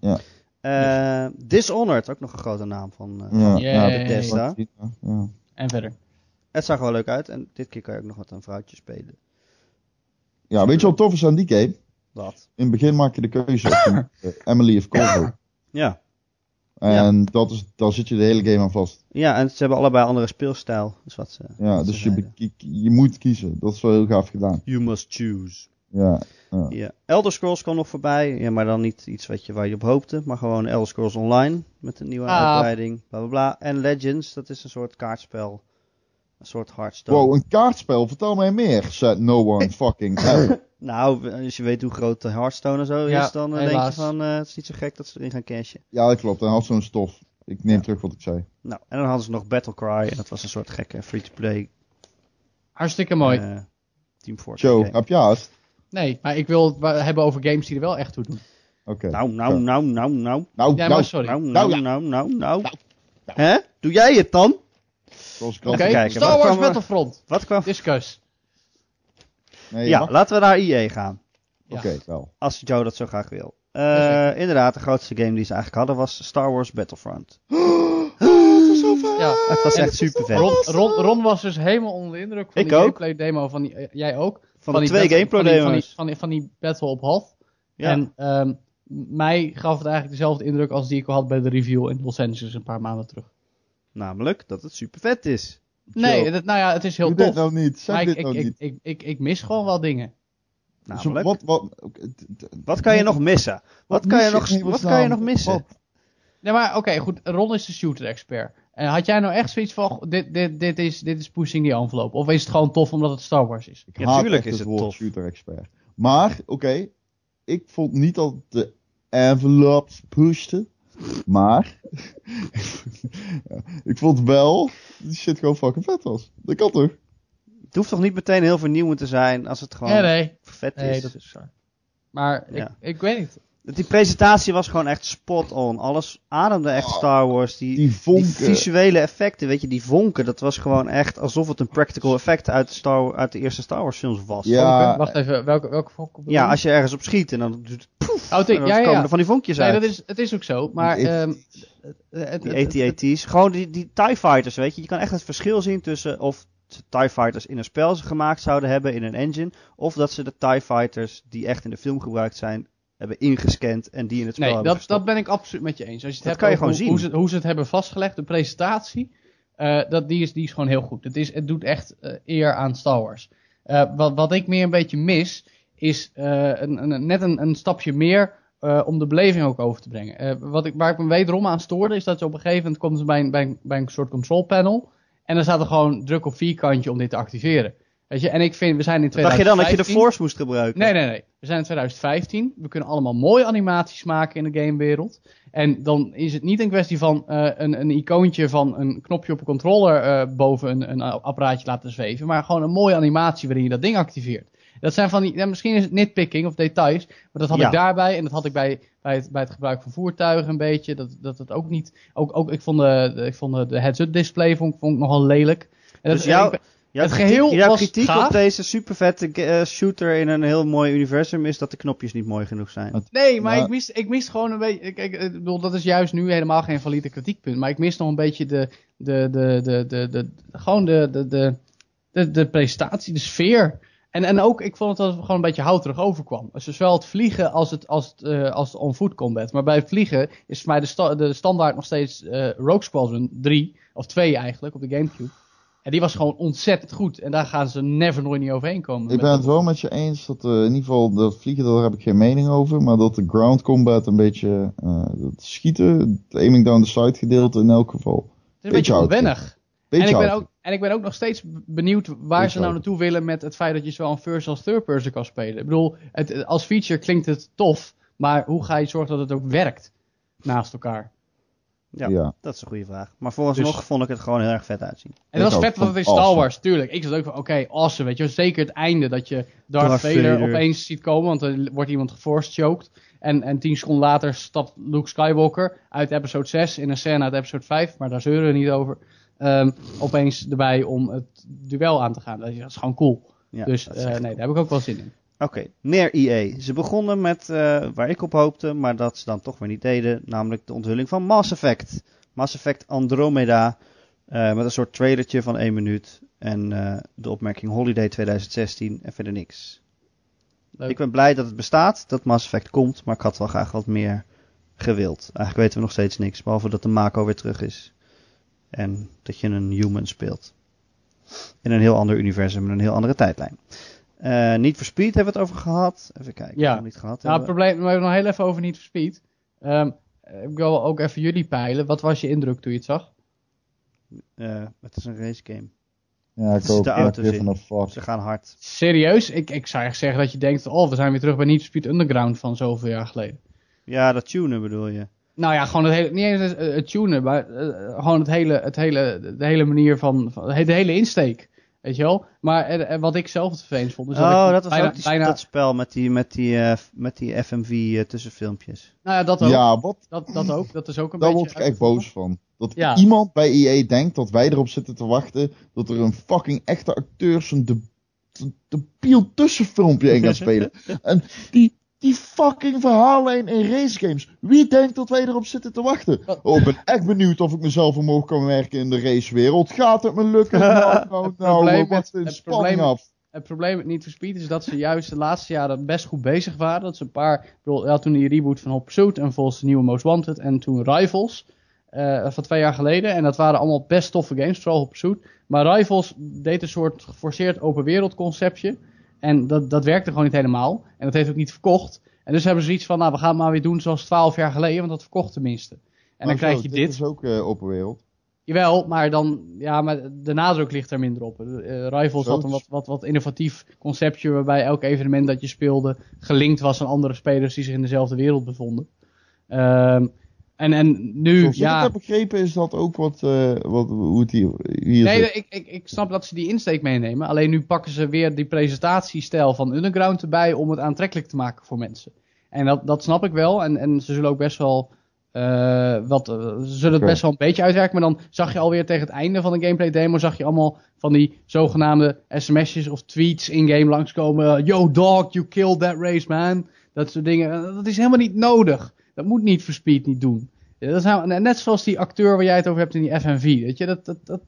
Speaker 2: Ja.
Speaker 1: Eh, Dishonored, ook nog een grote naam van. eh,
Speaker 2: Ja,
Speaker 3: Yay.
Speaker 2: ja, dat-
Speaker 1: Bethesda.
Speaker 2: Ja.
Speaker 3: En verder.
Speaker 1: Het zag er wel leuk uit en dit keer kan je ook nog wat een vrouwtje spelen.
Speaker 2: ja, weet je wat tof is aan die game?
Speaker 1: Dat.
Speaker 2: In het begin maak je de keuze op eh, Emily of Corvo.
Speaker 1: Ja.
Speaker 2: En dat is, daar zit je de hele game aan vast.
Speaker 1: Ja, en ze hebben allebei andere speelstijl. Dus wat ze.
Speaker 2: Ja,
Speaker 1: Ze
Speaker 2: dus je,
Speaker 1: zeiden.
Speaker 2: be- je moet kiezen. Dat is wel heel gaaf gedaan.
Speaker 1: You must choose.
Speaker 2: Ja,
Speaker 1: Ja. Elder Scrolls kwam nog voorbij. Ja, maar dan niet iets wat je, waar je op hoopte. Maar gewoon Elder Scrolls Online. Met een nieuwe
Speaker 3: Ah.
Speaker 1: uitbreiding. Bla bla bla. En Legends, dat is een soort kaartspel. Een soort Hearthstone.
Speaker 2: Wow, een kaartspel, vertel mij meer, said no one fucking ever.
Speaker 1: Nou, als je weet hoe groot de Hearthstone en zo
Speaker 3: Ja,
Speaker 1: is, dan eh, denk
Speaker 3: helaas.
Speaker 1: je van eh, het is niet zo gek dat ze erin gaan cashen.
Speaker 2: ja, dat klopt, hij had zo'n stof. Ik neem terug wat ik zei.
Speaker 1: Nou, en dan hadden ze nog Battlecry en dat was een soort gekke free-to-play
Speaker 3: Hartstikke mooi.
Speaker 1: eh, Team Fortress
Speaker 2: Joe,
Speaker 1: game.
Speaker 2: heb je haast?
Speaker 3: Nee, maar ik wil het wa- hebben over games die er wel echt toe doen.
Speaker 2: Oké.
Speaker 1: Nou, nou, nou, nou, nou,
Speaker 2: nou,
Speaker 3: Ja,
Speaker 2: nou,
Speaker 3: maar sorry.
Speaker 1: nou, nou,
Speaker 2: Nou, ja.
Speaker 1: nou, nou, nou. Hè? Doe jij het dan?
Speaker 2: zoals ik al
Speaker 3: Oké,
Speaker 1: Even kijken,
Speaker 3: Star
Speaker 1: wat
Speaker 3: Wars
Speaker 1: kwam er-
Speaker 3: Battlefront.
Speaker 1: Wat kwam...
Speaker 3: Discuss.
Speaker 2: Nee,
Speaker 1: Ja,
Speaker 2: wacht.
Speaker 1: laten we naar IE gaan.
Speaker 3: Ja.
Speaker 2: Oké, wel.
Speaker 1: Als Joe dat zo graag wil. Eh,
Speaker 3: Jazeker.
Speaker 1: inderdaad, de grootste game die ze eigenlijk hadden was Star Wars Battlefront.
Speaker 3: Ja.
Speaker 1: Het was
Speaker 3: En-
Speaker 1: echt super
Speaker 3: Ron,
Speaker 1: vet.
Speaker 3: Ron, Ron was dus helemaal onder de indruk van
Speaker 1: Ik
Speaker 3: die
Speaker 1: ook.
Speaker 3: gameplay demo van die, eh, jij ook.
Speaker 1: Van de
Speaker 3: die
Speaker 1: twee
Speaker 3: battle-
Speaker 1: gameplay
Speaker 3: van die- van die-
Speaker 1: demos.
Speaker 3: Van die, van die battle op half.
Speaker 1: Ja.
Speaker 3: En ehm, mij gaf het eigenlijk dezelfde indruk als die ik al had bij de review in Los Angeles een paar maanden terug.
Speaker 1: Namelijk dat het super vet is.
Speaker 3: Nee, dat, nou ja, het is heel
Speaker 2: Doe
Speaker 3: tof.
Speaker 2: dit nou niet, zeg
Speaker 3: maar ik,
Speaker 2: dit
Speaker 3: ik,
Speaker 2: nou
Speaker 3: ik,
Speaker 2: niet.
Speaker 3: ik, ik, ik mis gewoon wel dingen.
Speaker 2: Zo,
Speaker 1: Namelijk,
Speaker 2: Dus wat, wat, oké, d- d-
Speaker 1: wat kan je nog missen? Wat kan
Speaker 2: mis
Speaker 1: je nog-
Speaker 2: in
Speaker 1: wat
Speaker 2: hemelsnaam?
Speaker 1: kan je nog missen?
Speaker 2: Wat?
Speaker 3: Nee, maar oké, goed. Ron is de shooter-expert. En had jij nou echt zoiets van, goh, dit, dit, dit, is, dit is pushing the envelope? Of is het gewoon tof omdat het Star Wars is?
Speaker 2: Ik
Speaker 1: Ja,
Speaker 2: haat
Speaker 1: tuurlijk
Speaker 2: echt
Speaker 1: is het
Speaker 2: woord
Speaker 1: tof.
Speaker 2: shooter-expert. Maar, oké, ik vond niet dat de envelopes pushte, maar ja, ik vond wel dat die shit gewoon fucking vet was. Dat kan toch?
Speaker 1: Het hoeft toch niet meteen heel vernieuwend te zijn als het gewoon
Speaker 3: Nee, nee.
Speaker 1: vet is.
Speaker 3: Nee, dat is waar. Maar
Speaker 1: Ja.
Speaker 3: ik, ik weet niet.
Speaker 1: Die presentatie was gewoon echt spot on. Alles ademde echt Star Wars. Die, die
Speaker 2: Die vonken.
Speaker 1: visuele effecten, weet je, die vonken, dat was gewoon echt alsof het een practical effect uit, Star, uit de eerste Star Wars films was.
Speaker 2: ja,
Speaker 3: Wacht even, welke, welke volk? bedoel
Speaker 1: eh, Ja,
Speaker 3: je?
Speaker 1: als je ergens op schiet en dan doet het poef,
Speaker 3: Oh,
Speaker 1: en
Speaker 3: te-
Speaker 1: dan
Speaker 3: ja, ja,
Speaker 1: komen
Speaker 3: ja.
Speaker 1: er van die vonkjes
Speaker 3: Nee,
Speaker 1: uit.
Speaker 3: dat is, het is ook zo. Maar
Speaker 2: Ik-
Speaker 3: ehm, het- het- het-
Speaker 1: E Die E AT-AT's. Gewoon die, die TIE Fighters, weet je. Je kan echt het verschil zien tussen of ze TIE Fighters in een spel ze gemaakt zouden hebben in een engine. Of dat ze de TIE Fighters die echt in de film gebruikt zijn, hebben ingescand en die in het spel
Speaker 3: Nee,
Speaker 1: hebben
Speaker 3: dat, dat ben ik absoluut met je eens. Als je
Speaker 1: Dat
Speaker 3: het
Speaker 1: kan je
Speaker 3: hebt over
Speaker 1: gewoon
Speaker 3: hoe,
Speaker 1: zien.
Speaker 3: Hoe, ze, hoe ze het hebben vastgelegd, de presentatie, eh, dat, die, is, die is gewoon heel goed. Het, is, het doet echt eh, eer aan Star Wars. Eh, wat, wat ik meer een beetje mis, is eh, een, een, net een, een stapje meer eh, om de beleving ook over te brengen. Eh, wat ik, waar ik me wederom aan stoorde, is dat je op een gegeven moment komt bij een, bij een, bij een soort control panel. En dan staat er gewoon druk op vierkantje om dit te activeren. Weet je, en ik vind, we zijn in
Speaker 1: Wat dacht je
Speaker 3: 2015...
Speaker 1: dan dat je de Force moest gebruiken?
Speaker 3: Nee, nee, nee. We zijn in 2015. We kunnen allemaal mooie animaties maken in de gamewereld. En dan is het niet een kwestie van eh, een, een icoontje van een knopje op een controller eh, boven een, een apparaatje laten zweven. Maar gewoon een mooie animatie waarin je dat ding activeert. Dat zijn van die, ja, misschien is het nitpicking of details. Maar dat had
Speaker 1: Ja.
Speaker 3: ik daarbij. En dat had ik bij, bij, het, bij het gebruik van voertuigen een beetje. Dat dat het ook niet. Ook, ook, ik vond de, de- ik vond de, de heads-up display vond, ik- vond ik nogal lelijk. En
Speaker 1: Dus
Speaker 3: dat-
Speaker 1: jouw-
Speaker 3: ik ben-
Speaker 1: Jouw
Speaker 3: Het geheel
Speaker 1: kritiek, jouw
Speaker 3: was
Speaker 1: kritiek op
Speaker 3: gaaf.
Speaker 1: deze supervette eh, shooter in een heel mooi universum is dat de knopjes niet mooi genoeg zijn.
Speaker 2: Het-
Speaker 3: Nee, maar
Speaker 2: Maar-
Speaker 3: ik, mis, ik mis gewoon een beetje. Ik, ik, ik bedoel, dat is juist nu helemaal geen valide kritiekpunt. Maar ik mis nog een beetje de. de, de, de, de, de gewoon de, de, de, de, de presentatie, de sfeer. En, en ook, ik vond het dat het gewoon een beetje houterig overkwam. Dus zowel het vliegen als het, als het, eh, als het on-foot combat. Maar bij het vliegen is voor mij de, sta- de standaard nog steeds eh Rogue Squadron 3, of 2 eigenlijk, op de Gamecube. En die was gewoon ontzettend goed. En daar gaan ze never nooit niet overheen komen.
Speaker 2: Ik
Speaker 3: Met
Speaker 2: ben het
Speaker 3: dat-
Speaker 2: wel met je eens dat eh, in ieder geval dat vliegen, daar heb ik geen mening over. Maar dat de ground combat een beetje eh, dat schieten, het aiming down the sight gedeelte in elk geval.
Speaker 3: het is een beetje
Speaker 2: oud,
Speaker 3: onwennig.
Speaker 2: Beetje
Speaker 3: en, ik ben
Speaker 2: oud.
Speaker 3: ook, en ik ben ook nog steeds benieuwd waar
Speaker 2: Beetje
Speaker 3: ze nou
Speaker 2: oud.
Speaker 3: naartoe willen met het feit dat je zowel een first als third person kan spelen. Ik bedoel, het, als feature klinkt het tof, maar hoe ga je zorgen dat het ook werkt naast elkaar?
Speaker 2: ja.
Speaker 1: Ja, dat is een goede vraag. Maar vooralsnog
Speaker 3: Dus-
Speaker 1: vond ik het gewoon heel erg vet uitzien.
Speaker 3: En dat
Speaker 2: Ik
Speaker 3: was
Speaker 2: ook.
Speaker 3: vet, want het is
Speaker 2: Awesome.
Speaker 3: Star Wars, tuurlijk. Ik zat ook van, oké, awesome, weet je. wel. Zeker het einde, dat je Darth,
Speaker 1: Darth
Speaker 3: Vader,
Speaker 1: Vader.
Speaker 3: opeens ziet komen, want er wordt iemand geforced choked. En, en tien seconden later stapt Luke Skywalker uit episode 6 in een scène uit episode 5, maar daar zeuren we niet over. ehm, opeens erbij om het duel aan te gaan. Dat is, dat is gewoon cool.
Speaker 1: Ja,
Speaker 3: dus
Speaker 1: dat is
Speaker 3: eh,
Speaker 1: echt
Speaker 3: nee, daar heb ik ook wel zin in.
Speaker 1: Oké, meer EA. Ze begonnen met eh, waar ik op hoopte, maar dat ze dan toch weer niet deden, namelijk de onthulling van Mass Effect. Mass Effect Andromeda, eh, met een soort trailertje van één minuut en eh, de opmerking Holiday 2016 en verder niks.
Speaker 3: Leuk.
Speaker 1: Ik ben blij dat het bestaat, dat Mass Effect komt, maar ik had wel graag wat meer gewild. Eigenlijk weten we nog steeds niks, behalve dat de Mako weer terug is en dat je een human speelt. In een heel ander universum, in een heel andere tijdlijn. Eh, niet voor Speed hebben we het over gehad. Even kijken.
Speaker 3: Ja.
Speaker 1: hebben we Niet gehad
Speaker 3: Nou, het
Speaker 1: hebben.
Speaker 3: probleem, we hebben nog heel even over niet verspeed. Ehm ik wil ook even jullie peilen. Wat was je indruk toen je het zag?
Speaker 1: Eh, het is een race game.
Speaker 2: Ja, ik
Speaker 1: zitten
Speaker 2: ook. Ik
Speaker 1: auto's
Speaker 2: give
Speaker 1: in.
Speaker 2: a fuck.
Speaker 1: Ze gaan hard.
Speaker 3: Serieus? Ik, ik zou echt zeggen dat je denkt, oh, we zijn weer terug bij Need for Speed Underground van zoveel jaar geleden.
Speaker 1: Ja, dat tunen bedoel je.
Speaker 3: Nou ja, gewoon het hele, niet eens het, eh, het tunen, maar eh, gewoon het hele, het hele, de hele manier van, van- de hele insteek. Weet je wel? Maar eh, eh, wat ik zelf het vervelend vond, is dat
Speaker 1: oh,
Speaker 3: ik
Speaker 1: dat was
Speaker 3: bijna,
Speaker 1: ook die,
Speaker 3: bijna,
Speaker 1: dat spel met die, met die, eh, f- met die FMV eh, tussenfilmpjes.
Speaker 3: nou ja, dat ook.
Speaker 2: Ja, wat?
Speaker 3: Dat, dat ook. Dat is ook een
Speaker 2: Daar
Speaker 3: beetje...
Speaker 2: word ik echt boos van. Dat
Speaker 3: Ja.
Speaker 2: iemand bij EA denkt dat wij erop zitten te wachten dat er een fucking echte acteur zijn de, de, debiel tussenfilmpje in gaat spelen. en die, die fucking verhaallijn in racegames. Wie denkt dat wij erop zitten te wachten?
Speaker 3: Wat?
Speaker 2: Oh, ik ben echt benieuwd of ik mezelf omhoog kan werken in de racewereld. Gaat het me lukken? Nou, nou,
Speaker 3: Het
Speaker 2: nou,
Speaker 3: probleem
Speaker 2: we wachten
Speaker 3: met-
Speaker 2: in
Speaker 3: het
Speaker 2: spanning
Speaker 3: probleem-
Speaker 2: af.
Speaker 3: Het probleem met Need for Speed is dat ze juist de laatste jaren best goed bezig waren. Dat ze een paar, ik bedoel, ja, toen die reboot van Hot Pursuit en volgens de nieuwe Most Wanted en toen Rivals eh, van twee jaar geleden. En dat waren allemaal best toffe games, vooral Hot Pursuit. Maar Rivals deed een soort geforceerd open wereld conceptje. En dat, dat werkte gewoon niet helemaal. En dat heeft ook niet verkocht. En dus hebben ze iets van, nou we gaan het maar weer doen zoals 12 jaar geleden, want dat verkocht tenminste. En dan
Speaker 2: Maar
Speaker 3: krijg
Speaker 2: zo,
Speaker 3: je
Speaker 2: Dit
Speaker 3: dit.
Speaker 2: is ook eh open wereld.
Speaker 3: Jawel, maar dan, ja, maar de nadruk ligt er minder op. Eh, Rivals
Speaker 2: Zo.
Speaker 3: had een wat, wat, wat innovatief conceptje waarbij elk evenement dat je speelde gelinkt was aan andere spelers die zich in dezelfde wereld bevonden. Ehm, en, en nu,
Speaker 2: Zoals ik
Speaker 3: ja.
Speaker 2: het heb begrepen is dat ook wat, eh, wat hoe het hier, hier
Speaker 3: Nee,
Speaker 2: zit.
Speaker 3: nee, ik, ik, ik snap dat ze die insteek meenemen. Alleen nu pakken ze weer die presentatiestijl van Underground erbij om het aantrekkelijk te maken voor mensen. En dat, dat snap ik wel. En, en ze zullen ook best wel. eh, wat, eh, ze zullen het
Speaker 2: Oké.
Speaker 3: best wel een beetje uitwerken. Maar dan zag je alweer tegen het einde van de gameplay demo. Zag je allemaal van die zogenaamde sms'jes of tweets in-game langskomen. Yo dog, you killed that race man. Dat soort dingen. Eh, Dat is helemaal niet nodig. Dat moet niet voor Speed niet doen. Eh, Dat is nou- net zoals die acteur waar jij het over hebt in die FNV. Weet je, dat, dat, dat,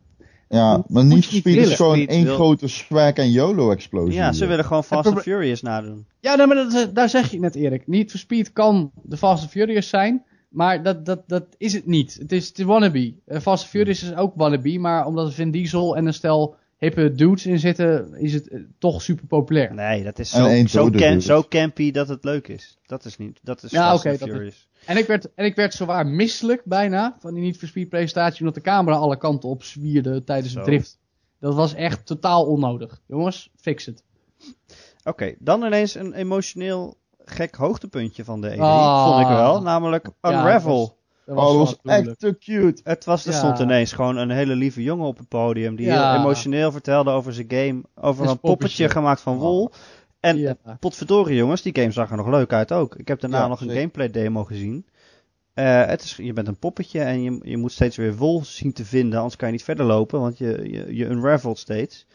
Speaker 2: Ja, maar
Speaker 3: moet
Speaker 2: niet
Speaker 3: je niet
Speaker 2: Speed is
Speaker 3: willen.
Speaker 2: gewoon
Speaker 1: Niet
Speaker 2: één
Speaker 1: wil-
Speaker 2: grote swag en YOLO-explosie.
Speaker 1: Ja, ze
Speaker 2: hier.
Speaker 1: willen gewoon Fast
Speaker 3: Het
Speaker 1: and
Speaker 3: proble-
Speaker 1: Furious nadoen.
Speaker 3: Ja, nee, maar dat, eh, daar zeg je het net, Erik. Niet for Speed kan de Fast and Furious zijn, maar dat, dat, dat is het niet. Het is de wannabe. Eh, Fast and Furious is ook wannabe, maar omdat er Vin Diesel en een stel hippe dudes in zitten, is het eh, toch super populair.
Speaker 1: Nee, dat is
Speaker 2: En
Speaker 1: zo,
Speaker 2: één
Speaker 1: zo,
Speaker 2: dode
Speaker 1: cam-
Speaker 2: dude.
Speaker 1: zo campy dat het leuk is. Dat is niet. Dat is
Speaker 3: Ja,
Speaker 1: Fast
Speaker 3: oké,
Speaker 1: and
Speaker 3: dat is-
Speaker 1: Furious.
Speaker 3: En ik werd, en ik werd zowaar misselijk bijna van die Niet for Speed presentatie, omdat de camera alle kanten op zwierde tijdens het
Speaker 1: Zo.
Speaker 3: drift. Dat was echt totaal onnodig. Jongens, fix het.
Speaker 1: Oké, dan ineens een emotioneel gek hoogtepuntje van de E3,
Speaker 3: Ah.
Speaker 1: vond ik wel. Namelijk
Speaker 3: dat
Speaker 1: Unravel.
Speaker 3: was- Dat
Speaker 2: Oh, dat was
Speaker 3: wel afdoenlijk.
Speaker 2: echt te cute.
Speaker 1: Het was, er
Speaker 3: Ja.
Speaker 1: stond ineens gewoon een hele lieve jongen op het podium die
Speaker 3: Ja.
Speaker 1: heel emotioneel vertelde over zijn game, over
Speaker 3: En
Speaker 1: een
Speaker 3: zijn
Speaker 1: poppetje
Speaker 3: poppetje. Oh.
Speaker 1: gemaakt van wol. En
Speaker 3: Ja.
Speaker 1: potverdorie jongens, die game zag er nog leuk uit ook. Ik heb daarna
Speaker 2: Ja,
Speaker 1: nog een
Speaker 2: zeker.
Speaker 1: gameplay demo gezien. Eh, het is, je bent een poppetje en je, je moet steeds weer wol zien te vinden, anders kan je niet verder lopen, want je, je, je unravelt steeds.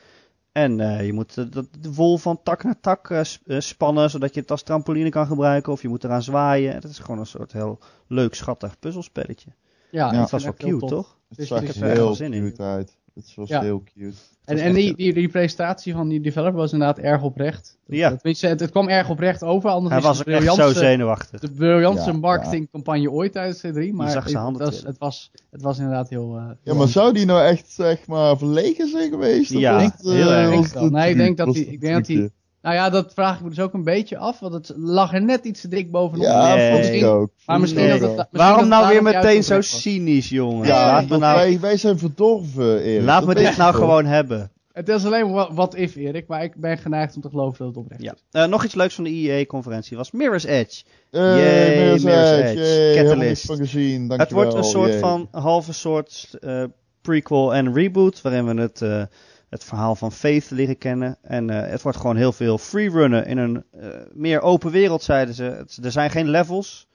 Speaker 1: En eh, je moet eh, dat, de wol van tak naar tak eh, s- eh, spannen, zodat je het als trampoline kan gebruiken, of je moet eraan zwaaien. Het is gewoon een soort heel leuk, schattig puzzelspelletje.
Speaker 3: Ja,
Speaker 2: Ja.
Speaker 3: ik
Speaker 1: Het was wel
Speaker 3: vind het echt heel
Speaker 1: cute,
Speaker 3: tof.
Speaker 1: toch?
Speaker 2: Het
Speaker 3: Dus
Speaker 2: zag
Speaker 3: dit
Speaker 2: er
Speaker 1: is- eh, Ik heb er echt
Speaker 2: heel
Speaker 1: wel zin in.
Speaker 2: cute uit. Het was
Speaker 3: Ja.
Speaker 2: heel cute.
Speaker 3: En,
Speaker 2: was
Speaker 3: en
Speaker 2: echt
Speaker 3: die,
Speaker 2: heel-
Speaker 3: die, die presentatie van die developer was inderdaad erg oprecht. Dat-
Speaker 1: Ja.
Speaker 3: dat- weet je, het, het kwam erg oprecht over. Anders
Speaker 1: Hij
Speaker 3: is het
Speaker 1: was ook
Speaker 3: de
Speaker 1: echt zo
Speaker 3: briljantste-
Speaker 1: zenuwachtig.
Speaker 3: De briljantste
Speaker 2: Ja,
Speaker 3: marketingcampagne ooit tijdens C3. Maar
Speaker 1: zag zijn handen
Speaker 3: het, was,
Speaker 1: trillen.
Speaker 3: het, was, het was inderdaad heel... eh,
Speaker 2: Ja, maar zou die nou echt, zeg maar, verlegen zijn geweest? Of
Speaker 1: Ja,
Speaker 2: was het, eh,
Speaker 1: heel erg.
Speaker 2: was het
Speaker 3: Wel, nee,
Speaker 2: een
Speaker 3: ik denk dat
Speaker 2: truc?
Speaker 3: die-
Speaker 2: Was
Speaker 3: ik
Speaker 2: het
Speaker 3: denk
Speaker 2: een
Speaker 3: dat die-
Speaker 2: trucje?
Speaker 3: Nou ja, dat vraag ik me dus ook een beetje af. Want het lag er net iets te dik bovenop.
Speaker 2: Ja,
Speaker 1: Nee.
Speaker 2: vond ik ook.
Speaker 3: Maar misschien
Speaker 2: Vond ik
Speaker 3: dat het-
Speaker 2: ook.
Speaker 3: misschien
Speaker 1: Waarom
Speaker 3: dat
Speaker 1: nou
Speaker 3: het
Speaker 1: weer
Speaker 3: daarom
Speaker 1: meteen
Speaker 3: juist
Speaker 1: zo
Speaker 3: oprecht was.
Speaker 1: cynisch, jongen?
Speaker 2: Ja,
Speaker 1: laat me,
Speaker 2: want
Speaker 1: nou,
Speaker 2: wij, wij zijn verdorven, Erik.
Speaker 1: laat
Speaker 2: Dat
Speaker 1: me
Speaker 2: weet
Speaker 1: dit
Speaker 2: je
Speaker 1: nou
Speaker 2: toch?
Speaker 1: gewoon hebben.
Speaker 3: Het is alleen wa- wat if, Erik. Maar ik ben geneigd om te geloven dat het oprecht
Speaker 1: Ja.
Speaker 3: is.
Speaker 1: Eh, nog iets leuks van de IEA-conferentie was Mirror's Edge.
Speaker 2: Hey,
Speaker 1: Yay,
Speaker 2: Eh, Mirror's
Speaker 1: Mirror's
Speaker 2: Edge,
Speaker 1: Edge.
Speaker 2: yay, helemaal
Speaker 1: Catalyst.
Speaker 2: niks van gezien,
Speaker 1: Het
Speaker 2: dankjewel.
Speaker 1: wordt een soort
Speaker 2: yay.
Speaker 1: van halve soort eh, prequel en reboot, waarin we het, eh, het verhaal van Faith leren kennen. En eh, het wordt gewoon heel veel freerunnen in een eh, meer open wereld, zeiden ze. Het- er zijn geen levels.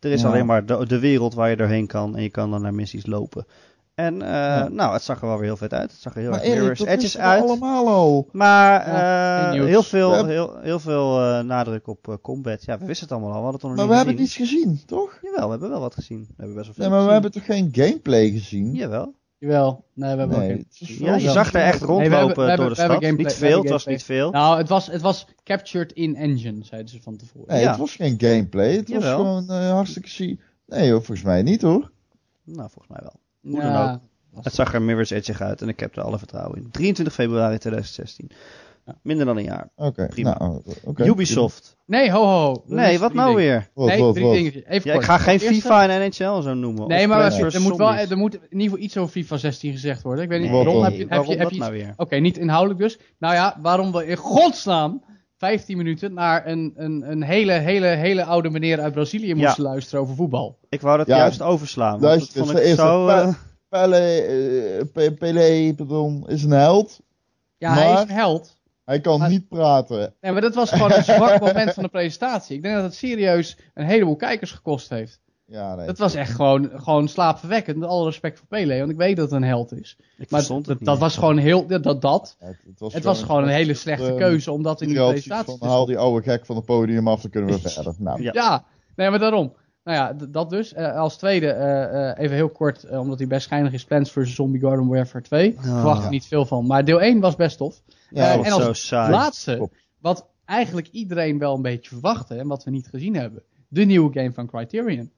Speaker 1: Er is
Speaker 2: Ja.
Speaker 1: alleen maar de, de wereld waar je doorheen kan en je kan dan naar missies lopen. En eh, nou, het zag er wel weer heel vet uit. Het zag er heel
Speaker 2: Maar
Speaker 1: erg
Speaker 2: Erik,
Speaker 1: Mirror's
Speaker 2: dat
Speaker 1: Edge
Speaker 2: is
Speaker 1: is
Speaker 2: er
Speaker 1: uit.
Speaker 2: allemaal al.
Speaker 1: Maar
Speaker 3: Ja,
Speaker 1: eh,
Speaker 3: geen nieuws.
Speaker 1: heel veel,
Speaker 2: We hebben-
Speaker 1: heel, heel veel eh, nadruk op eh, combat. Ja, we wisten het allemaal al. We hadden het nog
Speaker 2: Maar
Speaker 1: niet
Speaker 2: we hebben
Speaker 1: gezien.
Speaker 2: niets gezien, toch?
Speaker 1: Jawel, we hebben wel wat gezien. We hebben best wel veel
Speaker 2: Nee, maar we
Speaker 1: gezien.
Speaker 2: hebben toch geen gameplay gezien?
Speaker 1: Jawel.
Speaker 3: Jawel. Nee, we hebben ook
Speaker 2: Nee,
Speaker 3: geen-
Speaker 2: het is wel
Speaker 1: Ja, je
Speaker 2: jammer.
Speaker 1: zag er echt rondlopen
Speaker 3: we hebben- we hebben-
Speaker 1: door de
Speaker 3: we hebben
Speaker 1: stad.
Speaker 3: gameplay-
Speaker 1: niet
Speaker 3: we
Speaker 1: veel,
Speaker 3: hebben
Speaker 1: het was niet veel.
Speaker 3: Nou, het was, het was captured in engine, zeiden ze van tevoren.
Speaker 2: Nee,
Speaker 1: Ja.
Speaker 2: het was geen gameplay. Het
Speaker 1: Jawel.
Speaker 2: was gewoon eh, hartstikke zie. Nee, hoor, volgens mij niet hoor.
Speaker 1: nou, volgens mij wel.
Speaker 3: Hoe
Speaker 1: dan ook. Het zag er Mirror's Edge uit en ik heb er alle vertrouwen in. 23 februari 2016. Minder dan een jaar.
Speaker 2: Oké,
Speaker 1: Prima.
Speaker 2: nou, oké.
Speaker 1: Ubisoft.
Speaker 3: Nee, ho, ho. Er
Speaker 1: Nee,
Speaker 3: is
Speaker 1: wat
Speaker 3: drie
Speaker 1: nou
Speaker 3: dingen.
Speaker 1: weer?
Speaker 2: Wat,
Speaker 3: nee,
Speaker 2: wat,
Speaker 3: drie
Speaker 2: wat?
Speaker 3: dingetjes. Even
Speaker 1: Ja, ik
Speaker 3: kort.
Speaker 1: ga geen
Speaker 3: Eerste-
Speaker 1: FIFA en NHL zo noemen.
Speaker 3: Nee,
Speaker 1: of
Speaker 3: maar
Speaker 1: Plants
Speaker 2: nee.
Speaker 1: vs.
Speaker 3: er moet, wel,
Speaker 1: Zombies.
Speaker 3: er moet in ieder geval iets over FIFA 16 gezegd worden. Ik weet niet
Speaker 1: Nee,
Speaker 3: waarom. Heb je,
Speaker 2: waarom?
Speaker 3: heb je,
Speaker 1: waarom
Speaker 3: heb
Speaker 1: dat
Speaker 3: je iets-
Speaker 1: nou weer?
Speaker 3: Oké, niet inhoudelijk dus. Nou ja, waarom we in godsnaam 15 minuten naar een, een, een hele, hele, hele oude meneer uit Brazilië moesten luisteren over voetbal.
Speaker 1: Ik wou dat
Speaker 2: Ja,
Speaker 1: juist overslaan. want
Speaker 2: luister,
Speaker 1: dat vond
Speaker 2: het
Speaker 1: ik
Speaker 2: is
Speaker 1: zo...
Speaker 2: een-
Speaker 1: eh,
Speaker 2: Pele, eh, Pe- Pelé, pardon, is een held.
Speaker 3: Ja, hij is
Speaker 2: Maar-
Speaker 3: een held.
Speaker 2: Hij kan
Speaker 3: Maar-
Speaker 2: niet praten.
Speaker 3: Nee, maar dat was gewoon een zwak moment van de presentatie. Ik denk dat het serieus een heleboel kijkers gekost heeft.
Speaker 2: Ja, nee.
Speaker 3: Dat was echt gewoon, gewoon slaapverwekkend. Met alle respect voor Pele, want ik weet dat het een held is.
Speaker 1: ik
Speaker 3: Maar
Speaker 1: verstond het
Speaker 3: dat, dat
Speaker 1: niet.
Speaker 3: was gewoon heel... Dat, dat, dat.
Speaker 2: Ja, het was
Speaker 3: Het was gewoon een hele slechte
Speaker 2: eh,
Speaker 3: keuze om dat in die
Speaker 2: iedereen had zoiets
Speaker 3: presentatie te
Speaker 2: van, haal die oude gek van het podium af, dan kunnen we
Speaker 3: Ja.
Speaker 2: verder. Nou,
Speaker 1: Ja.
Speaker 3: Ja. nee, maar daarom. Nou ja, d- dat dus. Eh, als tweede, eh, eh, even heel kort, eh, omdat hij best schijnig is, Plants vs. Zombie Garden Warfare 2.
Speaker 1: Ah.
Speaker 3: Verwacht er niet veel van, maar deel 1 was best tof.
Speaker 2: ja,
Speaker 3: Eh,
Speaker 1: Dat
Speaker 3: en
Speaker 1: was
Speaker 3: als
Speaker 1: zo saai.
Speaker 3: Laatste,
Speaker 2: Top.
Speaker 3: wat eigenlijk iedereen wel een beetje verwachtte en wat we niet gezien hebben. De nieuwe game van Criterion.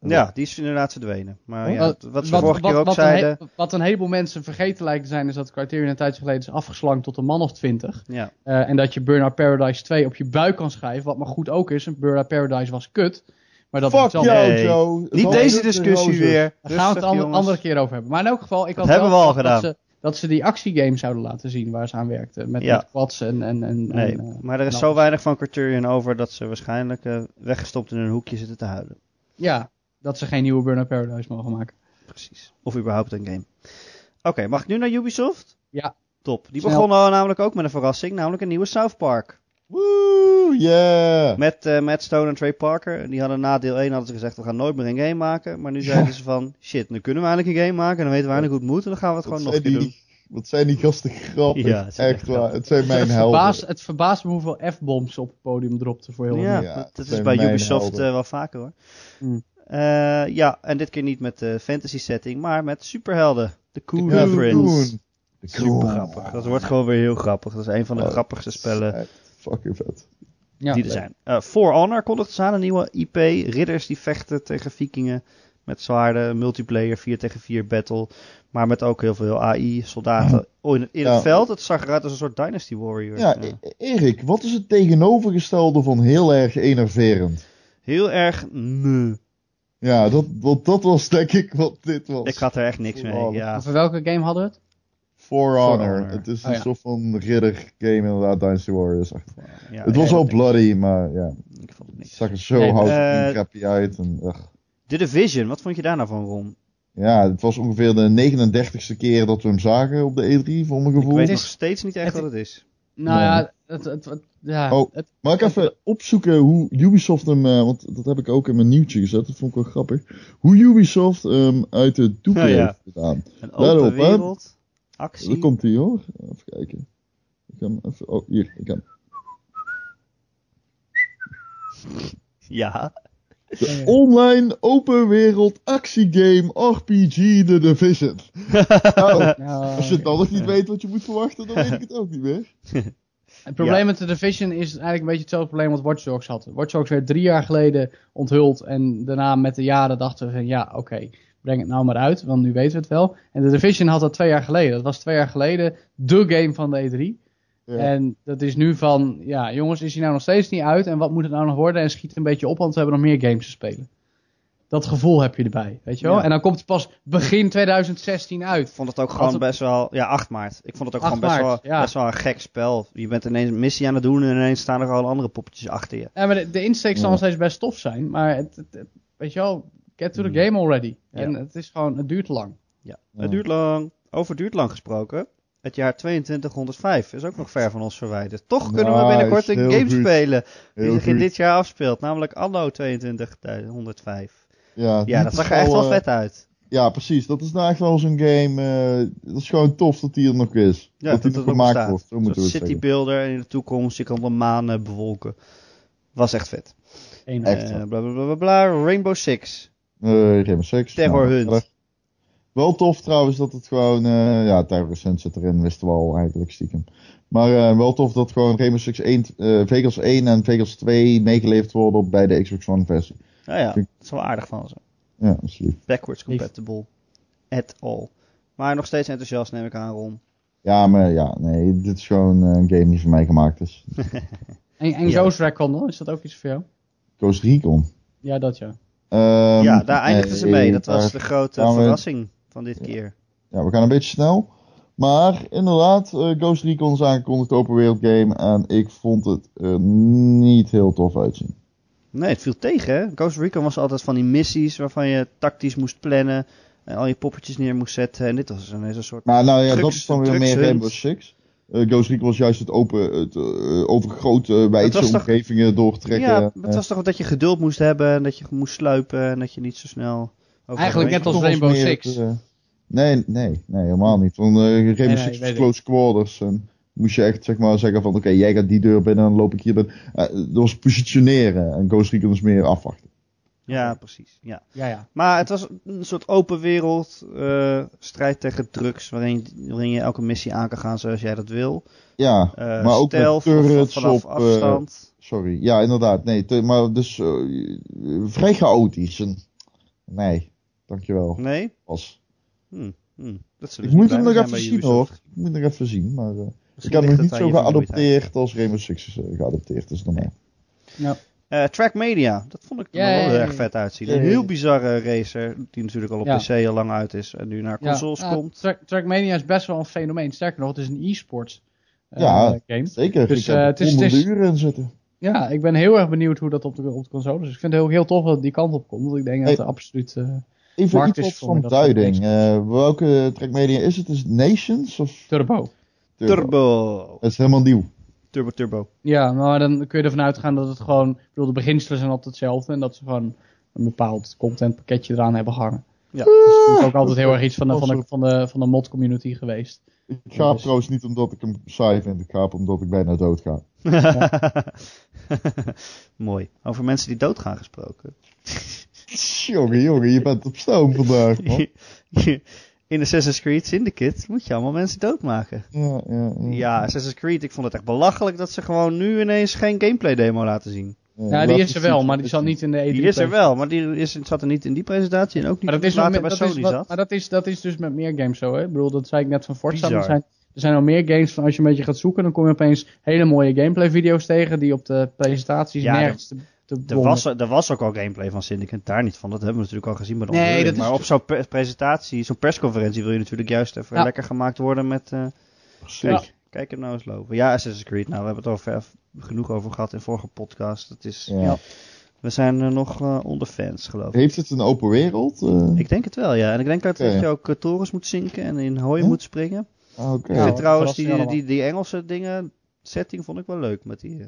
Speaker 1: Ja, die is inderdaad verdwenen. Maar
Speaker 2: Oh,
Speaker 1: ja,
Speaker 3: wat-
Speaker 1: wat, ze vorige keer ook
Speaker 3: wat een he-
Speaker 1: zeiden...
Speaker 3: wat een heleboel mensen vergeten lijkt te zijn, is dat Criterion een tijdje geleden is afgeslankt tot een man of twintig.
Speaker 1: Ja,
Speaker 3: Eh, en dat je Burnout Paradise 2 op je buik kan schrijven. Wat maar goed ook is. Een Burnout Paradise was kut. Maar dat
Speaker 2: Fuck
Speaker 3: moet wel-
Speaker 2: jou,
Speaker 1: Nee.
Speaker 2: Joe. Het
Speaker 1: niet
Speaker 2: was
Speaker 1: deze
Speaker 2: een
Speaker 1: discussie
Speaker 2: roze.
Speaker 1: weer.
Speaker 3: Daar gaan we het
Speaker 1: Rustig,
Speaker 3: een
Speaker 1: jongens.
Speaker 3: andere keer over hebben. Maar in elk geval, ik
Speaker 1: Dat
Speaker 3: had
Speaker 1: hebben
Speaker 3: wel
Speaker 1: we al
Speaker 3: verwacht
Speaker 1: gedaan.
Speaker 3: Dat ze, dat ze die actiegame zouden laten zien waar ze aan werkten. Met,
Speaker 1: Ja.
Speaker 3: met quads en... en, en,
Speaker 1: Nee,
Speaker 3: en, eh,
Speaker 1: maar er is
Speaker 3: en
Speaker 1: zo
Speaker 3: alles.
Speaker 1: weinig van Criterion over dat ze waarschijnlijk eh, weggestopt in een hoekje zitten te huilen.
Speaker 3: ja, dat ze geen nieuwe Burnout Paradise mogen maken.
Speaker 1: Precies. Of überhaupt een game. Oké, mag ik nu naar Ubisoft?
Speaker 3: Ja.
Speaker 1: Top. Die
Speaker 3: Snel.
Speaker 1: begonnen al namelijk ook met een verrassing, namelijk een nieuwe South Park.
Speaker 2: Woe, yeah.
Speaker 1: Met eh, Matt Stone en Trey Parker. En Die hadden na deel 1 hadden ze gezegd, we gaan nooit meer een game maken. Maar nu zeiden ze van, shit, nu kunnen we eindelijk een game maken. En dan weten we eindelijk hoe het moet. En dan gaan we het gewoon nog een
Speaker 2: zijn
Speaker 1: keer doen.
Speaker 2: die, Wat zijn die gasten grappig.
Speaker 1: Ja, het zijn
Speaker 2: echt
Speaker 1: echt
Speaker 2: waar.
Speaker 1: grappig.
Speaker 2: Het zijn mijn
Speaker 3: het,
Speaker 2: helden.
Speaker 3: verbaast, het verbaast me hoeveel F-bombs op het podium dropten voor heel
Speaker 1: Ja,
Speaker 2: Ja,
Speaker 1: dat, dat is
Speaker 2: zijn
Speaker 1: bij
Speaker 2: mijn
Speaker 1: Ubisoft
Speaker 2: helden.
Speaker 1: eh, wel vaker hoor.
Speaker 3: Mm.
Speaker 1: Eh, ja, en dit keer niet met de fantasy setting, maar met superhelden. De Coon
Speaker 2: Ja, de
Speaker 1: Prince.
Speaker 2: Koen. De Koen.
Speaker 1: Super grappig. Dat wordt gewoon weer heel grappig. Dat is een van de
Speaker 2: Ja,
Speaker 1: grappigste spellen
Speaker 2: Echt fucking vet.
Speaker 3: Ja.
Speaker 1: die er zijn. Eh For Honor kondigt ze aan, een nieuwe IP. Ridders die vechten tegen vikingen met zwaarden. Multiplayer 4 tegen 4 battle. Maar met ook heel veel AI, soldaten oh, in, in
Speaker 2: Ja.
Speaker 1: het veld. Het zag eruit als een soort Dynasty Warrior. Eh,
Speaker 2: Ja,
Speaker 1: Ja.
Speaker 2: E- Erik, wat is het tegenovergestelde van heel erg enerverend?
Speaker 1: Heel erg nee.
Speaker 2: Ja, dat, want dat was denk ik wat dit was.
Speaker 1: Ik had er echt niks mee.
Speaker 2: Wow.
Speaker 1: Ja.
Speaker 3: Over welke game hadden we het?
Speaker 2: For Honor.
Speaker 1: Honor.
Speaker 2: Het is
Speaker 3: Oh,
Speaker 2: een
Speaker 3: ja.
Speaker 2: soort van ridder game inderdaad, Dynasty Warriors. Echt.
Speaker 1: Ja,
Speaker 2: het was
Speaker 1: ik-
Speaker 2: wel
Speaker 1: ik-
Speaker 2: bloody, maar ja,
Speaker 1: Ik vond het
Speaker 2: het
Speaker 1: niks.
Speaker 2: zag er zo
Speaker 3: Nee,
Speaker 2: hout
Speaker 1: eh,
Speaker 2: en crappy uit. En, ugh.
Speaker 1: The Division, wat vond je daar nou van, Ron?
Speaker 2: Ja, het was ongeveer de 39ste keer dat we hem zagen op de E3, voor mijn
Speaker 1: Ik
Speaker 2: gevoel.
Speaker 1: weet
Speaker 3: Het
Speaker 1: nog
Speaker 3: is-
Speaker 1: steeds niet echt
Speaker 3: het-
Speaker 1: wat het is.
Speaker 3: Nou
Speaker 2: Nee.
Speaker 3: ja, het, het, het- ja,
Speaker 2: Oh.
Speaker 3: het-
Speaker 2: Mag ik even opzoeken hoe Ubisoft hem, eh, want dat heb ik ook in mijn nieuwtje gezet, dat vond ik wel grappig. Hoe Ubisoft hem uit de doeken
Speaker 1: Ja, ja.
Speaker 2: heeft gedaan.
Speaker 1: Een
Speaker 2: Let
Speaker 1: open
Speaker 2: op, hè.
Speaker 1: wereld,
Speaker 2: Daar
Speaker 1: actie.
Speaker 2: komt hij hoor. Even kijken. Ik ga hem even, oh hier, ik ga hem.
Speaker 1: Ja,
Speaker 2: De
Speaker 3: eh,
Speaker 2: online open wereld actiegame RPG The Division. Nou, als je dan nog niet weet wat je moet verwachten, dan weet ik het ook niet meer.
Speaker 3: Het probleem met de Division is eigenlijk een beetje hetzelfde probleem wat Watch Dogs had. Watch Dogs werd drie jaar geleden onthuld en daarna met de jaren dachten we van ja, oké, breng het nou maar uit, want nu weten we het wel. En de Division had dat twee jaar geleden. Dat was twee jaar geleden de game van de E3.
Speaker 2: Ja.
Speaker 3: En dat is nu van, ja jongens, is hij nou nog steeds niet uit en wat moet het nou nog worden? En schiet een beetje op, want we hebben nog meer games te spelen. Dat gevoel heb je erbij, weet je wel?
Speaker 1: Ja.
Speaker 3: En dan komt het pas begin 2016
Speaker 1: Ik
Speaker 3: uit.
Speaker 1: vond het ook gewoon
Speaker 3: Altijd-
Speaker 1: best wel... Ja, 8 maart. Ik vond het ook
Speaker 3: 8
Speaker 1: gewoon best,
Speaker 3: maart,
Speaker 1: wel,
Speaker 3: ja.
Speaker 1: best wel een gek spel. Je bent ineens een missie aan het doen en ineens staan er al andere poppetjes achter je.
Speaker 3: Ja, maar de, de insteek zal
Speaker 2: Ja.
Speaker 3: nog steeds best tof zijn, maar het, het- het- weet je wel, get to the
Speaker 1: Mhm.
Speaker 3: game already.
Speaker 1: Ja.
Speaker 3: En het is gewoon, het duurt te lang.
Speaker 2: Ja.
Speaker 1: Het duurt lang. Over duurt lang gesproken. Het jaar 2205 is ook nog ver van ons verwijderd. Toch kunnen we
Speaker 2: Nice,
Speaker 1: binnenkort een
Speaker 2: heel
Speaker 1: game
Speaker 2: goed.
Speaker 1: spelen die
Speaker 2: Heel
Speaker 1: zich in
Speaker 2: goed.
Speaker 1: dit jaar afspeelt. Namelijk Anno 2205.
Speaker 2: Ja,
Speaker 1: Ja,
Speaker 2: die
Speaker 1: dat zag
Speaker 2: is
Speaker 1: er echt wel
Speaker 2: eh,
Speaker 1: vet uit.
Speaker 2: Ja, precies. Dat is nou echt wel zo'n game. eh, dat is gewoon tof dat die er nog is.
Speaker 1: Ja,
Speaker 2: dat die
Speaker 1: dat het
Speaker 2: nog
Speaker 1: nog
Speaker 2: gemaakt
Speaker 1: bestaat.
Speaker 2: wordt. Zo
Speaker 1: Een
Speaker 2: moeten
Speaker 1: soort
Speaker 2: we het
Speaker 1: city
Speaker 2: zeggen.
Speaker 1: builder en in de toekomst. Je kan de maan eh, bewolken. Was echt vet.
Speaker 3: Eén
Speaker 2: Echt
Speaker 1: Eh,
Speaker 2: wel.
Speaker 1: bla, bla, bla, bla, bla. Rainbow Six.
Speaker 2: Eh Rainbow Six.
Speaker 1: Terror
Speaker 2: nou,
Speaker 1: Hunt.
Speaker 2: verder. Wel tof trouwens dat het gewoon... eh, ja, Terror Hunt zit erin, wisten we al eigenlijk stiekem. Maar eh, wel tof dat gewoon Rainbow Six 1, eh, Vegas 1 en Vegas 2 meegeleverd worden op- bij de Xbox One versie.
Speaker 1: Nou ja, dat is wel aardig van ze.
Speaker 2: Ja, dat is lief.
Speaker 1: Backwards compatible. At all. Maar nog steeds enthousiast neem ik aan, Ron.
Speaker 2: Ja, maar ja, nee, dit is gewoon eh, een game die voor mij gemaakt is.
Speaker 3: En, en
Speaker 1: Ja.
Speaker 3: Ghost Recon, hoor, is dat ook iets voor jou?
Speaker 2: Ghost Recon.
Speaker 3: Ja, dat ja.
Speaker 2: Ehm,
Speaker 1: ja, daar eindigden ze
Speaker 2: nee,
Speaker 1: mee. Dat
Speaker 2: daar-
Speaker 1: was de grote
Speaker 2: gaan we-
Speaker 1: verrassing van dit keer.
Speaker 2: Ja, we gaan een beetje snel. Maar inderdaad, eh, Ghost Recon is aangekondigd open wereld game. En ik vond het er niet heel tof uitzien.
Speaker 1: Nee, het viel tegen. Hè? Ghost Recon was altijd van die missies waarvan je tactisch moest plannen. En al je poppetjes neer moest zetten. En dit was ineens een soort...
Speaker 2: Maar nou ja,
Speaker 1: Drugs-
Speaker 2: dat is dan weer
Speaker 1: drugs
Speaker 2: meer
Speaker 1: hunt.
Speaker 2: Rainbow Six. Eh, Ghost Recon was juist het, open, het eh, overgrote eh,
Speaker 1: Dat
Speaker 2: wijdse
Speaker 1: was toch-
Speaker 2: omgevingen doortrekken.
Speaker 1: ja,
Speaker 2: Eh,
Speaker 1: het was toch dat je geduld moest hebben. En dat je moest sluipen. En dat je niet zo snel... over-
Speaker 3: Eigenlijk net als
Speaker 2: toch was
Speaker 3: Rainbow
Speaker 2: meer
Speaker 3: Six.
Speaker 2: het, eh, nee, nee, nee, helemaal niet. Want eh, Rainbow
Speaker 3: nee,
Speaker 2: Six
Speaker 3: weet
Speaker 2: was
Speaker 3: ik.
Speaker 2: close quarters. En moest je echt zeg maar, zeggen van oké, jij gaat die deur binnen en dan loop ik hier binnen. Eh, dat was positioneren. En Ghost Recon is meer afwachten.
Speaker 1: Ja, precies. Ja.
Speaker 3: Ja, ja.
Speaker 1: Maar het was een soort open wereld eh, strijd tegen drugs, waarin, waarin je elke missie aan kan gaan zoals jij dat wil.
Speaker 2: Ja,
Speaker 1: Eh,
Speaker 2: Maar ook met
Speaker 1: stealth of
Speaker 2: turrets
Speaker 1: vanaf
Speaker 2: op, eh,
Speaker 1: afstand.
Speaker 2: Sorry, ja, inderdaad. Nee, te- maar dus eh, vrij chaotisch. En- Nee, dankjewel.
Speaker 1: Nee?
Speaker 2: Pas.
Speaker 1: Hm, hm. Dat zullen ze
Speaker 2: Ik moet
Speaker 1: blij
Speaker 2: hem
Speaker 1: mee zijn
Speaker 2: nog even
Speaker 1: bij
Speaker 2: zien
Speaker 1: Ubisoft.
Speaker 2: hoor. Ik moet nog even zien, maar eh, ik
Speaker 1: Misschien ligt
Speaker 2: had hem
Speaker 1: het
Speaker 2: niet
Speaker 1: aan
Speaker 2: zo
Speaker 1: je vermoeidheid.
Speaker 2: geadopteerd als Rainbow Six is eh, geadopteerd. Dus normaal.
Speaker 3: Ja.
Speaker 1: Eh, Track Media, dat vond ik er nog wel
Speaker 3: Yay.
Speaker 1: heel erg vet uitzien. Een
Speaker 2: Yay.
Speaker 1: heel bizarre racer, die natuurlijk al op
Speaker 3: Ja.
Speaker 1: PC al lang uit is en nu naar consoles
Speaker 3: Ja,
Speaker 1: komt.
Speaker 3: Track- Trackmania is best wel een fenomeen. Sterker nog, het is een e-sports eh,
Speaker 2: Ja.
Speaker 3: game.
Speaker 2: Zeker,
Speaker 3: Dus,
Speaker 2: dus, ik
Speaker 3: eh,
Speaker 2: heb
Speaker 3: het is-
Speaker 2: er
Speaker 3: het is-
Speaker 2: 100 uur in zitten.
Speaker 3: Ja, ik ben heel erg benieuwd hoe dat op de, op de consoles is. Ik vind het heel, heel tof dat het die kant op komt. Want ik denk dat
Speaker 2: Hey.
Speaker 3: er absoluut... eh,
Speaker 2: Even
Speaker 3: Markt
Speaker 2: iets
Speaker 3: is
Speaker 2: wat
Speaker 3: voor me
Speaker 2: van
Speaker 3: dat soort
Speaker 2: duiding. Eh, welke trackmedia is het? Is het Nations of
Speaker 3: turbo.
Speaker 2: Turbo?
Speaker 1: turbo.
Speaker 2: Dat is helemaal nieuw.
Speaker 1: Turbo, turbo.
Speaker 3: Ja, maar dan kun je ervan uitgaan dat het gewoon... Ik bedoel, de beginselen zijn altijd hetzelfde. En dat ze gewoon een bepaald contentpakketje eraan hebben hangen.
Speaker 1: Ja.
Speaker 3: Dus dat is ook altijd heel erg iets van de, van de, van de, van de mod community geweest.
Speaker 2: Ik ga
Speaker 3: Dus-
Speaker 2: trouwens niet omdat ik hem saai vind. Ik ga hem omdat ik bijna dood ga.
Speaker 1: Mooi. Over mensen die doodgaan gesproken.
Speaker 2: Jongen, jongen, je bent op stoom vandaag, man.
Speaker 1: In Assassin's Creed Syndicate moet je allemaal mensen doodmaken.
Speaker 2: Ja, ja,
Speaker 3: Mhm.
Speaker 1: Ja, Assassin's Creed, ik vond het echt belachelijk dat ze gewoon nu ineens geen gameplay demo laten zien.
Speaker 3: Ja, Nou, die is er wel, maar die zal niet in de E3
Speaker 1: Die is er
Speaker 3: presentatie.
Speaker 1: wel, maar die is, zat er niet in die presentatie en ook niet
Speaker 3: Maar dat is, nog
Speaker 1: later
Speaker 3: met,
Speaker 1: bij
Speaker 3: dat
Speaker 1: Sony
Speaker 3: is wat-
Speaker 1: zat.
Speaker 3: maar dat is, dat is dus met meer games zo. Hè? Ik bedoel, dat zei ik net van Forza.
Speaker 1: Bizar.
Speaker 3: Er zijn, er zijn al meer games van als je een beetje gaat zoeken, dan kom je opeens hele mooie gameplay video's tegen die op de presentaties
Speaker 1: Ja,
Speaker 3: nergens te, te
Speaker 1: Er
Speaker 3: bewonderen.
Speaker 1: was, er was ook al gameplay van Syndicate, daar niet van. Dat hebben we natuurlijk al gezien bij de
Speaker 3: Nee,
Speaker 1: onthulling.
Speaker 3: dat is
Speaker 1: Maar op zo'n pre- presentatie, zo'n persconferentie wil je natuurlijk juist even
Speaker 3: Ja.
Speaker 1: lekker gemaakt worden met... eh,
Speaker 2: Ja.
Speaker 1: kijk hem nou eens lopen. Ja, Assassin's Creed, nou we hebben het al ver, genoeg over gehad in vorige podcast. Dat is,
Speaker 2: Ja.
Speaker 1: We zijn eh, nog eh, onder fans geloof ik.
Speaker 2: Heeft het een open wereld? Eh,
Speaker 1: Ik denk het wel, ja. En ik denk dat,
Speaker 2: Oké.
Speaker 1: dat je ook eh, torens moet zinken en in hooi
Speaker 2: Hm?
Speaker 1: moet springen.
Speaker 2: ah, Oké.
Speaker 1: Ik
Speaker 3: Ja,
Speaker 1: vind
Speaker 3: wat
Speaker 1: trouwens
Speaker 3: verrassing
Speaker 1: die,
Speaker 3: allemaal.
Speaker 1: die, die Engelse dingen, setting vond ik wel leuk met die eh,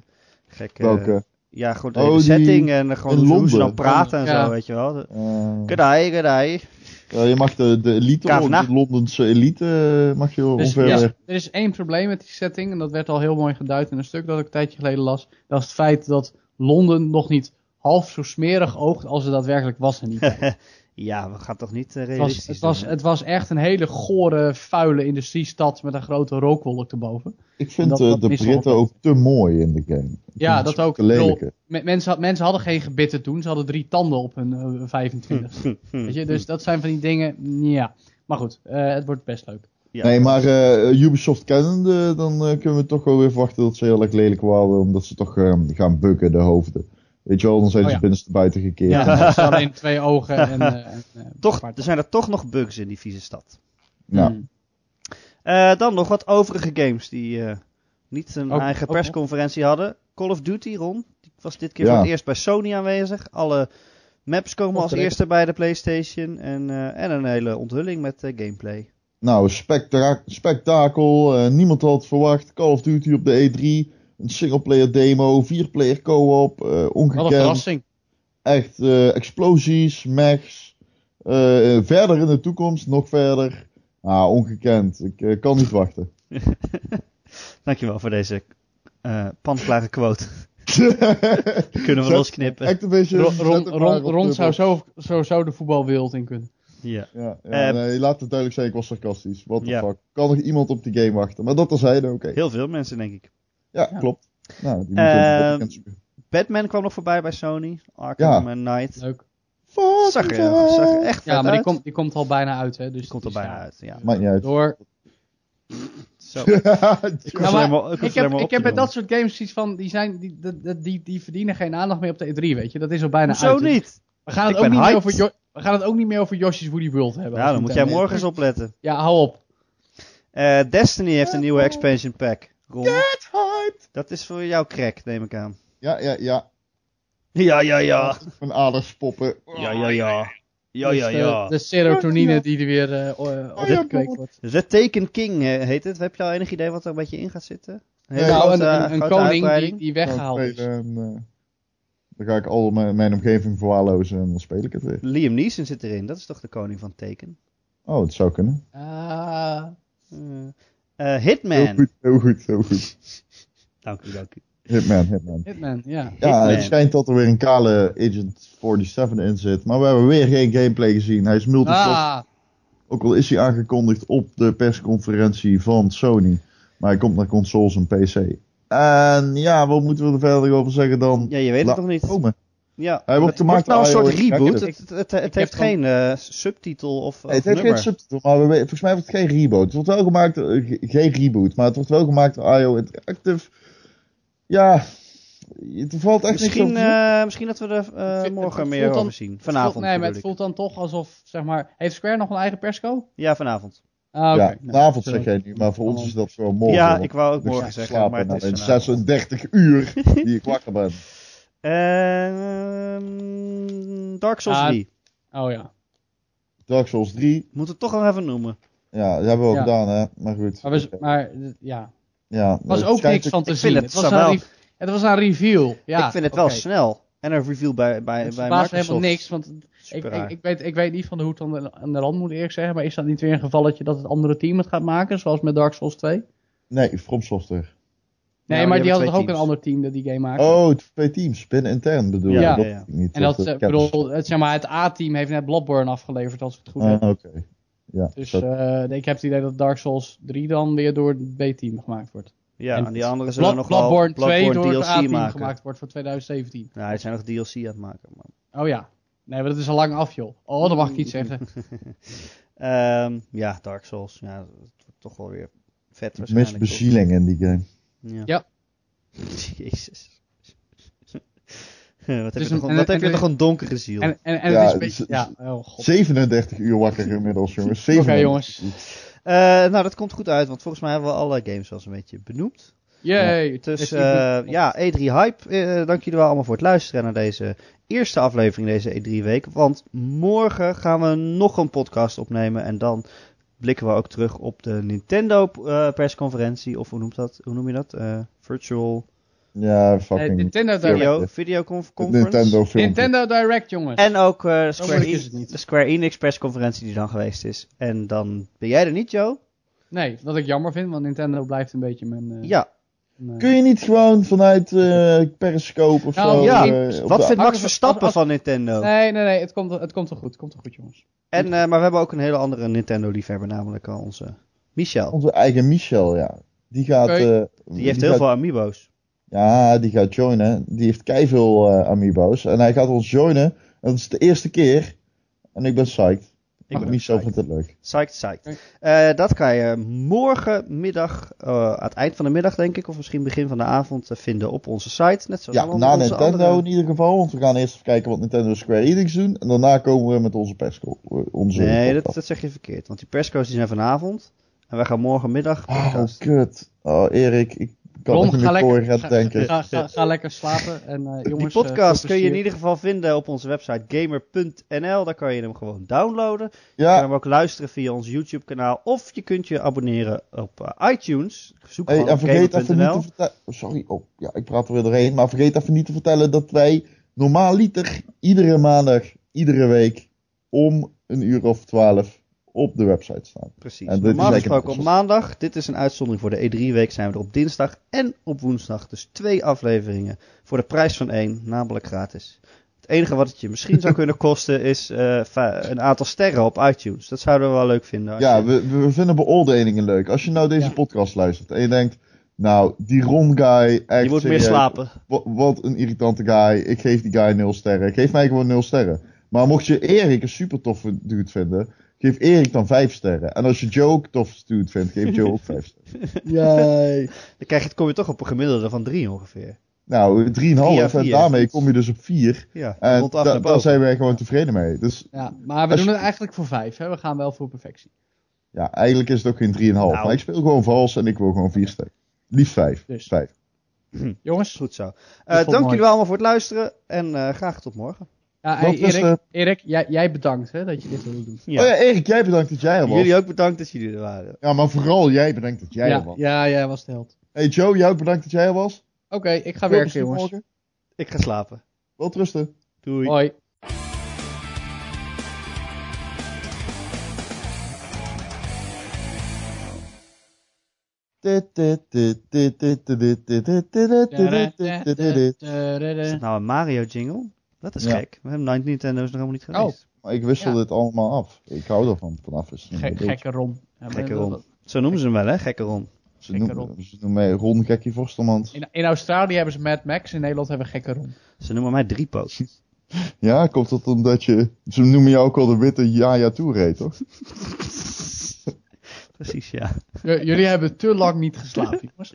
Speaker 1: gekke...
Speaker 2: Welke?
Speaker 1: Ja, gewoon de
Speaker 2: Oh,
Speaker 1: hele
Speaker 2: die-
Speaker 1: setting en eh, gewoon
Speaker 2: in
Speaker 1: hoe ze dan
Speaker 2: Londen.
Speaker 1: praten en
Speaker 3: Oh, Ja.
Speaker 1: zo, weet je wel. De-
Speaker 2: Eh,
Speaker 1: G'day, g'day.
Speaker 2: ja, je mag de, de elite,
Speaker 1: Kavna.
Speaker 2: de Londense elite, eh, mag je
Speaker 3: Dus
Speaker 2: ongeveer...
Speaker 3: ja, er is één probleem met die setting, en dat werd al heel mooi geduid in een stuk dat ik een tijdje geleden las. Dat is het feit dat Londen nog niet half zo smerig oogt als het daadwerkelijk was. En niet. het,
Speaker 1: Ja, we gaan toch niet eh,
Speaker 3: was,
Speaker 1: realistisch
Speaker 3: het, was,
Speaker 1: doen, hè?
Speaker 3: het was echt een hele gore, vuile industriestad met een grote rookwolk erboven.
Speaker 2: Ik vind
Speaker 3: Dat-
Speaker 2: eh,
Speaker 3: dat
Speaker 2: de
Speaker 3: mist
Speaker 2: Britten
Speaker 3: nog
Speaker 2: ook te mooi in de game. Ik
Speaker 3: Ja,
Speaker 2: vind
Speaker 3: dat
Speaker 2: ze
Speaker 3: ook.
Speaker 2: Te lelijke.
Speaker 3: Me- mensen, had- mensen hadden geen gebitten toen. Ze hadden drie tanden op hun eh, 25.
Speaker 1: Hm,
Speaker 3: Weet je? Dus dat zijn van die dingen. Ja. Maar goed, eh, het wordt best leuk.
Speaker 1: hm, Ja.
Speaker 2: Nee, maar eh, Ubisoft kennende, dan eh, kunnen we toch wel weer verwachten dat ze heel erg lelijk waren. Omdat ze toch eh, gaan bukken, de hoofden. Weet je wel, dan zijn
Speaker 3: Oh,
Speaker 2: ze
Speaker 3: ja.
Speaker 2: binnenste buiten gekeerd.
Speaker 3: Ja, ze hadden alleen twee ogen. En, eh, en, eh,
Speaker 1: Toch, dus-
Speaker 3: apart.
Speaker 1: er zijn er toch nog bugs in die vieze stad.
Speaker 2: Nou,
Speaker 3: Mm.
Speaker 1: Eh, dan nog wat overige games die eh, niet een
Speaker 3: Ook-
Speaker 1: eigen
Speaker 3: ook
Speaker 1: persconferentie hadden. Call of Duty, Ron, die was dit keer
Speaker 2: Ja.
Speaker 1: voor het eerst bij Sony aanwezig. Alle maps komen
Speaker 3: Oh,
Speaker 1: als
Speaker 3: terecht.
Speaker 1: eerste bij de PlayStation. En, eh, en een hele onthulling met eh, gameplay.
Speaker 2: nou spectra- spektakel. eh, niemand had het verwacht. Call of Duty op de E3. Een singleplayer demo, vierplayer co-op. eh,
Speaker 3: Wat een
Speaker 2: ongekend.
Speaker 3: verrassing.
Speaker 2: Echt eh, explosies, mechs. eh, eh, verder in de toekomst, nog verder. Ah, ongekend. Ik eh, kan niet wachten.
Speaker 1: Dankjewel voor deze eh panklare quote. Die kunnen we
Speaker 2: Zet-
Speaker 1: losknippen.
Speaker 2: Activision.
Speaker 1: Dus
Speaker 3: Ron,
Speaker 2: zet
Speaker 3: Ron,
Speaker 2: het maar
Speaker 3: Ron,
Speaker 2: op
Speaker 3: Ron
Speaker 2: de
Speaker 3: zou
Speaker 2: box.
Speaker 3: zo, zo, zo de voetbalwereld in kunnen.
Speaker 1: Ja.
Speaker 2: Ja, ja
Speaker 1: Eh,
Speaker 2: nee, laat het duidelijk zijn, ik was sarcastisch. What the
Speaker 1: Ja.
Speaker 2: fuck. Kan nog iemand op die game wachten? Maar dat terzijde, oké.
Speaker 1: Heel veel mensen, denk ik.
Speaker 2: Ja,
Speaker 3: Ja.
Speaker 2: klopt. Nou, die
Speaker 1: Ehm,
Speaker 2: moet uh,
Speaker 1: Batman kwam nog voorbij bij Sony. Arkham
Speaker 2: Ja.
Speaker 1: en Knight.
Speaker 3: Leuk.
Speaker 2: Fuck
Speaker 1: Zag er,
Speaker 2: yeah.
Speaker 1: zag er echt
Speaker 3: Ja,
Speaker 1: vet
Speaker 3: maar die
Speaker 1: uit.
Speaker 3: komt, die komt al bijna uit. Hè, dus
Speaker 1: Die komt er
Speaker 3: dus
Speaker 1: bijna
Speaker 3: ja,
Speaker 1: uit, ja.
Speaker 2: Maakt niet uit.
Speaker 3: Door.
Speaker 1: Zo. Ik
Speaker 3: Nou,
Speaker 1: hoef
Speaker 3: maar
Speaker 1: er helemaal- ik hoef
Speaker 3: Ik
Speaker 1: er
Speaker 3: heb,
Speaker 1: helemaal op
Speaker 3: ik
Speaker 1: te
Speaker 3: heb bij
Speaker 1: noemen.
Speaker 3: dat soort games iets van, die, zijn, die, die, die, die verdienen geen aandacht meer op de E3, weet je. Dat is al bijna
Speaker 1: Hoezo
Speaker 3: uit. Dus
Speaker 1: niet?
Speaker 3: We gaan, het
Speaker 1: Ik
Speaker 3: ook
Speaker 1: ben
Speaker 3: niet meer
Speaker 1: hyped.
Speaker 3: over Jo- we gaan het ook niet meer over Yoshi's Woody World hebben.
Speaker 1: Ja,
Speaker 3: Als
Speaker 1: dan
Speaker 3: we
Speaker 1: moet jij
Speaker 3: het hebben.
Speaker 1: morgen eens opletten.
Speaker 3: Ja, hou op.
Speaker 1: Eh, Destiny heeft een nieuwe expansion pack. Ron,
Speaker 2: Get hyped.
Speaker 1: dat is voor jouw crack, neem ik aan.
Speaker 2: Ja, ja, ja.
Speaker 1: Ja, ja, ja.
Speaker 2: Mijn aders poppen.
Speaker 1: Ja, ja, ja. Ja,
Speaker 3: Dus,
Speaker 1: ja,
Speaker 3: eh,
Speaker 1: ja.
Speaker 3: de serotonine die er weer eh, o- eh,
Speaker 2: Oh, ja,
Speaker 3: opgekweekt
Speaker 2: Bob.
Speaker 3: wordt.
Speaker 1: The Taken King eh, heet het. Heb je al enig idee wat er een beetje in gaat zitten? Een hele
Speaker 3: nou, een,
Speaker 1: grote-
Speaker 3: een, een
Speaker 1: grote
Speaker 3: koning die,
Speaker 1: uitbreiding.
Speaker 3: die
Speaker 2: Ik ga
Speaker 3: weggehaald
Speaker 2: het
Speaker 3: is.
Speaker 2: spelen en, eh, dan ga ik al mijn, mijn omgeving verwaarlozen en dan speel ik het weer.
Speaker 1: Liam Neeson zit erin. Dat is toch de koning van Taken?
Speaker 2: Oh, het zou kunnen.
Speaker 3: Ah,
Speaker 1: Eh, eh,
Speaker 2: Heel
Speaker 1: Hitman.
Speaker 2: goed, heel goed, heel goed.
Speaker 1: Dank u, dank u.
Speaker 2: Hitman, Hitman.
Speaker 3: Hitman, ja.
Speaker 2: Ja,
Speaker 1: Hitman.
Speaker 2: het schijnt dat er weer een kale Agent 47 in zit. Maar we hebben weer geen gameplay gezien. Hij is multiplatform.
Speaker 3: Ah,
Speaker 2: Ook al is hij aangekondigd op de persconferentie van Sony. Maar hij komt naar consoles en PC. En ja, wat moeten we er verder over zeggen dan?
Speaker 1: Ja, je weet
Speaker 2: Laat
Speaker 1: het nog niet.
Speaker 2: komen.
Speaker 1: Ja.
Speaker 2: Hij wordt
Speaker 1: Het wordt
Speaker 2: gemaakt
Speaker 1: nou een
Speaker 2: door
Speaker 1: soort
Speaker 2: iOS.
Speaker 1: reboot.
Speaker 2: Ja,
Speaker 1: Het, het, het, het heeft
Speaker 3: Ik heb dan-
Speaker 1: geen eh, subtitel of,
Speaker 2: Nee, het
Speaker 1: of
Speaker 2: heeft geen
Speaker 1: nummer.
Speaker 2: subtitel, maar we, weten- volgens mij wordt het geen reboot. Het wordt wel gemaakt, eh, ge- geen reboot, maar het wordt wel gemaakt door IO Interactive. Ja, het valt echt niks
Speaker 1: Misschien,
Speaker 2: over te zeggen.
Speaker 1: eh, misschien dat we er eh,
Speaker 3: het
Speaker 1: morgen
Speaker 3: voelt
Speaker 1: meer
Speaker 3: dan-
Speaker 1: over zien. Vanavond
Speaker 3: voelt- nee, maar
Speaker 1: bedoel ik.
Speaker 3: het voelt dan toch alsof, zeg maar... Heeft Square nog een eigen persco?
Speaker 1: Ja, vanavond.
Speaker 3: Ah, oké.
Speaker 2: ja,
Speaker 3: Nou,
Speaker 2: vanavond
Speaker 3: zullen
Speaker 2: zeg
Speaker 3: we-
Speaker 2: jij nu, maar voor ons is dat zo morgen.
Speaker 1: Ja,
Speaker 2: want
Speaker 1: ik wou ook
Speaker 2: ik moet
Speaker 1: morgen zeggen,
Speaker 2: slapen
Speaker 1: maar het
Speaker 2: na
Speaker 1: is
Speaker 2: mijn
Speaker 1: vanavond.
Speaker 2: 36 uur die ik wakker ben.
Speaker 1: Ehm, Eh, Dark Souls
Speaker 3: Ah.
Speaker 1: 3.
Speaker 3: Oh ja.
Speaker 2: Dark Souls 3,
Speaker 1: Moet het toch wel even noemen.
Speaker 2: ja, dat hebben we ook
Speaker 3: Ja.
Speaker 2: gedaan, hè. Maar goed.
Speaker 3: Maar, we, maar eh, ja.
Speaker 2: Ja,
Speaker 3: Er was
Speaker 2: het
Speaker 3: ook
Speaker 2: schijnt
Speaker 3: niks van te
Speaker 1: ik
Speaker 3: zien.
Speaker 1: vind het
Speaker 3: Het, was
Speaker 1: zowel-
Speaker 3: een re- het was een reveal. Ja,
Speaker 1: ik vind het wel
Speaker 3: oké.
Speaker 1: snel. En een review bij, bij,
Speaker 3: Het
Speaker 1: bij Microsoft.
Speaker 3: verbaast me helemaal niks, want ik,
Speaker 1: Super
Speaker 3: ik,
Speaker 1: raar.
Speaker 3: ik, weet, ik weet niet van de hoed aan de, aan de rand, moet ik eerlijk zeggen. Maar is dat niet weer een gevalletje dat het andere team het gaat maken, zoals met Dark Souls 2? Nee,
Speaker 2: Nee, From Software.
Speaker 1: Nou, die
Speaker 3: maar
Speaker 1: hebben
Speaker 3: die hadden toch
Speaker 1: twee
Speaker 3: ook een
Speaker 1: teams.
Speaker 3: ander team dat die game maakte?
Speaker 2: Oh, twee teams, binnen intern bedoel je.
Speaker 3: Ja.
Speaker 2: dat
Speaker 1: Ja, ja.
Speaker 2: weet ik Niet,
Speaker 3: en dat,
Speaker 2: eh,
Speaker 3: eh,
Speaker 2: kennis.
Speaker 3: bedoel, het, zeg maar, het A-team heeft net Bloodborne afgeleverd, als ik het goed
Speaker 2: Ah,
Speaker 3: heb.
Speaker 2: Oké. Ja,
Speaker 3: Dus
Speaker 2: dat-
Speaker 3: eh, ik heb het idee dat Dark Souls 3 dan weer door het B-team gemaakt wordt.
Speaker 1: Ja,
Speaker 3: en
Speaker 1: en die anderen zullen
Speaker 3: Blood,
Speaker 1: nog
Speaker 3: Bloodborne
Speaker 1: wel
Speaker 3: 2 door het
Speaker 1: DLC
Speaker 3: A-team
Speaker 1: maken.
Speaker 3: gemaakt wordt voor 2017.
Speaker 1: Nou, die zijn nog DLC aan het maken. Man.
Speaker 3: Oh ja. Nee, maar dat is al lang af, joh. Oh, dat mag ik niet zeggen.
Speaker 1: Ehm, ja, Dark Souls. Ja, het wordt toch wel weer vet
Speaker 2: Ik mis
Speaker 1: waarschijnlijk. toch?
Speaker 2: bezieling in die game.
Speaker 1: Ja.
Speaker 3: Ja.
Speaker 1: Jezus. wat heb,
Speaker 3: Dus
Speaker 1: je,
Speaker 3: een-
Speaker 1: nog,
Speaker 3: en-
Speaker 1: wat
Speaker 3: en-
Speaker 1: heb je
Speaker 3: en-
Speaker 1: nog een donkere ziel.
Speaker 3: En, en, en
Speaker 2: Ja,
Speaker 3: het is
Speaker 2: het
Speaker 3: een beetje...
Speaker 2: is-
Speaker 3: Ja, oh god.
Speaker 2: 37 uur wakker inmiddels, jongens.
Speaker 3: Oké,
Speaker 2: 37.
Speaker 3: jongens.
Speaker 1: Eh, nou, dat komt goed uit, want volgens mij hebben we alle games wel eens een beetje benoemd.
Speaker 3: Yay.
Speaker 1: Dus
Speaker 3: eh,
Speaker 1: eh, ja, E3 Hype, eh, dank jullie wel allemaal voor het luisteren naar deze eerste aflevering deze E3 week. Want morgen gaan we nog een podcast opnemen en dan blikken we ook terug op de Nintendo eh, persconferentie. Of hoe, noemt dat, hoe noem je dat? Eh, virtual
Speaker 2: Ja,
Speaker 3: eh,
Speaker 2: fucking.
Speaker 3: Nintendo Direct.
Speaker 1: video, video conference.
Speaker 2: Nintendo film.
Speaker 3: Nintendo Direct, jongens.
Speaker 1: En ook eh, de Square,
Speaker 3: moeilijk is het
Speaker 1: En-
Speaker 3: niet.
Speaker 1: de Square Enix persconferentie die dan geweest is. En dan ben jij er niet, Joe?
Speaker 3: Nee, wat ik jammer vind, want Nintendo blijft een beetje mijn... eh,
Speaker 1: Ja.
Speaker 3: Nee.
Speaker 2: Kun je niet gewoon vanuit eh Periscope of
Speaker 3: Nou,
Speaker 2: zo?
Speaker 1: ja,
Speaker 2: eh, op
Speaker 1: Wat vindt
Speaker 2: de-
Speaker 3: Hangt
Speaker 1: Max
Speaker 3: er-
Speaker 1: Verstappen
Speaker 3: als-
Speaker 1: van Nintendo?
Speaker 3: Nee, nee, nee, het komt, het komt wel goed. Het komt wel goed, jongens.
Speaker 1: En, eh, maar we hebben ook een hele andere Nintendo-liefhebber, namelijk al onze Michel.
Speaker 2: Onze eigen Michel, ja. Die gaat.
Speaker 3: Oké.
Speaker 2: eh,
Speaker 1: Die heeft
Speaker 2: gaat-
Speaker 1: heel veel amiibo's.
Speaker 2: Ja, die gaat joinen. Die heeft keiveel eh amiibo's. En hij gaat ons joinen. En dat is de eerste keer. En ik ben psyched.
Speaker 1: Ik ben
Speaker 2: Ah, Michel
Speaker 1: ook
Speaker 2: vindt het leuk.
Speaker 1: Psyched, psyched. Eh, dat kan je morgenmiddag, eh, aan het eind van de middag denk ik, of misschien begin van de avond, eh, vinden op onze site. Net zoals
Speaker 2: Ja,
Speaker 1: alle
Speaker 2: na
Speaker 1: onze
Speaker 2: Nintendo
Speaker 1: andere-
Speaker 2: in ieder geval. Want we gaan eerst even kijken wat Nintendo en Square Enix doen. En daarna komen we met onze persco. eh, Onze
Speaker 1: Nee, dat,
Speaker 2: podcast.
Speaker 1: dat zeg je verkeerd. Want die persco's die zijn vanavond. En wij gaan morgenmiddag
Speaker 2: Oh,
Speaker 1: podcast.
Speaker 2: kut. Oh, Erik. Ik kan
Speaker 3: Blom,
Speaker 2: het niet
Speaker 3: ga
Speaker 2: meer
Speaker 3: lekker-
Speaker 2: koren gaan denken.
Speaker 3: Ga, ga, ga lekker slapen. En, eh, jongens,
Speaker 1: die podcast
Speaker 3: eh,
Speaker 1: kun je in
Speaker 3: veel
Speaker 1: ieder geval vinden op onze website gamer.nl. Daar kan je hem gewoon downloaden. Je kan
Speaker 2: Ja,
Speaker 1: hem ook luisteren via ons YouTube kanaal. Of je kunt je abonneren op eh, iTunes. Zoek
Speaker 2: hey,
Speaker 1: gewoon
Speaker 2: en
Speaker 1: op
Speaker 2: vergeet even niet te
Speaker 1: gamer.nl.
Speaker 2: vertellen... Sorry, oh, ja, ik praat er weer doorheen. Maar vergeet even niet te vertellen dat wij normaaliter iedere maandag, iedere week... om een uur of twaalf op de website staan.
Speaker 1: Precies.
Speaker 2: En dit is
Speaker 1: Normaal
Speaker 2: eigenlijk
Speaker 1: gesproken
Speaker 2: een-
Speaker 1: op maandag. Dit is een uitzondering voor de E3-week. Zijn we er op dinsdag en op woensdag. Dus twee afleveringen voor de prijs van één. Namelijk gratis. Het enige wat het je misschien zou kunnen kosten is eh, va- een aantal sterren op iTunes. Dat zouden we wel leuk vinden. als
Speaker 2: Ja,
Speaker 1: je-
Speaker 2: we, we vinden beoordelingen leuk. Als je nou deze
Speaker 3: Ja.
Speaker 2: podcast luistert en je denkt... Nou, die Ron guy... Echt,
Speaker 1: je moet meer
Speaker 2: serieus,
Speaker 1: slapen.
Speaker 2: wa- Wat een irritante guy. Ik geef die guy nul sterren. Geef mij gewoon nul sterren. Maar mocht je Erik een super toffe dude vinden... Geef Erik dan vijf sterren. En als je Joe ook tof dude vindt, geef Joe ook vijf sterren. Jij.
Speaker 1: Dan krijg je, kom je toch op een gemiddelde van drie ongeveer.
Speaker 2: Nou,
Speaker 1: Via,
Speaker 2: 3,5. En
Speaker 1: via.
Speaker 2: daarmee kom je dus op 4.
Speaker 1: Ja,
Speaker 2: En
Speaker 1: rond af
Speaker 2: Eh, da-
Speaker 1: naar
Speaker 2: daar
Speaker 1: boven.
Speaker 2: zijn wij gewoon tevreden mee. Dus
Speaker 3: Ja, maar we
Speaker 2: Als
Speaker 3: doen
Speaker 2: je-
Speaker 3: het eigenlijk voor vijf. Hè? We gaan wel voor perfectie.
Speaker 2: ja, eigenlijk is het ook geen 3,5.
Speaker 1: Nou.
Speaker 2: Maar ik speel gewoon vals en ik wil gewoon 4 sterren. Liefst 5.
Speaker 3: Dus.
Speaker 1: Is
Speaker 3: Jongens,
Speaker 1: Goed zo. Eh,
Speaker 3: vond ik
Speaker 1: dank
Speaker 3: mooi.
Speaker 1: jullie wel allemaal voor het luisteren en eh, graag tot morgen.
Speaker 3: ja, hey,
Speaker 2: Dat was,
Speaker 3: Erik,
Speaker 2: eh,
Speaker 3: Erik jij, jij bedankt hè, dat je dit wilde doen.
Speaker 1: Ja.
Speaker 2: Oh ja, Erik, jij bedankt dat jij er was.
Speaker 1: jullie ook bedankt dat jullie er waren.
Speaker 2: Ja, maar vooral jij bedankt dat jij er
Speaker 3: ja,
Speaker 2: was.
Speaker 3: ja, jij was de held.
Speaker 2: Hey Joe, jou ook bedankt dat jij er was.
Speaker 3: Oké, ik
Speaker 2: Veel
Speaker 3: ga werken,
Speaker 2: plezier
Speaker 3: jongens.
Speaker 2: morgen.
Speaker 1: Ik ga slapen.
Speaker 2: Wel rusten.
Speaker 1: Doei.
Speaker 3: Hoi.
Speaker 2: Maar
Speaker 1: Is dat nou een Mario jingle? Dat is
Speaker 2: Ja.
Speaker 1: gek. We hebben Nine- Nintendo's nog helemaal niet
Speaker 3: Oh,
Speaker 1: geweest.
Speaker 2: ik wissel
Speaker 3: Ja.
Speaker 2: dit allemaal af. Ik hou ervan vanaf. Is
Speaker 3: gek, gekke rom. Ja, maar
Speaker 1: Gekke
Speaker 3: dat-
Speaker 1: Ron. Zo noemen ze hem wel, hè? Gekke Ron.
Speaker 2: Ze noemen, ze noemen mij Ron Gekkie Vorstelmans.
Speaker 3: In, in Australië hebben ze Mad Max, in Nederland hebben we gekke rom.
Speaker 1: Ze noemen mij Driepoot.
Speaker 2: Ja, komt dat omdat je... Ze noemen jou ook al de witte Jaja Touré, toch?
Speaker 1: Precies, ja.
Speaker 3: J- Jullie hebben te lang niet geslapen, jongens.